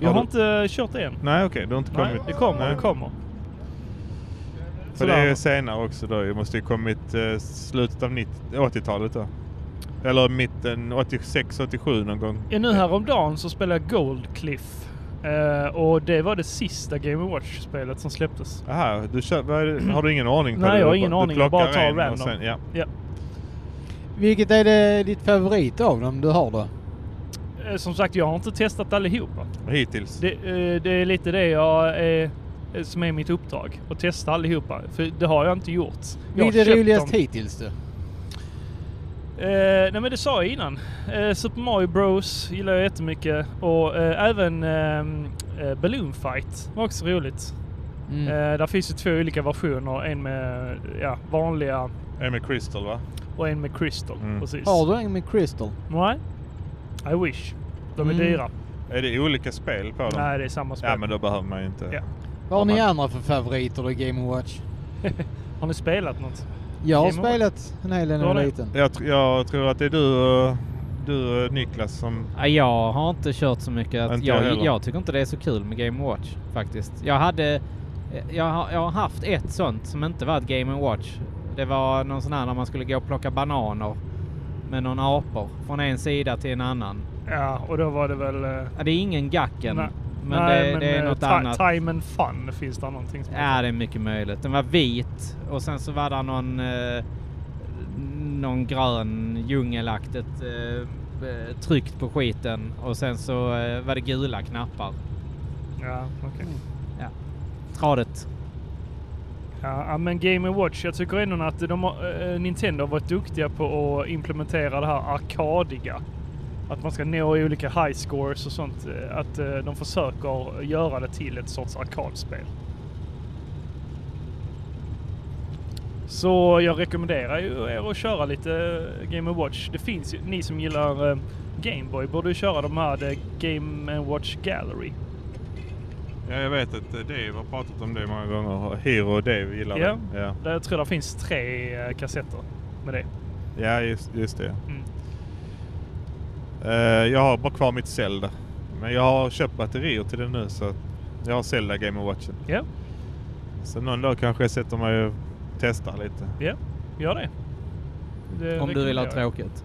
Speaker 4: Jag har,
Speaker 3: du-
Speaker 4: inte kört det än.
Speaker 3: Nej okej, det har inte
Speaker 4: Nej,
Speaker 3: kommit.
Speaker 4: det kommer,
Speaker 3: Nej.
Speaker 4: det kommer.
Speaker 3: För det är
Speaker 4: Sådär.
Speaker 3: ju senare också då. Det måste ju kommit eh, slutet av 90 80-talet då. Eller mitten 86-87 någon gång.
Speaker 4: Ja, nu häromdagen så spelade jag Gold Cliff. Eh, och det var det sista Game Watch-spelet som släpptes.
Speaker 3: Aha, du kör, vad är det- har du ingen aning på
Speaker 4: Nej,
Speaker 3: det?
Speaker 4: jag har
Speaker 3: Du
Speaker 4: ingen
Speaker 3: bara- du
Speaker 4: aning. Jag bara
Speaker 3: plockar
Speaker 4: tar
Speaker 3: en och
Speaker 4: random.
Speaker 3: Sen, ja.
Speaker 4: Ja.
Speaker 1: Vilket är det ditt favorit av dem du har då?
Speaker 4: Eh, Som sagt, jag har inte testat allihopa.
Speaker 3: Hittills.
Speaker 4: Det, eh, det är lite det jag är, eh, som är mitt uppdrag. Att testa allihopa. För det har jag inte gjort. Jag har
Speaker 1: Vilket är
Speaker 4: köpt
Speaker 1: roligast
Speaker 4: dem.
Speaker 1: hittills då? Mm.
Speaker 4: Eh, nej men det sa jag innan. Eh, Super Mario Bros gillar jag jättemycket. Och eh, även ehm, eh, Balloon Fight var också roligt.
Speaker 1: Mm.
Speaker 4: Eh, där finns ju två olika versioner. En med ja, vanliga
Speaker 3: Är med Crystal va?
Speaker 4: och en med Crystal.
Speaker 3: Mm.
Speaker 4: Precis.
Speaker 1: Har du en med Crystal?
Speaker 4: Nej. I wish. De är
Speaker 1: Mm.
Speaker 4: dyra.
Speaker 3: Är det olika spel på dem?
Speaker 4: Nej, det är samma spel.
Speaker 3: Ja men då behöver man ju inte.
Speaker 4: Ja.
Speaker 1: Vad har
Speaker 3: Om
Speaker 1: ni
Speaker 3: man-
Speaker 1: andra för favoriter då i Game Watch?
Speaker 4: Har ni spelat något?
Speaker 1: Jag har
Speaker 4: Game Watch?
Speaker 1: spelat en hel del
Speaker 4: Du har
Speaker 1: när jag var
Speaker 4: det?
Speaker 1: liten.
Speaker 3: Jag, tr- jag tror att det är du och, du och Niklas som...
Speaker 2: Ja, jag har inte kört så mycket. Att
Speaker 3: Inte jag
Speaker 2: jag,
Speaker 3: heller.
Speaker 2: jag, tycker inte det är så kul med Game Watch faktiskt. Jag hade... eh, Jag har, jag har haft ett sånt som inte var ett Game Watch. Det var någon sån här när man skulle gå och plocka bananer med någon apor från en sida till en annan.
Speaker 4: Ja, och då var det väl... eh,
Speaker 2: Ja, Det är ingen Gacken,
Speaker 4: Nej.
Speaker 2: men, det, det är
Speaker 4: eh,
Speaker 2: något
Speaker 4: ti-
Speaker 2: annat.
Speaker 4: Time and fun finns det någonting som
Speaker 2: Ja, det är mycket möjligt. Den var vit och sen så var det någon, eh, någon grön djungelaktigt eh, eh, tryckt på skiten och sen så eh, var det gula knappar.
Speaker 4: Ja,
Speaker 2: Mm.
Speaker 4: okej.
Speaker 2: Ja. Tradigt.
Speaker 4: ja, ja, men Game Watch, jag tycker ändå att de har, eh, Nintendo har varit duktiga på att implementera det här arkadiga. Att man ska nå i olika high scores och sånt. eh, Att eh, de försöker göra det till ett sorts arkadspel. Så jag rekommenderar ju er att köra lite eh, Game Watch. Det finns ju, ni som gillar eh, Gameboy borde ju köra de här eh, Game Watch Gallery.
Speaker 3: Ja, jag vet att eh, Dave har pratat om det många gånger. Hero och Dave gillar
Speaker 4: Ja.
Speaker 3: det. Ja,
Speaker 4: Där jag tror det finns tre eh, kassetter med det.
Speaker 3: ja just, just det.
Speaker 4: Mm.
Speaker 3: Eh, jag har bara kvar mitt Zelda. Men jag har köpt batterier till det nu så att jag har Zelda Game Watchen.
Speaker 4: Ja,
Speaker 3: Så någon dag kanske jag sätter mig och testar lite.
Speaker 4: ja. Gör det. det
Speaker 2: Om du vill ha
Speaker 4: rekommenderar jag.
Speaker 2: tråkigt.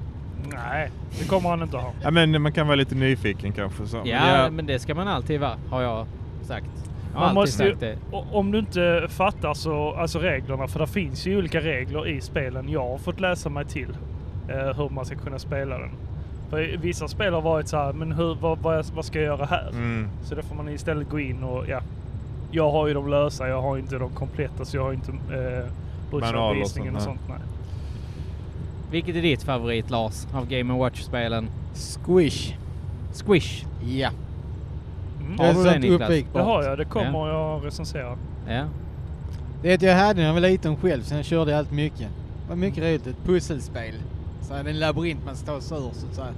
Speaker 4: Nej, det kommer han inte ha.
Speaker 3: Ja, men man kan vara lite nyfiken kanske. Så.
Speaker 2: Ja, men det ska man alltid vara, har jag sagt. Jag har
Speaker 4: Man
Speaker 2: alltid
Speaker 4: måste ju,
Speaker 2: sagt det.
Speaker 4: o- om du inte fattar så, alltså reglerna, för det finns ju olika regler i spelen jag har fått läsa mig till. Eh, hur man ska kunna spela den. För i- vissa spel har varit så här, men hur, vad, vad, vad ska jag göra här?
Speaker 3: Mm.
Speaker 4: Så då får man istället gå in och ja. Jag har ju de lösa, jag har ju inte de kompletta så jag har ju inte eh, bruksanvisningen och
Speaker 3: sånt,
Speaker 4: sånt. Nej.
Speaker 2: Vilket är ditt favorit Lars av Game Watch-spelen?
Speaker 1: Squish.
Speaker 2: Squish.
Speaker 1: Ja.
Speaker 4: Mm.
Speaker 1: Det är
Speaker 2: Har du det,
Speaker 1: sånt
Speaker 2: Niklas?
Speaker 1: uppvikbart.
Speaker 4: Det har jag, det kommer jag recensera.
Speaker 2: Ja.
Speaker 1: Det jag hade när jag var liten själv, sen körde jag allt mycket. Det var mycket roligt. Ett pusselspel. Så här, det är en labyrint man ska ta sig ur så att säga.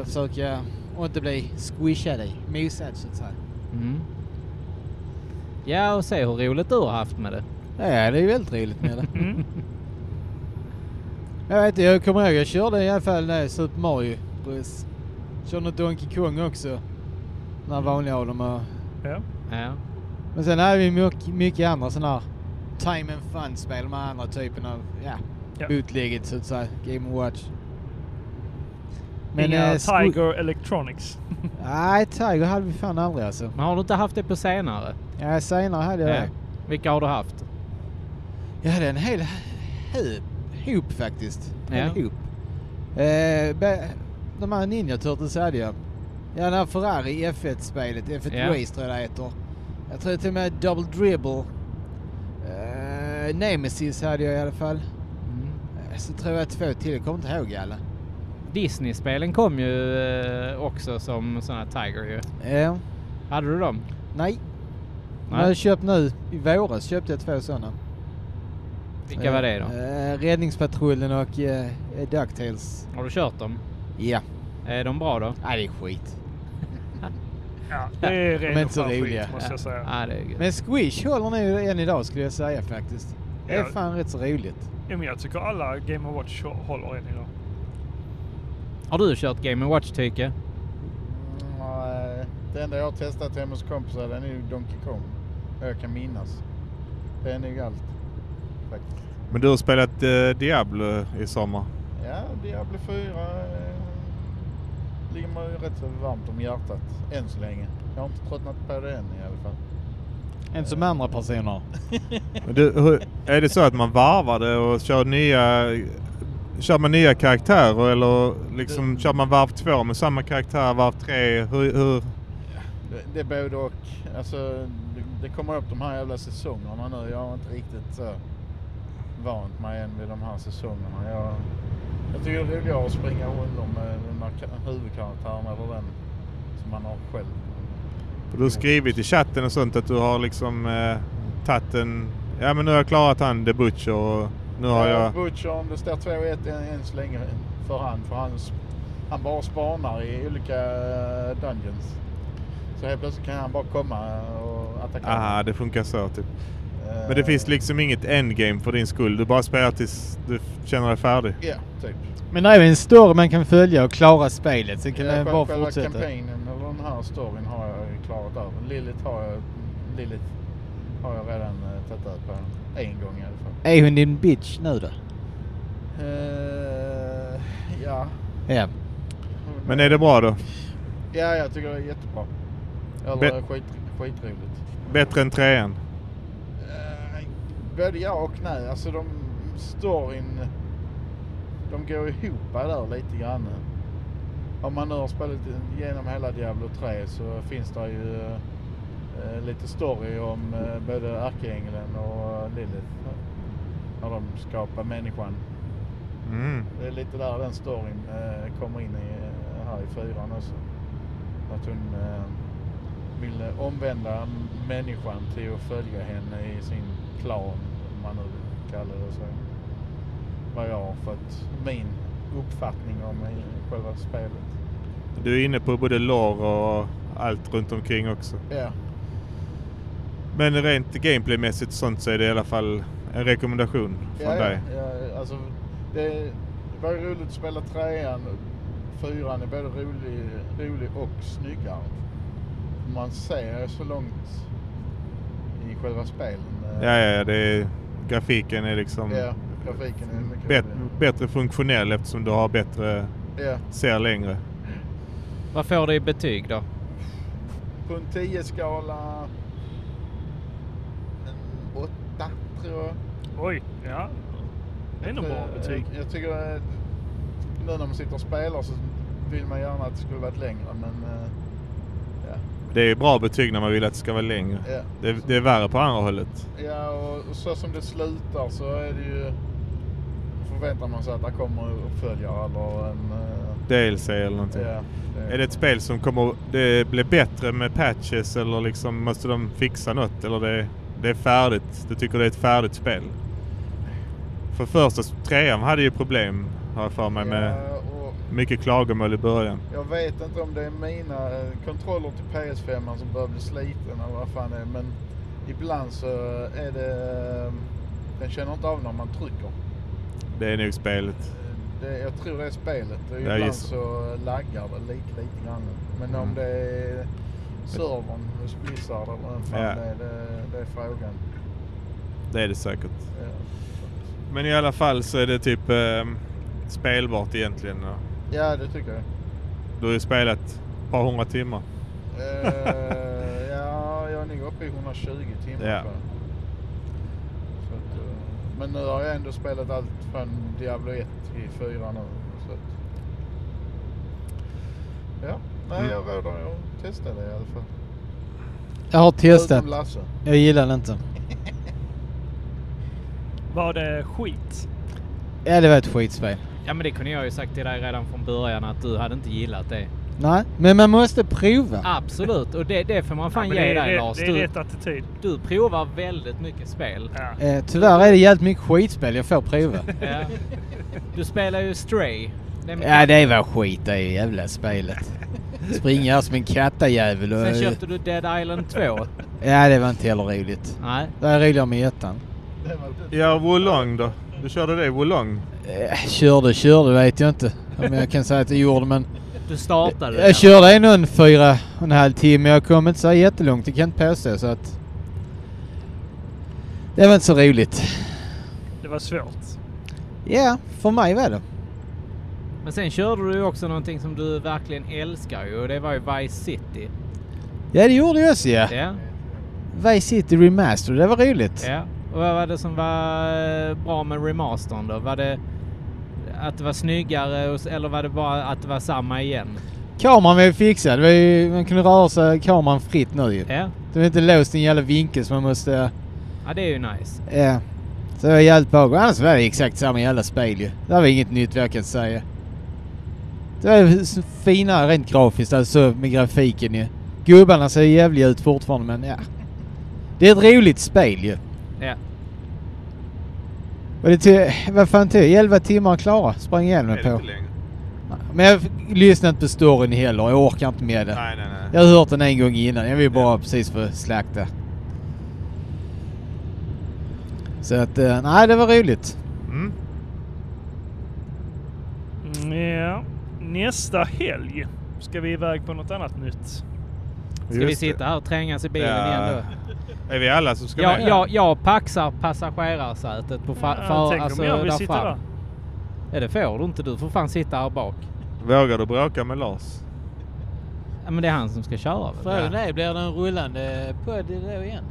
Speaker 1: Och försöka och inte bli squishad i, mosad så att säga.
Speaker 2: Mm. Ja, och se hur roligt du har haft med det.
Speaker 1: Ja, det är ju väldigt roligt med det.
Speaker 4: Mm.
Speaker 1: Jag vet inte, jag kommer ihåg jag körde i alla fall när Super Mario Bros. Körde något Donkey Kong också. Den här vanliga av dem och...
Speaker 4: Ja.
Speaker 2: Ja.
Speaker 1: Men sen hade vi mycket, mycket andra sådana här time and fun-spel, de här andra typen av, ja,
Speaker 4: Ja.
Speaker 1: bootlegget så att säga, Game Watch.
Speaker 4: Inga
Speaker 1: eh, sko-
Speaker 4: Tiger Electronics.
Speaker 1: Nej, Tiger hade vi fan aldrig alltså.
Speaker 2: Men har du inte haft det på senare?
Speaker 1: Ja, senare hade jag det.
Speaker 2: Vilka har du haft?
Speaker 1: Jag hade en hel höp, hop faktiskt. En
Speaker 2: Ja.
Speaker 1: hop. Eh, be- de här Ninja Turtles hade jag. Ja, den här Ferrari F1-spelet, F1
Speaker 2: Ja.
Speaker 1: Race tror jag det heter. Jag tror till och med Double Dribble. Eh, Nemesis hade jag i alla fall.
Speaker 2: Mm.
Speaker 1: Eh, Så tror jag två till, jag kommer inte ihåg alla.
Speaker 2: Disney-spelen kom ju eh, också som sådana Tiger ju.
Speaker 1: Eh,
Speaker 2: Hade du dem?
Speaker 1: nej.
Speaker 2: Nej.
Speaker 1: Men jag köpt nu, i våras köpte jag två sådana.
Speaker 2: Vilka var det då?
Speaker 1: Eh, Räddningspatrullen och eh, Ducktails.
Speaker 2: Har du kört dem?
Speaker 1: Ja,
Speaker 2: Är de bra då?
Speaker 1: nej det är skit.
Speaker 4: Ja, det är
Speaker 1: är
Speaker 4: ren och
Speaker 1: inte så
Speaker 4: skär
Speaker 1: roliga.
Speaker 4: skit måste jag säga.
Speaker 2: Ja, det är gött.
Speaker 1: Men Squish håller nu än idag skulle jag säga faktiskt. Det är
Speaker 4: Ja.
Speaker 1: fan rätt så roligt.
Speaker 4: Ja, men jag tycker alla Game Watch håller än idag.
Speaker 2: Har du kört Game Watch tycke?
Speaker 5: Nej, det enda jag har testat hemma hos kompisar den är ju Donkey Kong. Vad jag kan minnas. Det är nog allt. Faktiskt.
Speaker 3: Men du har spelat eh, Diablo i sommar.
Speaker 5: Ja, Diablo 4 eh, ligger mig ju rätt så varmt om hjärtat än så länge. Jag har inte tröttnat på det än i alla fall.
Speaker 1: Inte som andra personer.
Speaker 3: Men Du, hur, är det så att man varvar det och kör nya... Kör man nya karaktärer eller liksom
Speaker 2: Mm.
Speaker 3: kör man varv två med samma karaktär, varv tre? Hur, hur?
Speaker 5: Det, det är både och. Alltså, det, det kommer upp de här jävla säsongerna nu. Jag har inte riktigt så vant mig än vid de här säsongerna. Jag, jag tycker det är roligare att springa runt med de här ka- huvudkaraktärerna eller den som man har själv.
Speaker 3: Du har skrivit i chatten och sånt att du har liksom eh, tagit en... Ja men nu har jag klarat han The Butcher och nu har jag...
Speaker 5: Butcher, det står 2-1 än, än så länge för han. För han, sp- han bara spanar i olika eh, dungeons. Så helt plötsligt kan han bara komma och Eh, attackera.
Speaker 3: Aha, det funkar så typ. Men det finns liksom inget endgame för din skull. Du bara spelar tills du f- känner dig färdig.
Speaker 5: Ja, typ.
Speaker 1: Men det är ju en story man kan följa och klara spelet. Sen kan
Speaker 5: Ja,
Speaker 1: man
Speaker 5: själv-
Speaker 1: Eh, bara
Speaker 5: själva
Speaker 1: fortsätta.
Speaker 5: kampanjen eller den här storyn har jag ju klarat av. Lilith har jag, Lilith har jag redan eh, tagit ut på en gång i alla fall.
Speaker 1: Är hon din bitch nu då?
Speaker 5: Eh, ja.
Speaker 1: Ja.
Speaker 3: Men är det bra då?
Speaker 5: Ja, jag tycker det är jättebra. Eller
Speaker 3: Bet-
Speaker 5: skit, skitroligt.
Speaker 3: Bättre än trean?
Speaker 5: Eh, både ja och nej. Alltså de storyn, de går ihop där lite grann. Om man nu har spelat igenom hela Diablo 3 så finns det ju eh, lite story om eh, både ärkeängeln och Lilith. När de skapar människan.
Speaker 3: Mm.
Speaker 5: Det är lite där den storyn eh, kommer in i, här i fyran också. Att hon eh, ville omvända människan till att följa henne i sin klan, om man nu vill kalla det så. Vad jag har fått min uppfattning om i själva spelet.
Speaker 3: Du är inne på både lore och allt runt omkring också.
Speaker 5: Ja,
Speaker 3: Men rent gameplaymässigt och sånt så är det i alla fall en rekommendation från
Speaker 5: ja, ja,
Speaker 3: dig.
Speaker 5: ja alltså, det var ju roligt att spela trean. Fyran är både rolig, rolig och snyggare. Man ser så långt i själva spelen. eh,
Speaker 3: Ja, ja, ja. Det är, grafiken är liksom
Speaker 5: Ja, grafiken är mycket
Speaker 3: bet,
Speaker 5: roligare.
Speaker 3: bättre funktionell eftersom du har bättre,
Speaker 5: Ja.
Speaker 3: ser längre.
Speaker 2: Vad får du i betyg då?
Speaker 5: På en 10-skala... En 8, tror jag.
Speaker 4: Oj, ja. Det är nog bra
Speaker 5: Eh,
Speaker 4: betyg.
Speaker 5: Jag, jag tycker... eh, Nu när man sitter och spelar så vill man gärna att det skulle varit längre, men... eh, Ja,
Speaker 3: Det är bra betyg när man vill att det ska vara längre.
Speaker 5: ja.
Speaker 3: Det, det är värre på andra hållet.
Speaker 5: ja och, och så som det slutar så är det ju... Förväntar man sig att det kommer uppföljare eller en... eh,
Speaker 3: DLC eller någonting.
Speaker 5: Ja,
Speaker 3: Är det ett spel som kommer det blir bättre med patches eller liksom måste de fixa något? Eller det, det är färdigt? Du tycker det är ett färdigt spel? För första trean hade ju problem har jag för mig med
Speaker 5: Ja, och,
Speaker 3: mycket klagomål i början.
Speaker 5: Jag vet inte om det är mina eh, kontroller till PS5 som börjar bli sliten eller vad fan det är men Ibland så är det... Den känner inte av när man trycker.
Speaker 3: Det är nog spelet.
Speaker 5: Det, jag tror det är spelet. Och
Speaker 3: Jag
Speaker 5: ibland
Speaker 3: gissar.
Speaker 5: så laggar det lite, lite grann. Men om
Speaker 3: Mm.
Speaker 5: det är servern hos Blizzard eller vem fan
Speaker 3: Ja.
Speaker 5: det, är, det, det är frågan.
Speaker 3: Det är det säkert.
Speaker 5: Ja.
Speaker 3: Men i alla fall så är det typ ehm, spelbart egentligen. och
Speaker 5: Ja, det tycker jag.
Speaker 3: Du har ju spelat ett par hundra timmar.
Speaker 5: Eh, ja, jag är nog uppe i 120 timmar
Speaker 3: Ja.
Speaker 5: tror jag. Så att, eh, men nu har jag ändå spelat allt från Diablo 1 till 4 nu. Så att, ja, nej
Speaker 3: Mm.
Speaker 5: jag råder att testa det i alla fall.
Speaker 1: Jag har testat.
Speaker 5: Utom Lasse.
Speaker 1: Jag gillar det inte.
Speaker 4: Var det skit?
Speaker 1: Ja, det var ett skitspel.
Speaker 2: Ja men det kunde jag ju sagt till dig redan från början att du hade inte gillat det.
Speaker 1: Nej, men man måste prova.
Speaker 2: Absolut, och det, det får man fan
Speaker 4: men
Speaker 2: ge
Speaker 4: det, är,
Speaker 2: dig
Speaker 4: rätt-
Speaker 2: Lars.
Speaker 4: det är
Speaker 2: Du,
Speaker 4: rätt attityd.
Speaker 2: du provar väldigt mycket spel.
Speaker 4: Ja.
Speaker 1: Eh, tyvärr är det jävligt mycket skitspel jag får prova.
Speaker 2: Ja. Du spelar ju Stray. Det är mitt-
Speaker 1: ja, det var skit det jävla spelet. Springa här som en kattajävel och...
Speaker 2: Sen köpte du Dead Island 2.
Speaker 1: Ja, det var inte heller roligt.
Speaker 2: Nej.
Speaker 1: Det var roligare med ettan.
Speaker 5: Det var lite-
Speaker 3: Ja, Wolong då? Du körde det i Wolong?
Speaker 1: Eh, körde, körde vet jag inte om jag kan säga att jag gjorde, men...
Speaker 2: Du startade
Speaker 1: Jag körde en och en fyra och en halv timme. Jag kom inte så jättelångt, det kan jag inte påstå, så att... Det var inte så roligt.
Speaker 4: Det var svårt.
Speaker 1: Ja, för mig var det.
Speaker 2: Men sen körde du ju också någonting som du verkligen älskar ju och det var ju Vice City.
Speaker 1: Ja, det gjorde jag också ja.
Speaker 2: Ja.
Speaker 1: Vice City Remaster, det var roligt.
Speaker 2: ja. Och vad var det som var eh, bra med remastern då? Var det att det var snyggare och s- eller var det bara att det var samma igen?
Speaker 1: Kameran var ju fixad. Det var ju, man kunde röra sig kameran fritt nu ju.
Speaker 2: Ja,
Speaker 1: Den var inte låst i en jävla vinkel så man måste...
Speaker 2: ja det är ju nice.
Speaker 1: Ja. Så det var jävligt bra. Annars var det exakt samma jävla spel ju. Det var inget nytt vad jag kan säga. Det var s- finare rent grafiskt, alltså med grafiken ju. Gubbarna ser jävliga ut fortfarande men ja. Det är ett roligt spel ju.
Speaker 2: Ja.
Speaker 1: Och det tog, vad fan tog det? 11 timmar att klara sprang igenom
Speaker 3: är
Speaker 1: på.
Speaker 3: det inte längre?
Speaker 1: Men jag f- lyssnar inte på storyn heller. Jag orkar inte med det.
Speaker 3: Nej, nej, nej.
Speaker 1: Jag har hört den en gång innan. Jag vill bara precis få slakta. Så att, eh, nej det var roligt.
Speaker 3: Mm.
Speaker 4: Mm, Ja. Nästa helg ska vi iväg på något annat nytt.
Speaker 2: Ska vi
Speaker 3: Just
Speaker 2: sitta här och trängas i bilen
Speaker 3: Ja.
Speaker 2: igen då?
Speaker 3: det. Är vi alla som ska
Speaker 2: Jag,
Speaker 3: med?
Speaker 2: jag, jag paxar passagerarsätet på fa-
Speaker 4: Ja,
Speaker 2: för,
Speaker 4: tänk
Speaker 2: alltså,
Speaker 4: om jag vill
Speaker 2: där
Speaker 4: sitta
Speaker 2: fram.
Speaker 4: där.
Speaker 2: Ja, det får du inte. Du får fan sitta här bak.
Speaker 3: Vågar du bråka med Lars?
Speaker 2: Ja, men det är han som ska köra väl?
Speaker 6: Frågan är, blir det en rullande podd då igen?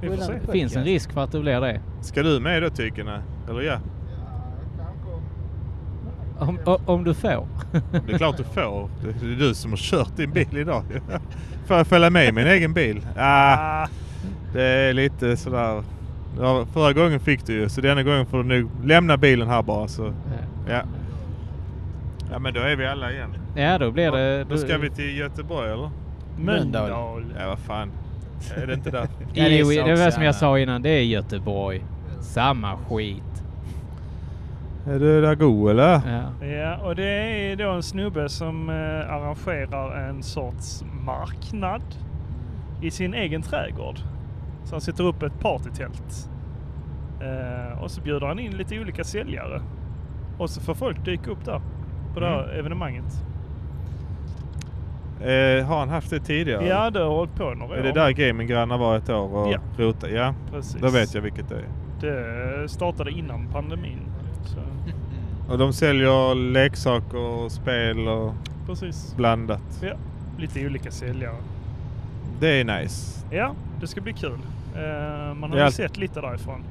Speaker 4: Vi får se.
Speaker 2: Det finns en risk för att det blir det.
Speaker 3: Ska du med då Tykene? Eller ja?
Speaker 2: Om, o- om du får.
Speaker 3: Det är klart du får. Det är du som har kört din bil idag. Får jag följa med i min egen bil? Ah,
Speaker 4: Ah,
Speaker 3: det är lite sådär. Ja, förra gången fick du ju, så denna gången får du nog lämna bilen här bara. Så. Ja. ja, men då är vi alla igen.
Speaker 2: Ja, då blir det...
Speaker 3: Då ska vi till Göteborg eller?
Speaker 1: Mölndal.
Speaker 4: Mölndal.
Speaker 3: Ja, vad fan. Är det inte där?
Speaker 1: Ja, det är
Speaker 2: Jo, det var som
Speaker 1: Saksjärna.
Speaker 2: jag sa innan. Det är Göteborg. Samma skit.
Speaker 3: Är du där god eller?
Speaker 2: Ja.
Speaker 4: Ja, och det är då en snubbe som eh, arrangerar en sorts marknad i sin egen trädgård. Så han sätter upp ett partytält. Eh, och så bjuder han in lite olika säljare. Och så får folk dyka upp där på det
Speaker 3: Mm.
Speaker 4: här evenemanget.
Speaker 3: Eh, har han haft det
Speaker 4: Ja,
Speaker 3: tidigare?
Speaker 4: det har hållit på några
Speaker 3: Är
Speaker 4: år.
Speaker 3: det där gaminggrannar var ett år och
Speaker 4: Ja.
Speaker 3: rotade? Ja,
Speaker 4: Precis.
Speaker 3: då vet jag vilket det är.
Speaker 4: Det startade innan pandemin. Så,
Speaker 3: Och de säljer leksaker och spel och
Speaker 4: precis.
Speaker 3: blandat.
Speaker 4: Ja, lite olika säljare.
Speaker 3: Det är nice.
Speaker 4: Ja, det ska bli kul. Eh, man har
Speaker 3: Det är
Speaker 4: ju
Speaker 3: allt-
Speaker 4: sett lite därifrån.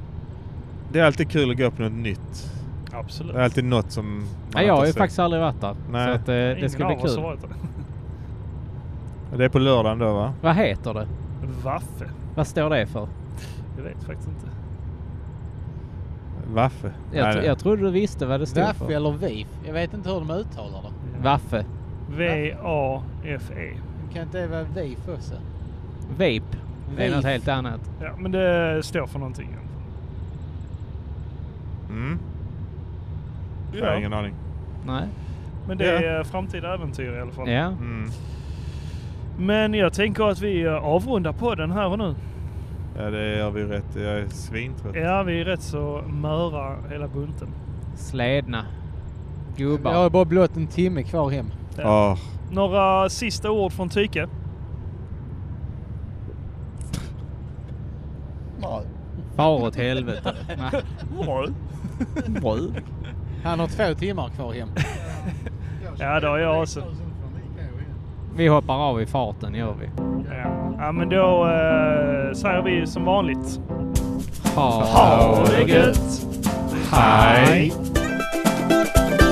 Speaker 3: Det är alltid kul att gå på något nytt.
Speaker 4: Absolut.
Speaker 3: Det är alltid något som man
Speaker 2: Ja, jag har ju
Speaker 3: sett.
Speaker 2: faktiskt aldrig varit där.
Speaker 3: Nej.
Speaker 2: Så att, eh, det ska bli
Speaker 4: Ingen av oss har
Speaker 2: kul.
Speaker 4: varit där.
Speaker 3: Det är på lördagen då va?
Speaker 2: Vad heter det?
Speaker 4: Vaffe?
Speaker 2: Vad står det för?
Speaker 4: Jag vet faktiskt inte.
Speaker 3: Vaffe?
Speaker 2: Jag,
Speaker 3: Nej,
Speaker 2: tro-
Speaker 3: det-
Speaker 2: jag trodde du visste vad det stod
Speaker 6: Vaff
Speaker 2: för.
Speaker 6: eller VIF? Jag vet inte hur de uttalar det.
Speaker 2: Vaffe.
Speaker 4: V-A-F-E.
Speaker 6: Det kan inte det vara VIF också?
Speaker 2: Vape. Det är något
Speaker 6: Vape.
Speaker 2: helt annat.
Speaker 4: Ja, men det står för någonting.
Speaker 3: Mm. Jag har
Speaker 4: Ja,
Speaker 3: ingen aning.
Speaker 2: Nej.
Speaker 4: men det är framtida äventyr i alla fall.
Speaker 2: Ja.
Speaker 3: Mm.
Speaker 4: Men jag tänker att vi eh, avrundar podden här och nu.
Speaker 3: Ja, det gör vi rätt. Jag är svintrött.
Speaker 4: Ja, vi är rätt så möra hela bunten.
Speaker 2: Slädna.
Speaker 1: Jag har
Speaker 2: Gubbar.
Speaker 1: bara blott en timme kvar hem.
Speaker 3: Ah.
Speaker 4: Några sista ord från Tyke?
Speaker 5: Nej.
Speaker 2: Far åt helvete. Nej.
Speaker 1: Han har två timmar kvar hem.
Speaker 4: Ja, det har jag också.
Speaker 2: Vi hoppar av i farten gör vi.
Speaker 4: Ja, ja men då eh, säger vi som vanligt.
Speaker 2: Ha
Speaker 4: Ha det gött!
Speaker 2: Hej!
Speaker 4: Hej.